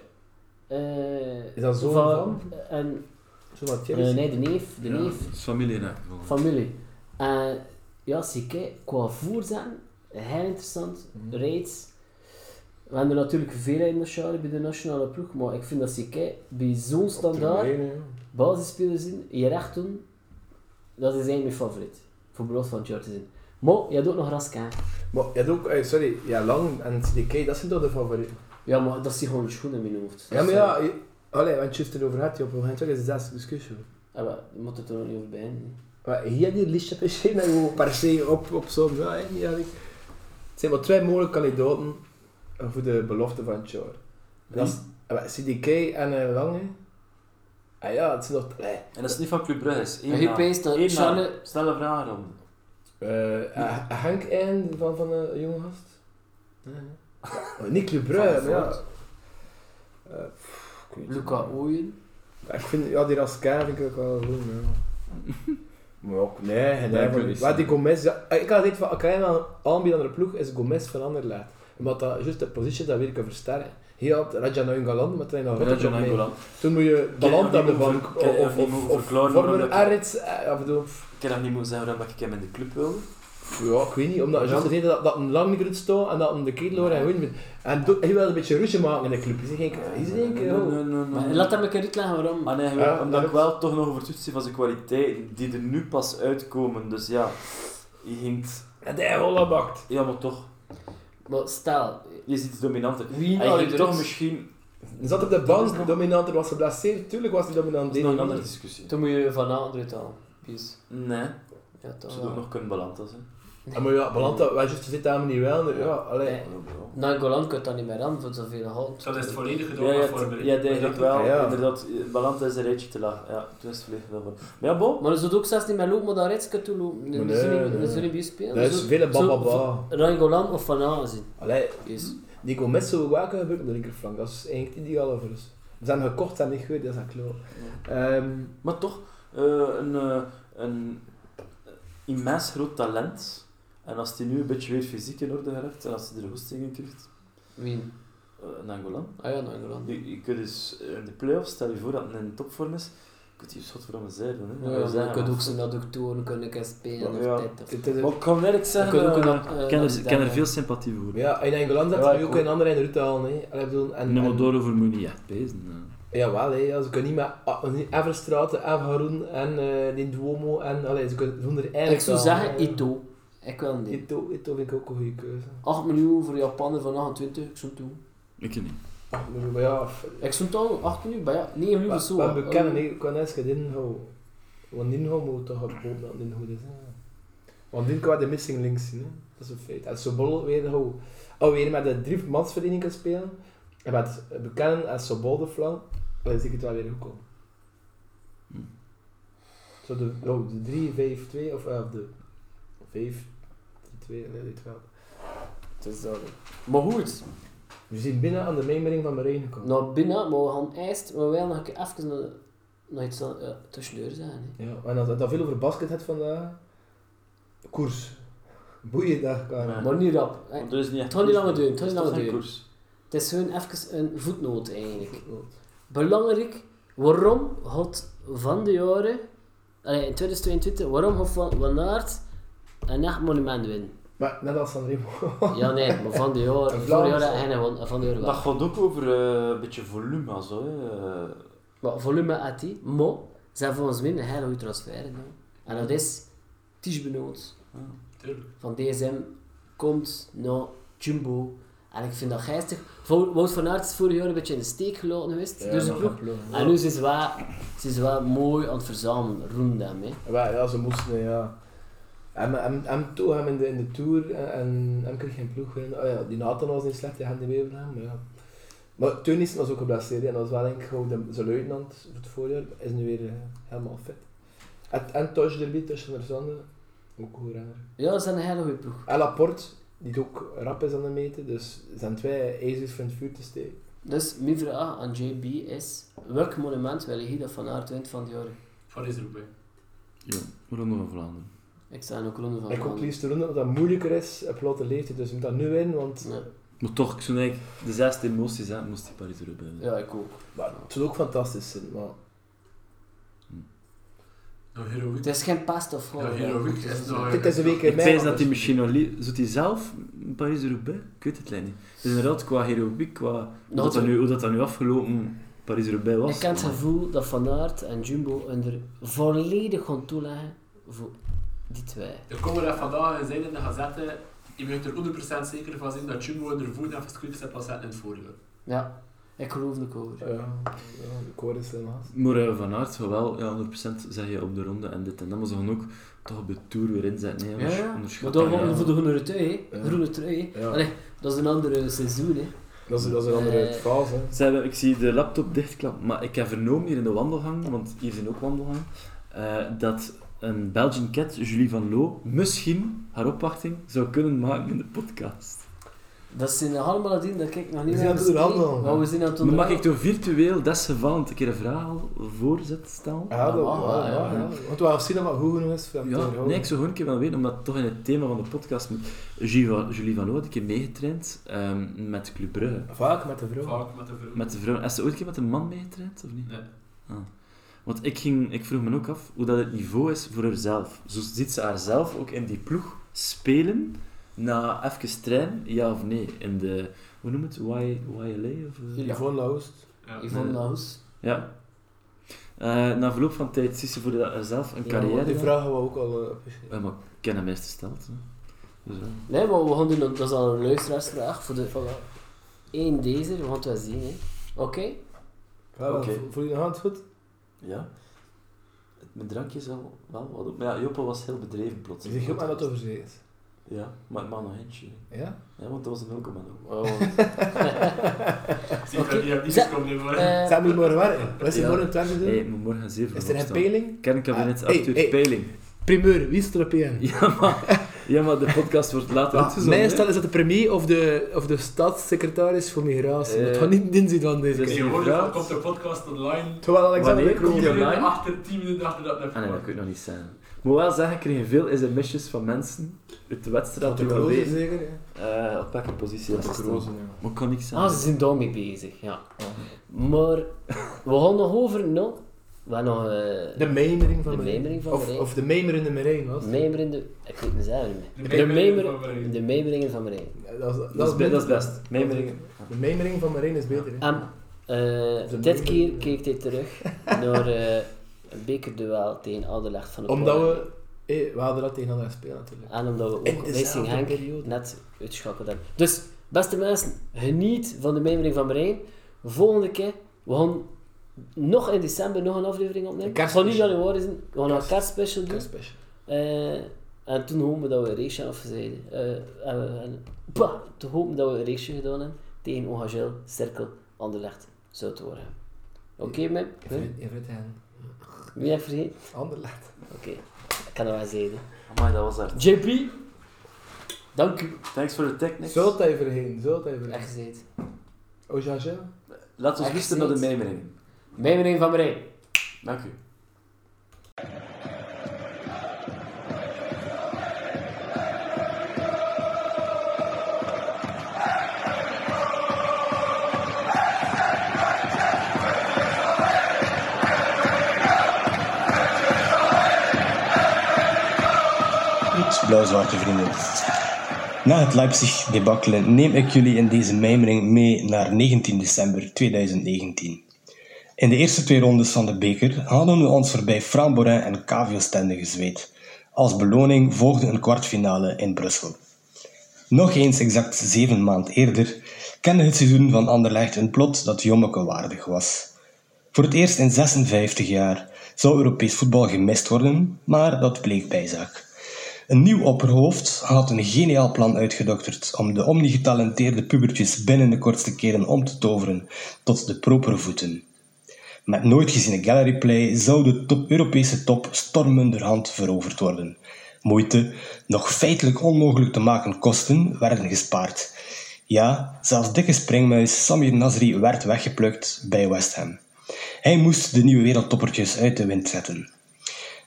D: eh,
B: Is dat zoon van?
D: En,
B: Zo wat
D: eh,
B: Chelsea.
D: nee, de neef, de neef
C: Familie, hè.
D: familie. En ja, Sikke, qua voorzijn, heel interessant. Rijts. We hebben er natuurlijk veel in de Schare bij de nationale ploeg, maar ik vind dat Sikke bij zo'n standaard
B: Terwijl, ja.
D: basisspelers in, je recht doen, dat is eigenlijk mijn favoriet. Voor belofte van het jaar te zien. Maar je hebt ook nog Raskaan.
B: Maar je hebt ook, eh, sorry, ja, Lang en CDK, dat zijn toch de favorieten?
D: Ja, maar dat is gewoon een schoen in mijn hoofd.
B: Ja, maar ja, je- allee, want je hebt het erover had, je op een gegeven moment is dat de discussie.
D: Ja, maar Ah, je moet het er nog niet over bij hebben.
B: Maar hier die lijstje per se, dat je gewoon per se op, op zo'n, ja, hè, niet eigenlijk. Het zijn maar twee mogelijke kandidaten voor de belofte van het jaar. Dat is eh, maar CDK en eh, Lang, hè. Ah ja, het zijn nog, eh,
J: En dat is niet van Club Brugge. is één
D: En je
J: naam.
D: peest dat
J: Eén naam.
D: Charlotte-
J: Snelle vragen om.
B: eh, eh, Henk en van, van eh, een jonge gast. Ja. Oh, niet Club Brugge, maar ja. Eh, pff, ik weet het
D: Luca Ooyen.
B: Ja, Ik vind, ja, die Rascar vind ik ook wel goed, ja. Maar ook, nee, nee.
C: ik
B: maar-
C: weet het
B: maar die
C: niet.
B: Gomez, ja, ik had dit van, kan je wel aanbieden aan de ploeg, is Gomez van Anderlecht. Omdat dat, juist de positie, dat weer kan versterken. Hier had Raja Nainggolan, maar toen nog
J: Raja Nainggolan.
B: Toen moet je balans
J: Ken je
B: hebben
J: dat
B: van,
J: niet mogen
B: of,
J: ver- ken je dat niet
B: of, of,
J: mogen
B: of
J: verklaren waarom
B: vormen
J: dat-
B: Arits, eh, of bedoel, pff,
J: Ik kan dat niet moeten zeggen waarom ik hem in de club wilde.
B: ja, ik weet niet, omdat Jean zei dat, dat een lang niet goed staat en dat een de ketel hoor en win En do- hij wilde een beetje ruzie maken in de club, is denk ik, is denk ik,
J: Nee,
B: oh.
J: nee, nee, nee.
D: Maar laat hem een keer uitleggen waarom.
J: Maar nee,
B: Ja,
J: omdat ik
B: dat-
J: wel toch nog overtuigd ben van zijn kwaliteiten die er nu pas uitkomen. Dus ja, je hinkt...
B: En hij hollebakt.
J: Ja, maar toch.
D: Maar stel,
J: Je is iets dominanter.
D: wie
J: Hij
D: nou
J: ging toch misschien...
B: Hij zat op de bank, dominanter was geblesseerd, tuurlijk was hij dominant.
J: Dat is nog een
B: deed
J: andere
B: hij
J: discussie.
D: Toen moet je van Android halen. Peace.
J: Nee, ze
D: Ja, toch.
J: zou ook nog kunnen belanden zijn.
B: Ja, Ah, maar ja, Balanta, wij juist zitten aan niet wel. Ja, allee.
D: Nee. Nangolan kunt dat niet meer aan voor zoveel hand.
G: Dan is het volledig gedaan
J: Ja, ja,
G: voor
J: het- ja, eigenlijk wel.
B: Ja.
J: Inderdaad, Balanta is een rijtje te laag. Ja, toen is het volledig gedaan voor. Maar ja, bon.
D: Maar ze doet ook zelfs niet meer lopen, maar daar rechts kunt toe lopen.
B: Maar
D: Nee,
B: nee, nee.
D: nee. Ze niet meer spelen.
B: Dat is
D: Zo-
B: veel
D: zo-
B: bababa.
D: Nangolan of Van Aanzien.
B: Allee,
D: Yes.
B: die Gomez zou waken gebeuren op de linkerflank. Dat is eigenlijk ideaal voor ons. We zijn gekocht en niet goed, dat is dat klopt. Ehm,
J: Maar toch, eh, een, eh, een immens groot talent. En als hij nu een beetje weer fysiek in orde geraakt en als hij er goesting in krijgt,
D: Wie?
J: eh, een Angolan.
D: Ah ja, Nangolan.
J: Je, je kunt dus in de play-offs, stel je voor dat hij in topvorm is, kun je schot voor hem zij doen. Hè.
D: Ja,
J: Zeggen,
D: je kunt ook
J: maar-
D: zijn adductoren kunnen gaan spelen
J: Ja.
D: of dit of...
B: het is een-
J: Maar ik kan eerlijk
D: Je kunt
J: zeggen,
D: ook een
J: eh,
D: ad- eh,
J: ik ken er- ik ken er
D: adductoren.
J: veel sympathie voor.
B: ja, in Engeland zat
D: Ja,
B: hij
D: ik
B: ook
D: ook.
B: een andere in de route halen. hè. Allee, ik bedoel, en,
C: Nummer
B: en,
C: door over moet je niet echt pezen. eh, hè.
B: Jawel, hè. Ja, ze kunnen niet met ah, niet Everstraat, F. Haroun en eh, die Duomo. En, allee, ze kunnen zonder eindelijk
D: Ik zou
B: wel,
D: zeggen
B: hè.
D: Ito. Ik wil niet.
B: Ito, Ito vind ik ook een goede keuze.
D: 8 miljoen voor Japaner van 28, ik zou het doen.
C: Ik niet.
B: Ach, maar ja, f-
D: Ik zou het doen, 8 miljoen, maar ja, 9 miljoen
B: we
D: is zo.
B: we
D: hè.
B: bekennen, hè. ik kan eens geen inhouden. Want inhouden moet toch op hoop dat het niet goed is. hè. Want dit kan de missing links zien. hè. Dat is een feit. En Sobol weer hoe alweer met de drie mansvereniging kan spelen. En met Buchanan en Sobol de flank. Dan zie ik het wel weer goed komen.
D: Hm.
B: Zo de, oh, de 3, 5, 2 of eh, de 5, 3, 2, nee, 12.
D: Het is dat. Maar goed,
B: We zijn binnen aan de mijmering van Marijn gekomen.
D: naar binnen, maar we gaan eerst, maar wij nog een keer even naar- naar iets eh, aan- ja, tussendoor zijn. Hè.
B: Ja, en dat, dat veel over basket had vandaag. Koers. Boeien dag, Karel.
D: Maar niet rap. hè.
C: Want er is niet echt
D: Het gaat niet
C: koers,
D: langer duren, het
C: maar dat is
D: gaat niet langer
C: geen
D: duren.
C: koers.
D: Het is gewoon even een voetnoot eigenlijk. Belangrijk, waarom had Van de Jaren, allee, in 2022, waarom had Van, van Aert een echt monument winnen?
B: Maar net als Sanremo.
D: Ja, nee, maar Van de Jaren,
B: Een
D: vorig
B: Vlaams.
D: jaar had hij geen gewonnen, Van de Jaren wel.
C: Dat gaat ook over eh, een beetje volume, zo. hè. Eh,
D: Maar volume had hij, maar ze hebben volgens mij een hele goede transfer gedaan. En dat is Ties Benoot.
B: Ah.
G: Tuurlijk.
D: Van DSM komt naar Jumbo. En ik vind dat geestig. Wout Wout van Aert is vorig jaar een beetje in de steek gelaten geweest.
B: Ja,
D: door zijn
B: maar
D: Dus ploeg.
B: geen ploeg,
D: En nu is ze wel, ze is wel mooi aan het verzamelen rond hem. Hè.
B: Maar Ah, ja, ze moesten, ja. Hem, hem, hem toe, hem in de, in de Tour, en- en hem kreeg geen ploeg winnen. Oh ja, die Nathan was niet slecht, die had die meegebracht, maar ja. Maar Teunissen was ook geblesseerd, hè, en dat was wel denk ik gewoon de- zijn luitenant voor het voorjaar, is nu weer eh, helemaal fit. En, en Tosh erbij, Tosh van der Zande, ook een goede renner.
D: Ja, ze zijn een hele goede ploeg.
B: En Laporte, die het ook rap is aan de meten, dus er zijn twee ijzers van het vuur te steken.
D: Dus mijn vraag aan JB is, welk monument wil je dat Van Aert wint van de jaren?
G: Paris Roubaix.
C: Ronde van Vlaanderen.
D: Ik sta in ook Ronde van
B: Ik ook
D: Vlaanderen.
B: liefst doen omdat dat moeilijker is op platte leeftijd, dus je moet dat nu in, want
D: Ja.
C: Maar toch, ik zou eigenlijk de zesde emoties hè, moest die Paris erbij.
D: ja, ik ook.
B: maar het zou ook fantastisch zijn. Maar
G: Nou, heroïne.
D: Het is geen past of gewoon.
G: Ja, heroïek is
D: Het
G: nog-
B: dit is een week in
C: Ik
B: mei,
C: zei dat
D: dus.
C: hij
B: anders.
C: misschien nog liever... Zou hij zelf Paris Roubaix? Ik weet het niet. Dus inderdaad, qua heroïek, qua... Hoe dat, dan nu, hoe dat dan nu afgelopen Paris Roubaix was.
D: Ik heb het gevoel dat Van Aert en Jumbo er volledig gaan toeleggen voor die twee.
G: Er komen dat vandaag en zijn in de gazette. Je moet er 100% zeker van zijn dat Jumbo in haar voeten even quick zet was zetten in het voorjaar.
D: Ja, ik geloof de over.
B: Ja, ja, de koor is helemaal.
C: Maar eh, Van Aert gaat wel, ja, 100% zeg je op de ronde en dit en dat. Maar ze gaan ook toch op de Tour weer inzetten. Nee,
D: Ja,
C: anders,
D: ja.
C: anders
D: Maar
C: gaat
D: dan
C: dat
D: gaan we
C: niet.
D: voor de groene trui, hè.
B: Ja.
D: Groene trui, hè.
B: Ja.
D: Allee, dat is een andere seizoen, hè.
B: Dat is, dat is een andere
D: Eh.
B: fase. hè.
C: Ze hebben- ik zie de laptop dichtklappen, maar ik heb vernomen hier in de wandelgang, want hier zijn ook wandelgangen, eh, dat een Belgian Cat, Julie van Loo, misschien haar opwachting zou kunnen maken in de podcast.
D: Dat zijn allemaal dingen dat ik nog niet
B: We zijn aan
D: heb
B: het
D: bespreken.
B: onderhandelen.
D: Maar we zijn aan het
C: Maar mag ik
D: onderhandelen.
C: toch virtueel desgevallend een keer een vraag al voorzet stellen?
B: Ja, dat
D: mag wel,
B: ja, ja,
D: ja.
B: ja. Want we gaan zien dat wat goed genoeg is. voor dat te
C: Ja,
B: houden.
C: nee, ik zou gewoon een keer wel weten, omdat het toch in het thema van de podcast moet. Julie van- Julie van Loo had een keer meegetraind ehm, met Club Brugge.
B: Vaak met de vrouw.
G: Vaak met de vrouw.
C: Met de vrouw. Is ze ooit een keer met een man meegetraind, of niet?
G: Nee.
C: Ah. Want ik, ging, ik vroeg me ook af hoe dat het niveau is voor haarzelf. Zo ziet ze haarzelf ook in die ploeg spelen, na even trainen, ja of nee, in de... Hoe noem het? Y, YLA? Of, eh?
D: Ja.
B: Yvonne Laust.
G: Ja.
D: Yvonne
C: Nee.
D: Laus.
C: Ja. Eh, na verloop van tijd ziet ze voor haarzelf een
B: Ja,
C: carrière.
B: Die
C: gedaan.
B: vragen we ook al eh, op je
C: Ja, maar ik ken hem eerst gesteld. hè. Dus, eh.
D: Nee, maar we gaan doen, dat is al een luisteraarsvraag voor de... Eén deze, we gaan het wel zien, hè. Oké?
B: Ja,
C: Oké.
B: vo- Voel je nog aan het goed?
C: Ja. Het- Mijn drankje is wel, wel wat op. Maar ja, Joppe was heel bedreven plots.
B: Je zegt ook maar dat over zee is.
C: Ja, maar ik maak nog eentje.
B: Ja?
C: Ja, want dat was een 0,0.
D: Oh.
G: Zie
D: Oké.
G: dat die heb niet
D: Zet-
G: gekomen in worden.
D: Eh,
B: Zijn we morgen werken? Wat is er
C: Ja.
B: morgen 20
C: Nee,
B: doen?
C: ik moet morgen 7
B: Is er een peiling?
C: Kernkabinet
B: Ah, hey,
C: Arthur
B: hey.
C: Peiling.
B: Primeur, wie is er op één?
C: Ja maar, ja, maar de podcast wordt later
B: Ah,
C: uitgezonden. hè.
B: Meestal is dat de premier of de, of de staatssecretaris voor migratie. Dat
C: Eh.
B: gaat niet dinsdag dan deze
C: Dus-
B: keer.
G: Tegenwoordig
C: inderdaad.
G: komt de podcast online.
B: Terwijl Alexander
C: Wanneer
B: de Croo-
C: komt
G: Tien
C: online?
G: minuten
B: Ah.
G: achter, tien minuten achter dat het
C: Ah nee, dat
G: net
C: kan ik nog niet zijn. Ik moet wel zeggen, ik kreeg veel sms'jes van mensen uit de wedstrijd
B: de
C: die wel
B: Croo
C: weten
B: zeker. ja.
C: eh, op welke positie dat ze staan. Maar ik kan niks
D: Ah, ze
C: zeggen.
D: zijn daarmee bezig, ja. Maar we gaan nog over naar... We hebben nog eh,
B: De mijmering van
D: de
B: Marijn.
D: memering van
B: Of,
D: Marijn.
B: of de mijmer in de Marijn was.
C: Mm.
B: het?
D: Mijmeren de... Ik weet het zelf niet meer.
G: De mijmeringen
D: mijmer-
G: van Marijn.
D: De memeringen van Marijn.
B: Ja, Dat is,
C: Dat is, be- dat
B: beter.
C: is best. Mijmeringen.
B: De mijmering van Marijn is beter. hè.
D: En eh, dit
B: memering.
D: keer keek hij terug naar eh, een bekerduel tegen Anderlecht van de
B: Omdat
D: Polen.
B: we... eh, we hadden dat tegen elkaar spelen natuurlijk.
D: En omdat we
B: In
D: ook Racing
B: dezelfde
D: Henk
B: periode.
D: net uitschakeld hebben. Dus, beste mensen, geniet van de mijmering van Marijn. Volgende keer, we gaan nog in december nog een aflevering opnemen.
B: Een
D: Het zal niet
B: kerstspecial.
D: januari zijn, we gaan een
B: Kerst-
D: kerstspecial doen.
B: Kerstspecial.
D: Eh, en toen hopen we dat we een reeksje afzeiden. Eh, en we- en- bah, toen hopen we dat we een reeksje gedaan hebben tegen Ongagel, Cirkel, Anderlecht, Zuidwoorden. Oké, men?
B: In Frit- In Frit-
D: Wie heb ik vergeten?
B: Anderlecht.
D: Oké, ik kan dat wel zeggen.
C: Amai, dat was hard.
D: JP, dank u.
C: Thanks voor de technics.
B: Zult hij vergeten, zult hij vergeten.
D: Echt gezeten.
B: Oh, Jean-Gilles?
C: Laat ons
D: Echt
C: luisteren naar de
D: niet.
C: mijmering.
D: Mijn meneer Van Berijn.
C: Dank u.
K: Goed, blauw-zwarte vrienden. Na het Leipzig-debakkele neem ik jullie in deze mijmering mee naar 19 december 2019. In de eerste twee rondes van de beker hadden we ons voorbij Framborin en Kavio Stende gezweet. Als beloning volgde een kwartfinale in Brussel. Nog eens exact zeven maand eerder kende het seizoen van Anderlecht een plot dat jommeke waardig was. Voor het eerst in 56 jaar zou Europees voetbal gemist worden, maar dat bleef bijzaak. Een nieuw opperhoofd had een geniaal plan uitgedokterd om de omnigetalenteerde pubertjes binnen de kortste keren om te toveren tot de propere voeten. Met nooit geziene galleryplay zou de top Europese top stormenderhand veroverd worden. Moeite, nog feitelijk onmogelijk te maken kosten, werden gespaard. Ja, zelfs dikke springmuis Samir Nasri werd weggeplukt bij West Ham. Hij moest de nieuwe wereldtoppertjes uit de wind zetten.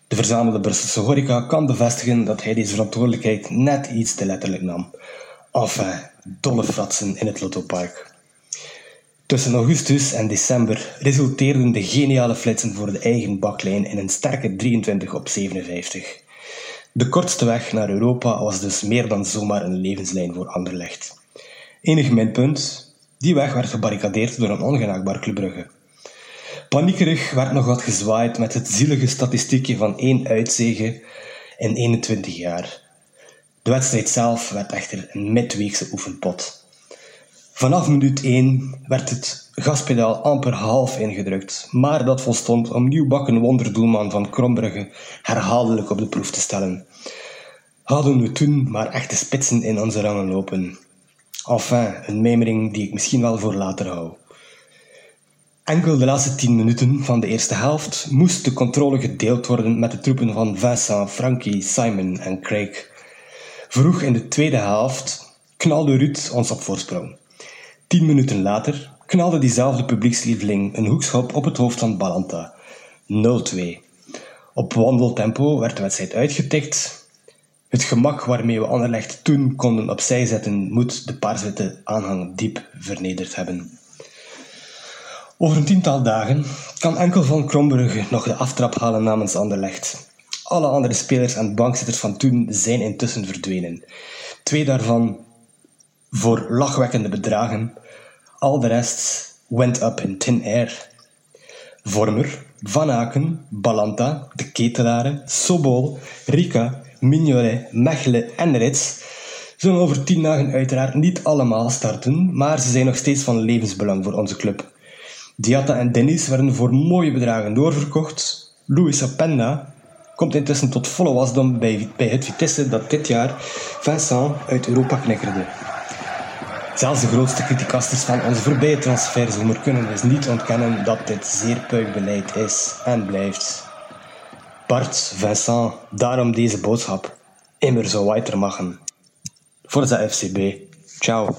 K: De verzamelde Brusselse horeca kan bevestigen dat hij deze verantwoordelijkheid net iets te letterlijk nam. Enfin, dolle fratsen in het Lottopark. Tussen augustus en december resulteerden de geniale flitsen voor de eigen baklijn in een sterke 23 op 57. De kortste weg naar Europa was dus meer dan zomaar een levenslijn voor Anderlecht. Enig minpunt, die weg werd gebarricadeerd door een ongenaakbaar Club Brugge. Paniekerig werd nog wat gezwaaid met het zielige statistiekje van één uitzege in 21 jaar. De wedstrijd zelf werd echter een midweekse oefenpot. Vanaf minuut 1 werd het gaspedaal amper half ingedrukt, maar dat volstond om nieuwbakken wonderdoelman van Krombrugge herhaaldelijk op de proef te stellen. Hadden we toen maar echte spitsen in onze rangen lopen. Enfin, een mijmering die ik misschien wel voor later hou. Enkel de laatste 10 minuten van de eerste helft moest de controle gedeeld worden met de troepen van Vincent, Frankie, Simon en Craig. Vroeg in de tweede helft knalde Ruud ons op voorsprong. 10 minuten later knalde diezelfde publiekslieveling een hoekschop op het hoofd van Balanta. 0-2. Op wandeltempo werd de wedstrijd uitgetikt. Het gemak waarmee we Anderlecht toen konden opzij zetten, moet de paarswitte aanhang diep vernederd hebben. Over een tiental dagen kan enkel van Krombrugge nog de aftrap halen namens Anderlecht. Alle andere spelers en bankzitters van toen zijn intussen verdwenen. Twee daarvan voor lachwekkende bedragen. Al de rest went up in thin air. Vormer, Van Aken, Balanta, De Ketelaren, Sobol, Rika, Mignolet, Mechelen en Rits zullen over tien dagen uiteraard niet allemaal starten, maar ze zijn nog steeds van levensbelang voor onze club. Diatta en Dennis werden voor mooie bedragen doorverkocht. Luis Appenda komt intussen tot volle wasdom bij, bij het Vitesse dat dit jaar Vincent uit Europa knikkerde. Zelfs de grootste criticasters van onze voorbije transferzomer kunnen dus niet ontkennen dat dit zeer puikbeleid is en blijft. Bart, Vincent, daarom deze boodschap. Immer zo weitermachen. Voor de FCB. Ciao.